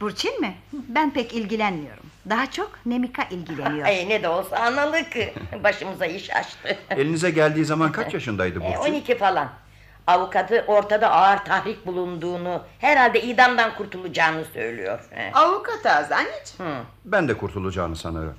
Burçin mi? Ben pek ilgilenmiyorum. Daha çok Nemika ilgileniyor. Ay ne de olsa analık. Başımıza iş açtı. Elinize geldiği zaman kaç yaşındaydı E, Burcu? 12 falan. Avukatı ortada ağır tahrik bulunduğunu, herhalde idamdan kurtulacağını söylüyor. Eh. He. Avukat ağzı anneciğim. Ben de kurtulacağını sanırım.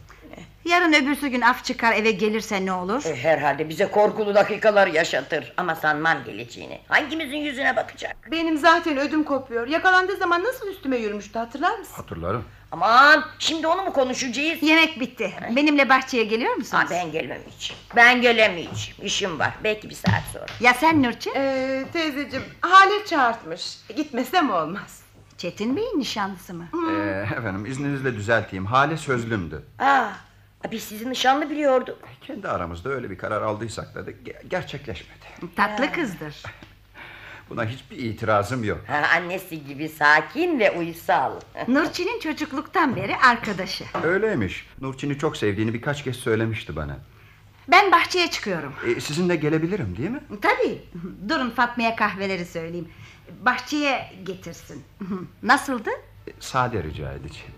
Yarın öbürsü gün af çıkar eve gelirse ne olur? E, herhalde bize korkulu dakikalar yaşatır. Ama sanmam geleceğini. ah, Hangimizin yüzüne bakacak? Benim zaten ödüm kopuyor. Yakalandığı zaman nasıl üstüme yürümüştü hatırlar mısın? Hatırlarım. Aman şimdi onu mu konuşacağız? Yemek bitti. Benimle bahçeye geliyor musunuz? ben gelemeyeceğim. Ben gelemeyeceğim. İşim var. Belki bir saat sonra. Ya sen Nurçin? Ee, teyzeciğim Hale çağırtmış. Gitmesem olmaz. Çetin Bey'in nişanlısı mı? Ee, efendim izninizle düzelteyim. Hale sözlümdü. E, Aa, biz sizi nişanlı biliyorduk. Kendi aramızda öyle bir karar aldıysak da ge- gerçekleşmedi. Tatlı kızdır. Buna hiçbir itirazım yok. Ha, annesi gibi sakin ve uysal. Nurçin'in çocukluktan beri arkadaşı. Öyleymiş. Nurçin'i çok sevdiğini birkaç kez söylemişti bana. Ben bahçeye çıkıyorum. Ee, sizinle gelebilirim değil mi? Tabii. Durun Fatma'ya kahveleri söyleyeyim. Bahçeye getirsin. Nasıldı? Ee, sade rica edeceğim.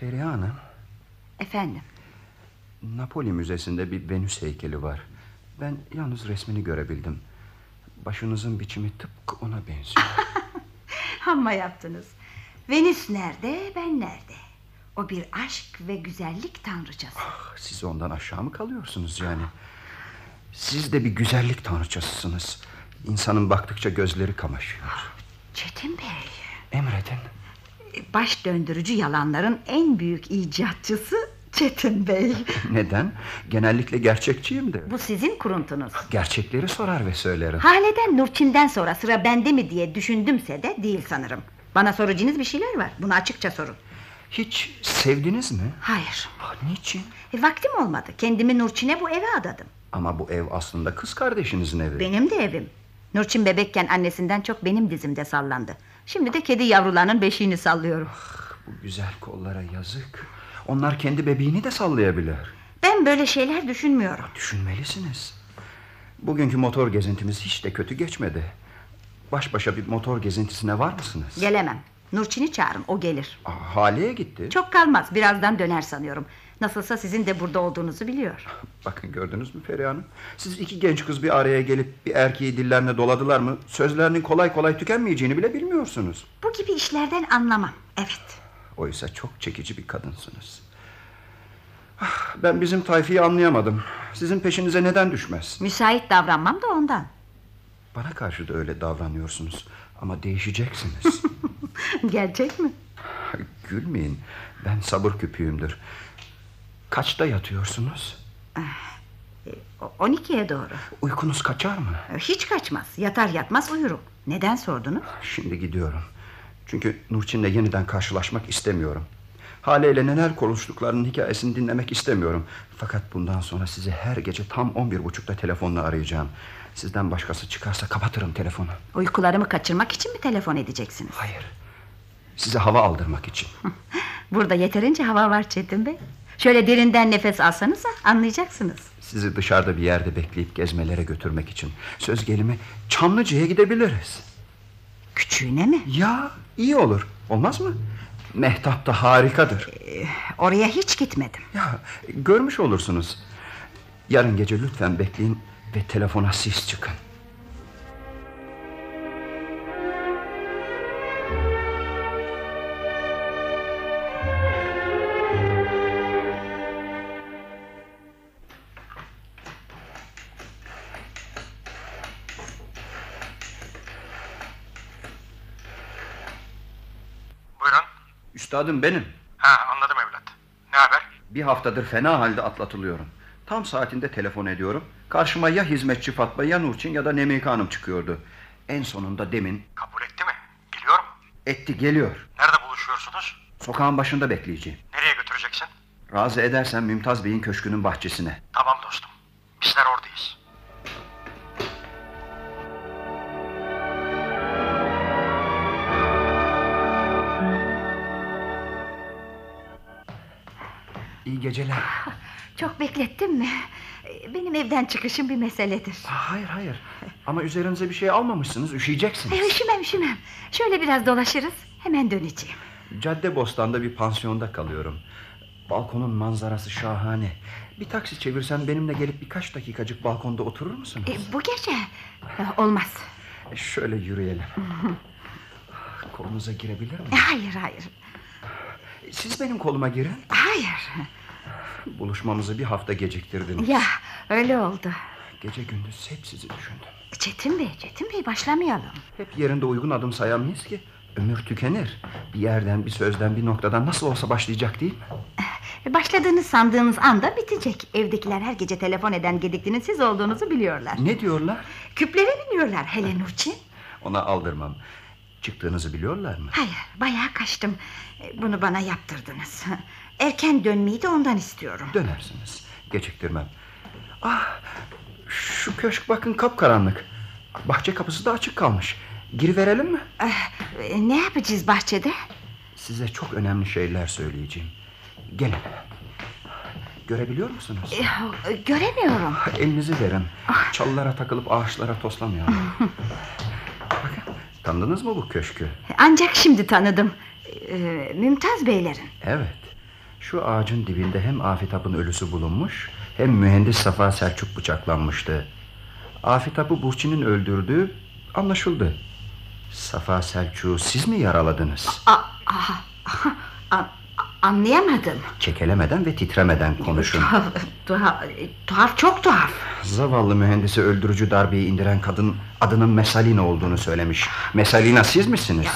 Feriha Hanım, Efendim. Napoli Müzesi'nde bir Venüs heykeli var. Ben yalnız resmini görebildim. Başınızın biçimi tıpkı ona benziyor. Hamma yaptınız. Venüs nerede, ben nerede? O bir aşk ve güzellik tanrıcası. Siz ondan aşağı mı kalıyorsunuz yani? Siz de bir güzellik tanrıçasısınız. İnsanın baktıkça gözleri kamaşıyor. Çetin Bey, Emredin. baş döndürücü yalanların en büyük icatçısı Çetin Bey. Neden? Genellikle gerçekçiyim de. Bu sizin kuruntunuz. Gerçekleri sorar ve söylerim. Hale'den Nurçin'den sonra sıra bende mi diye düşündümse de değil sanırım. Bana soracağınız bir şeyler var. Bunu açıkça sorun. Hiç sevdiniz mi? Hayır. niçin? E, vaktim olmadı. Kendimi Nurçin'e bu eve adadım. Ama bu ev aslında kız kardeşinizin evi. Benim de evim. Nurçin bebekken annesinden çok benim dizimde sallandı. Şimdi de kedi yavrularının beşiğini sallıyorum. Bu güzel kollara yazık. Onlar kendi bebeğini de sallayabilir. Ben böyle şeyler düşünmüyorum. Düşünmelisiniz. Bugünkü motor gezintimiz hiç de kötü geçmedi. Baş başa bir motor gezintisine var mısınız? Gelemem. Nurçin'i çağırın o gelir. Aa, Hale'ye gitti. Çok kalmaz birazdan döner sanıyorum. Nasılsa sizin de burada olduğunuzu biliyor. Bakın gördünüz mü Feriha Hanım? Siz iki genç kız bir araya gelip bir erkeği dillerine doladılar mı? Sözlerinin kolay kolay tükenmeyeceğini bile bilmiyorsunuz. Bu gibi işlerden anlamam. Evet. Oysa çok çekici bir kadınsınız. Ah, Ben bizim tayfiyi anlayamadım. Sizin peşinize neden düşmez? Müsait davranmam da ondan. Bana karşı da öyle davranıyorsunuz. Ama değişeceksiniz. Gerçek mi? Gülmeyin. Ben sabır küpüyümdür. Kaçta yatıyorsunuz? O- 12'ye doğru. Uykunuz kaçar mı? Hiç kaçmaz. Yatar yatmaz uyurum. Neden sordunuz? Şimdi gidiyorum. Çünkü Nurçin'le yeniden karşılaşmak istemiyorum. Hale ile neler konuştuklarının hikayesini dinlemek istemiyorum. Fakat bundan sonra sizi her gece tam 11.30'da telefonla arayacağım. Sizden başkası çıkarsa kapatırım telefonu. Uykularımı kaçırmak için mi telefon edeceksiniz? Hayır. Size hava aldırmak için. Burada yeterince hava var Çetin Bey. Şöyle derinden nefes alsanız anlayacaksınız. Sizi dışarıda bir yerde bekleyip gezmelere götürmek için. Söz gelimi Çamlıca'ya gidebiliriz. Küçüğüne mi? Ya iyi olur. Olmaz mı? Mehtap da harikadır. Eh, Oraya hiç gitmedim. Ya görmüş olursunuz. Yarın gece lütfen bekleyin ve telefona siz çıkın. Buyurun. Üstadım benim. Ha anladım evlat. Ne haber? Bir haftadır fena halde atlatılıyorum. Tam saatinde telefon ediyorum. Karşıma ya hizmetçi Fatma ya Nurçin ya da Nemika Hanım çıkıyordu. En sonunda demin Kabul etti mi? Geliyor mu? etti geliyor. Nerede buluşuyorsunuz? Sokağın başında bekleyeceğim. Nereye götüreceksin? Razı edersen Mümtaz Bey'in köşkünün bahçesine. Tamam dostum. Bizler oradayız. İyi geceler. Çok beklettim mi? Ee, Benim evden çıkışım bir meseledir. Hayır hayır. Ama üzerinize bir şey almamışsınız. Üşüyeceksiniz. Ee, Üşümem üşümem. Şöyle biraz dolaşırız. Hemen döneceğim. Cadde Bostan'da bir pansiyonda kalıyorum. Balkonun manzarası şahane. Bir taksi çevirsen benimle gelip birkaç dakikacık balkonda oturur musunuz? Ee, bu gece e, olmaz. E, Şöyle yürüyelim. Kolunuza girebilir miyim? E, Hayır hayır. Siz benim koluma girin. Hayır. Buluşmamızı bir hafta geciktirdiniz. Ya öyle oldu. Gece gündüz hep sizi düşündüm. Çetin Bey, Çetin Bey başlamayalım. Hep yerinde uygun adım sayamayız ki. Ömür tükenir. Bir yerden, bir sözden, bir noktadan nasıl olsa başlayacak değil mi? Başladığını sandığımız E, anda bitecek. Evdekiler her gece telefon eden gediklinin siz olduğunuzu biliyorlar. Ne diyorlar? Küplere biniyorlar hele Nurçin. Ona aldırmam. Çıktığınızı biliyorlar mı? Hayır, bayağı kaçtım. E, Bunu bana yaptırdınız. Erken dönmeyi de ondan istiyorum. Dönersiniz. Geciktirmem. Ah, şu köşk bakın kapkaranlık. Bahçe kapısı da açık kalmış. Giriverelim mi? Eh, Ne yapacağız bahçede? Size çok önemli şeyler söyleyeceğim. Gelin. Görebiliyor musunuz? Ee, Göremiyorum. Elinizi verin. Ah. Çalılara takılıp ağaçlara toslamayalım. Bakın, tanıdınız mı bu köşkü? Ancak şimdi tanıdım. Ee, Mümtaz Beylerin. Evet. Şu ağacın dibinde hem Afitap'ın ölüsü bulunmuş... ...hem mühendis Safa Selçuk bıçaklanmıştı. Afitap'ı Burçin'in öldürdüğü anlaşıldı. Safa Selçuk'u siz mi yaraladınız? Aa, aha, aha, an- anlayamadım. Kekelemeden ve titremeden konuşun. Tuhaf, tuhaf, tuhaf, çok tuhaf. Zavallı mühendisi öldürücü darbeyi indiren kadın... ...adının Mesalina olduğunu söylemiş. Mesalina siz misiniz?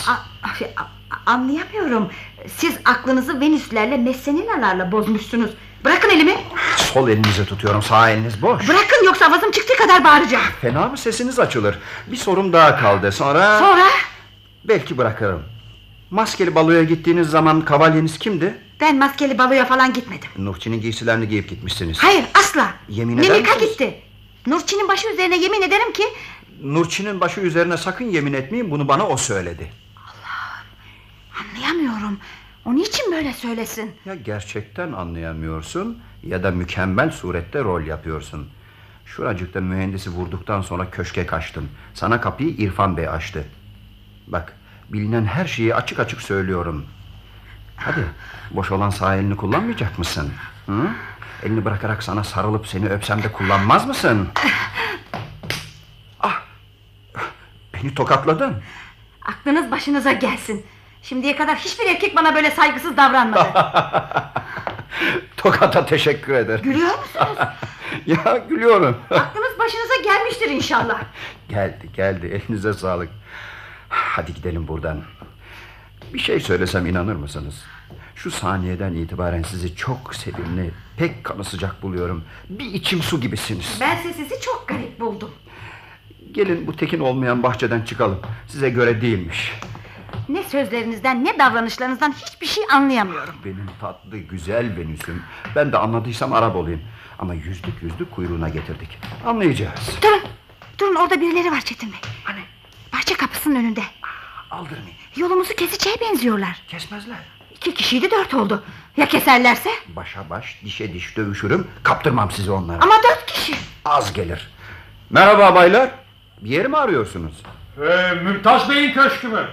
A- şey, a- a- Anlayamıyorum. Siz aklınızı Venüslerle, Messeninalarla bozmuşsunuz. Bırakın elimi. Sol elinizi tutuyorum, sağ eliniz boş. Bırakın yoksa avazım çıktığı kadar bağıracağım. Fena mı sesiniz açılır? Bir sorum daha kaldı. Sonra... Sonra? Belki bırakırım. Maskeli baloya gittiğiniz zaman kavalyeniz kimdi? Ben maskeli baloya falan gitmedim. Nurçin'in giysilerini giyip gitmişsiniz. Hayır asla. Yemin eder Nemika misiniz? gitti. Nurçin'in başı üzerine yemin ederim ki... Nurçin'in başı üzerine sakın yemin etmeyin. Bunu bana o söyledi. Anlayamıyorum. O niçin böyle söylesin? Ya gerçekten anlayamıyorsun ya da mükemmel surette rol yapıyorsun. Şuracıkta mühendisi vurduktan sonra köşke kaçtın. Sana kapıyı İrfan Bey açtı. Bak bilinen her şeyi açık açık söylüyorum. Hadi boş olan sağ elini kullanmayacak mısın? Hı? Elini bırakarak sana sarılıp seni öpsem de kullanmaz mısın? Ah, beni tokatladın. Aklınız başınıza gelsin. Şimdiye kadar hiçbir erkek bana böyle saygısız davranmadı. Tokata teşekkür ederim. Gülüyor musunuz? ya gülüyorum. Aklınız başınıza gelmiştir inşallah. Geldi geldi elinize sağlık Hadi gidelim buradan Bir şey söylesem inanır mısınız Şu saniyeden itibaren sizi çok sevimli Pek kanı sıcak buluyorum Bir içim su gibisiniz Bense sizi çok garip buldum. Gelin bu tekin olmayan bahçeden çıkalım Size göre değilmiş Ne sözlerinizden ne davranışlarınızdan hiçbir şey anlayamıyorum. Benim tatlı güzel Venüs'üm Ben de anladıysam Arap olayım Ama yüzlük yüzlük kuyruğuna getirdik Anlayacağız Durun, durun orada birileri var Çetin Bey. Hani? Bahçe kapısının önünde. Aldırmayın Yolumuzu keseceğe benziyorlar. Kesmezler. İki kişiydi dört oldu. Ya keserlerse? Başa baş dişe diş dövüşürüm Kaptırmam sizi onlara Ama dört kişi. Az gelir. Merhaba baylar. Bir yer mi arıyorsunuz? Ee, Mümtaz Bey'in köşkü mü?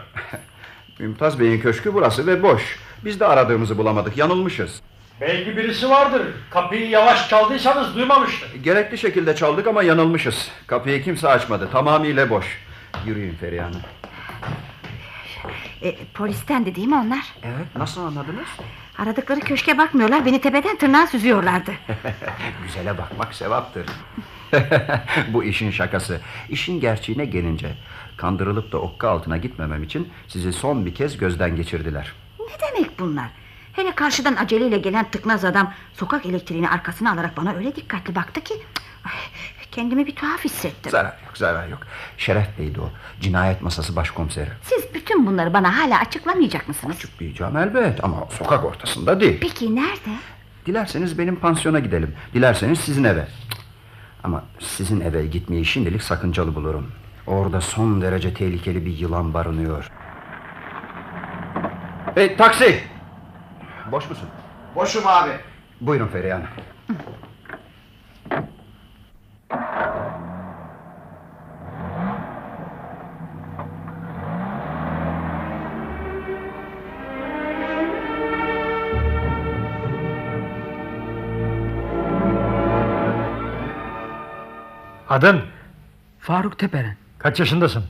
Mümtaz Bey'in köşkü burası ve boş. Biz de aradığımızı bulamadık. Yanılmışız. Belki birisi vardır. Kapıyı yavaş çaldıysanız duymamıştır. Gerekli şekilde çaldık ama yanılmışız. Kapıyı kimse açmadı. Tamamıyla boş. Yürüyün Feriha Hanım. E, polisten de değil mi onlar? Evet. Nasıl anladınız? Aradıkları köşke bakmıyorlar. Beni tepeden tırnağa süzüyorlardı. Güzele bakmak sevaptır. Bu işin şakası. İşin gerçeğine gelince. Kandırılıp da okka altına gitmemem için sizi son bir kez gözden geçirdiler. Ne demek bunlar? Hele karşıdan aceleyle gelen tıknaz adam sokak elektriğini arkasına alarak bana öyle dikkatli baktı ki ay, kendimi bir tuhaf hissettim. Zarar yok, zarar yok. Şeref Bey'di o. Cinayet masası başkomiseri. Siz bütün bunları bana hala açıklamayacak mısınız? Diyeceğim elbet ama sokak ortasında değil. Peki nerede? Dilerseniz benim pansiyona gidelim. Dilerseniz sizin eve. Ama sizin eve gitmeyi şimdilik sakıncalı bulurum. Orada son derece tehlikeli bir yılan barınıyor. Hey taksi! Boş musun? Boşum abi. Buyurun Feriha Hanım. Adın? Faruk Teperen. Kaç yaşındasın?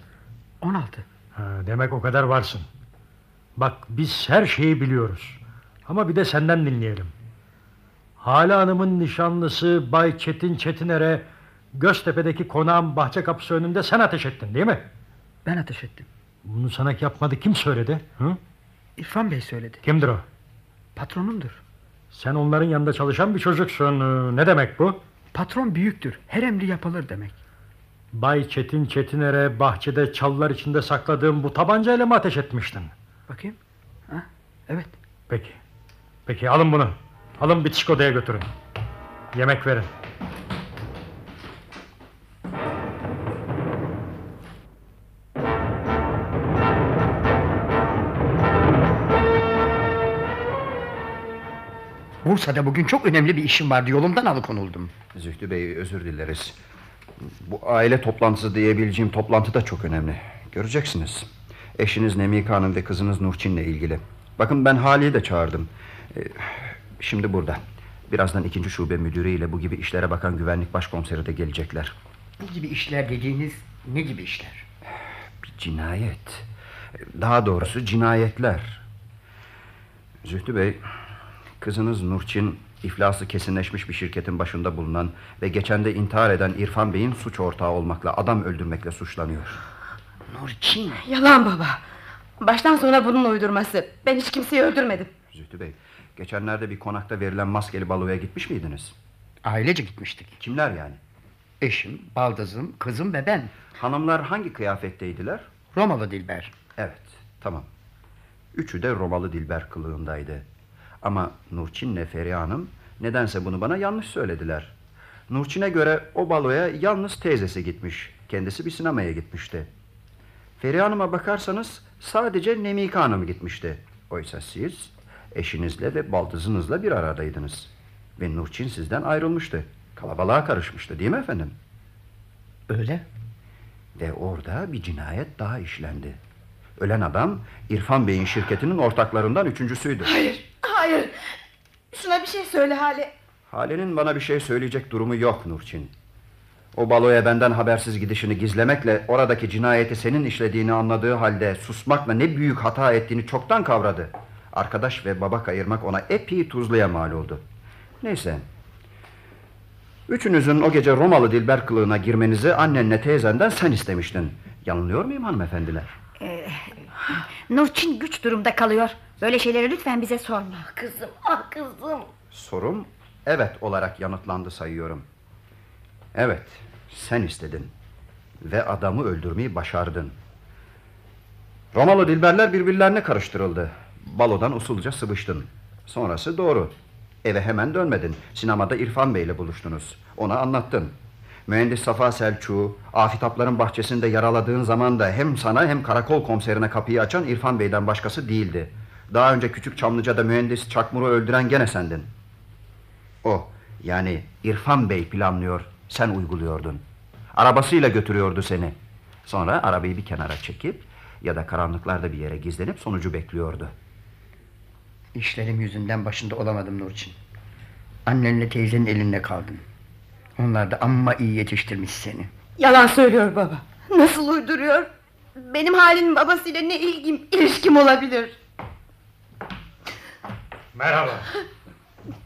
16. Ha, demek o kadar varsın. Bak biz her şeyi biliyoruz. Ama bir de senden dinleyelim. Hala Hanım'ın nişanlısı Bay Çetin Çetiner'e Göztepe'deki konağın bahçe kapısı önünde sen ateş ettin değil mi? Ben ateş ettim. Bunu sana yapmadı kim söyledi? Hı? İrfan Bey söyledi. Kimdir o? Patronumdur. Sen onların yanında çalışan bir çocuksun. Ee, Ne demek bu? Patron büyüktür. Her emri yapılır demek. Bay Çetin Çetiner'e bahçede çalılar içinde sakladığım bu tabancayla mı ateş etmiştin? Bakayım. Ha? Evet. Peki. Peki alın bunu. Alın bitişik odaya götürün. Yemek verin. Bursa'da bugün çok önemli bir işim vardı. Yolumdan alıkonuldum. Zühtü Bey özür dileriz. Bu aile toplantısı diyebileceğim toplantı da çok önemli. Göreceksiniz. Eşiniz Nemika Hanım ve kızınız Nurçin'le ilgili. Bakın ben Hali'yi de çağırdım. Ee, şimdi burada. Birazdan ikinci şube müdürü ile bu gibi işlere bakan güvenlik başkomiseri de gelecekler. Bu gibi işler dediğiniz ne gibi işler? Bir cinayet. Daha doğrusu cinayetler. Zühtü Bey, kızınız Nurçin iflası kesinleşmiş bir şirketin başında bulunan ve geçen de intihar eden İrfan Bey'in suç ortağı olmakla, adam öldürmekle suçlanıyor. Nurçin. Yalan baba. Baştan sona bunun uydurması. Ben hiç kimseyi öldürmedim. Zühtü Bey, geçenlerde bir konakta verilen maskeli baloya gitmiş miydiniz? Ailece gitmiştik. Kimler yani? Eşim, baldızım, kızım ve ben. Hanımlar hangi kıyafetteydiler? Romalı Dilber. Evet, tamam. Üçü de Romalı Dilber kılığındaydı. Ama Nurçin'le Feriha Hanım nedense bunu bana yanlış söylediler. Nurçin'e göre o baloya yalnız teyzesi gitmiş. Kendisi bir sinemaya gitmişti. Feriha Hanım'a bakarsanız sadece Nemika Hanım gitmişti. Oysa siz eşinizle ve baldızınızla bir aradaydınız. Ve Nurçin sizden ayrılmıştı. Kalabalığa karışmıştı değil mi efendim? Öyle. Ve orada bir cinayet daha işlendi. Ölen adam İrfan Bey'in şirketinin ortaklarından üçüncüsüydü. Hayır, hayır. Şuna bir şey söyle Hale. Hale'nin bana bir şey söyleyecek durumu yok Nurçin. O baloya benden habersiz gidişini gizlemekle oradaki cinayeti senin işlediğini anladığı halde susmakla ne büyük hata ettiğini çoktan kavradı. Arkadaş ve baba kayırmak ona epey tuzluya mal oldu. Neyse. Üçünüzün o gece Romalı Dilber kılığına girmenizi annenle teyzenden sen istemiştin. Yanılıyor muyum hanımefendiler? Ee, Nurçin güç durumda kalıyor. Böyle şeyleri lütfen bize sorma. Kızım, ah kızım. Sorum evet olarak yanıtlandı sayıyorum. Evet, sen istedin. Ve adamı öldürmeyi başardın. Romalı dilberler birbirlerine karıştırıldı. Balodan usulca sıvıştın. Sonrası doğru. Eve hemen dönmedin. Sinemada İrfan Bey ile buluştunuz. Ona anlattın. Mühendis Safa Selçuk'u afitapların bahçesinde yaraladığın zaman da hem sana hem karakol komiserine kapıyı açan İrfan Bey'den başkası değildi. Daha önce Küçük Çamlıca'da mühendis Çakmur'u öldüren gene sendin. O yani İrfan Bey planlıyor sen uyguluyordun. Arabasıyla götürüyordu seni. Sonra arabayı bir kenara çekip ya da karanlıklarda bir yere gizlenip sonucu bekliyordu. İşlerim yüzünden başında olamadım Nurçin. Annenle teyzenin elinde kaldım. Onlar da amma iyi yetiştirmiş seni. Yalan söylüyor baba. Nasıl uyduruyor? Benim halinin babasıyla ne ilgim, ilişkim olabilir? Merhaba.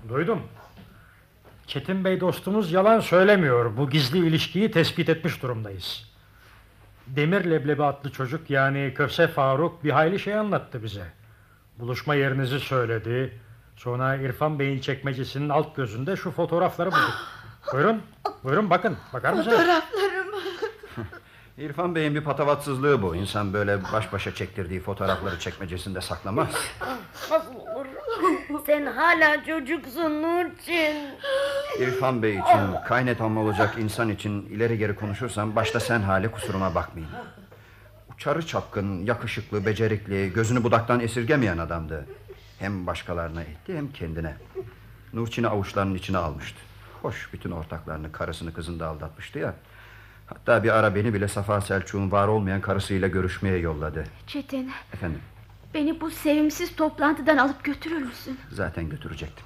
Duydum. Çetin Bey dostumuz yalan söylemiyor. Bu gizli ilişkiyi tespit etmiş durumdayız. Demir Leblebi adlı çocuk yani Köfse Faruk bir hayli şey anlattı bize. Buluşma yerinizi söyledi. Sonra İrfan Bey'in çekmecesinin alt gözünde şu fotoğrafları bulduk. buyurun, buyurun bakın. Bakar mısınız? Fotoğraflarım. İrfan Bey'in bir patavatsızlığı bu. İnsan böyle baş başa çektirdiği fotoğrafları çekmecesinde saklamaz. Ah, Nasıl olur? Sen hala çocuksun Nurçin. İrfan Bey için, kaynetam olacak insan için ileri geri konuşursam başta sen hali kusuruma bakmayın. Uçarı çapkın, yakışıklı, becerikli, gözünü budaktan esirgemeyen adamdı. Hem başkalarına etti hem kendine. Nurçin'i avuçlarının içine almıştı. Hoş bütün ortaklarını, karısını, kızını da aldatmıştı ya. Hatta bir ara beni bile Safa Selçuk'un var olmayan karısıyla görüşmeye yolladı. Çetin Efendim, beni bu sevimsiz toplantıdan alıp götürür müsün? zaten götürecektim.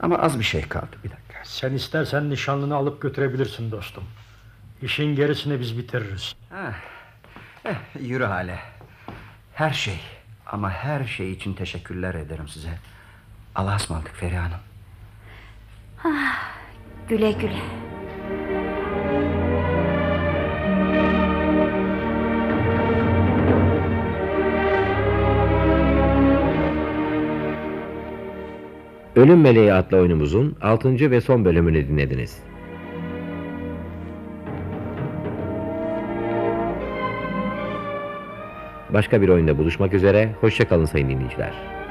Ama az bir şey kaldı. Bir dakika. Sen istersen nişanlını alıp götürebilirsin dostum. İşin gerisini biz bitiririz. Ah, eh, yürü hale. Her şey ama her şey için teşekkürler ederim size. Allah'a ısmarladık Feriha Hanım. Ah, güle güle. Ölüm Meleği adlı oyunumuzun 6. ve son bölümünü dinlediniz. Başka bir oyunda buluşmak üzere, hoşçakalın sayın dinleyiciler.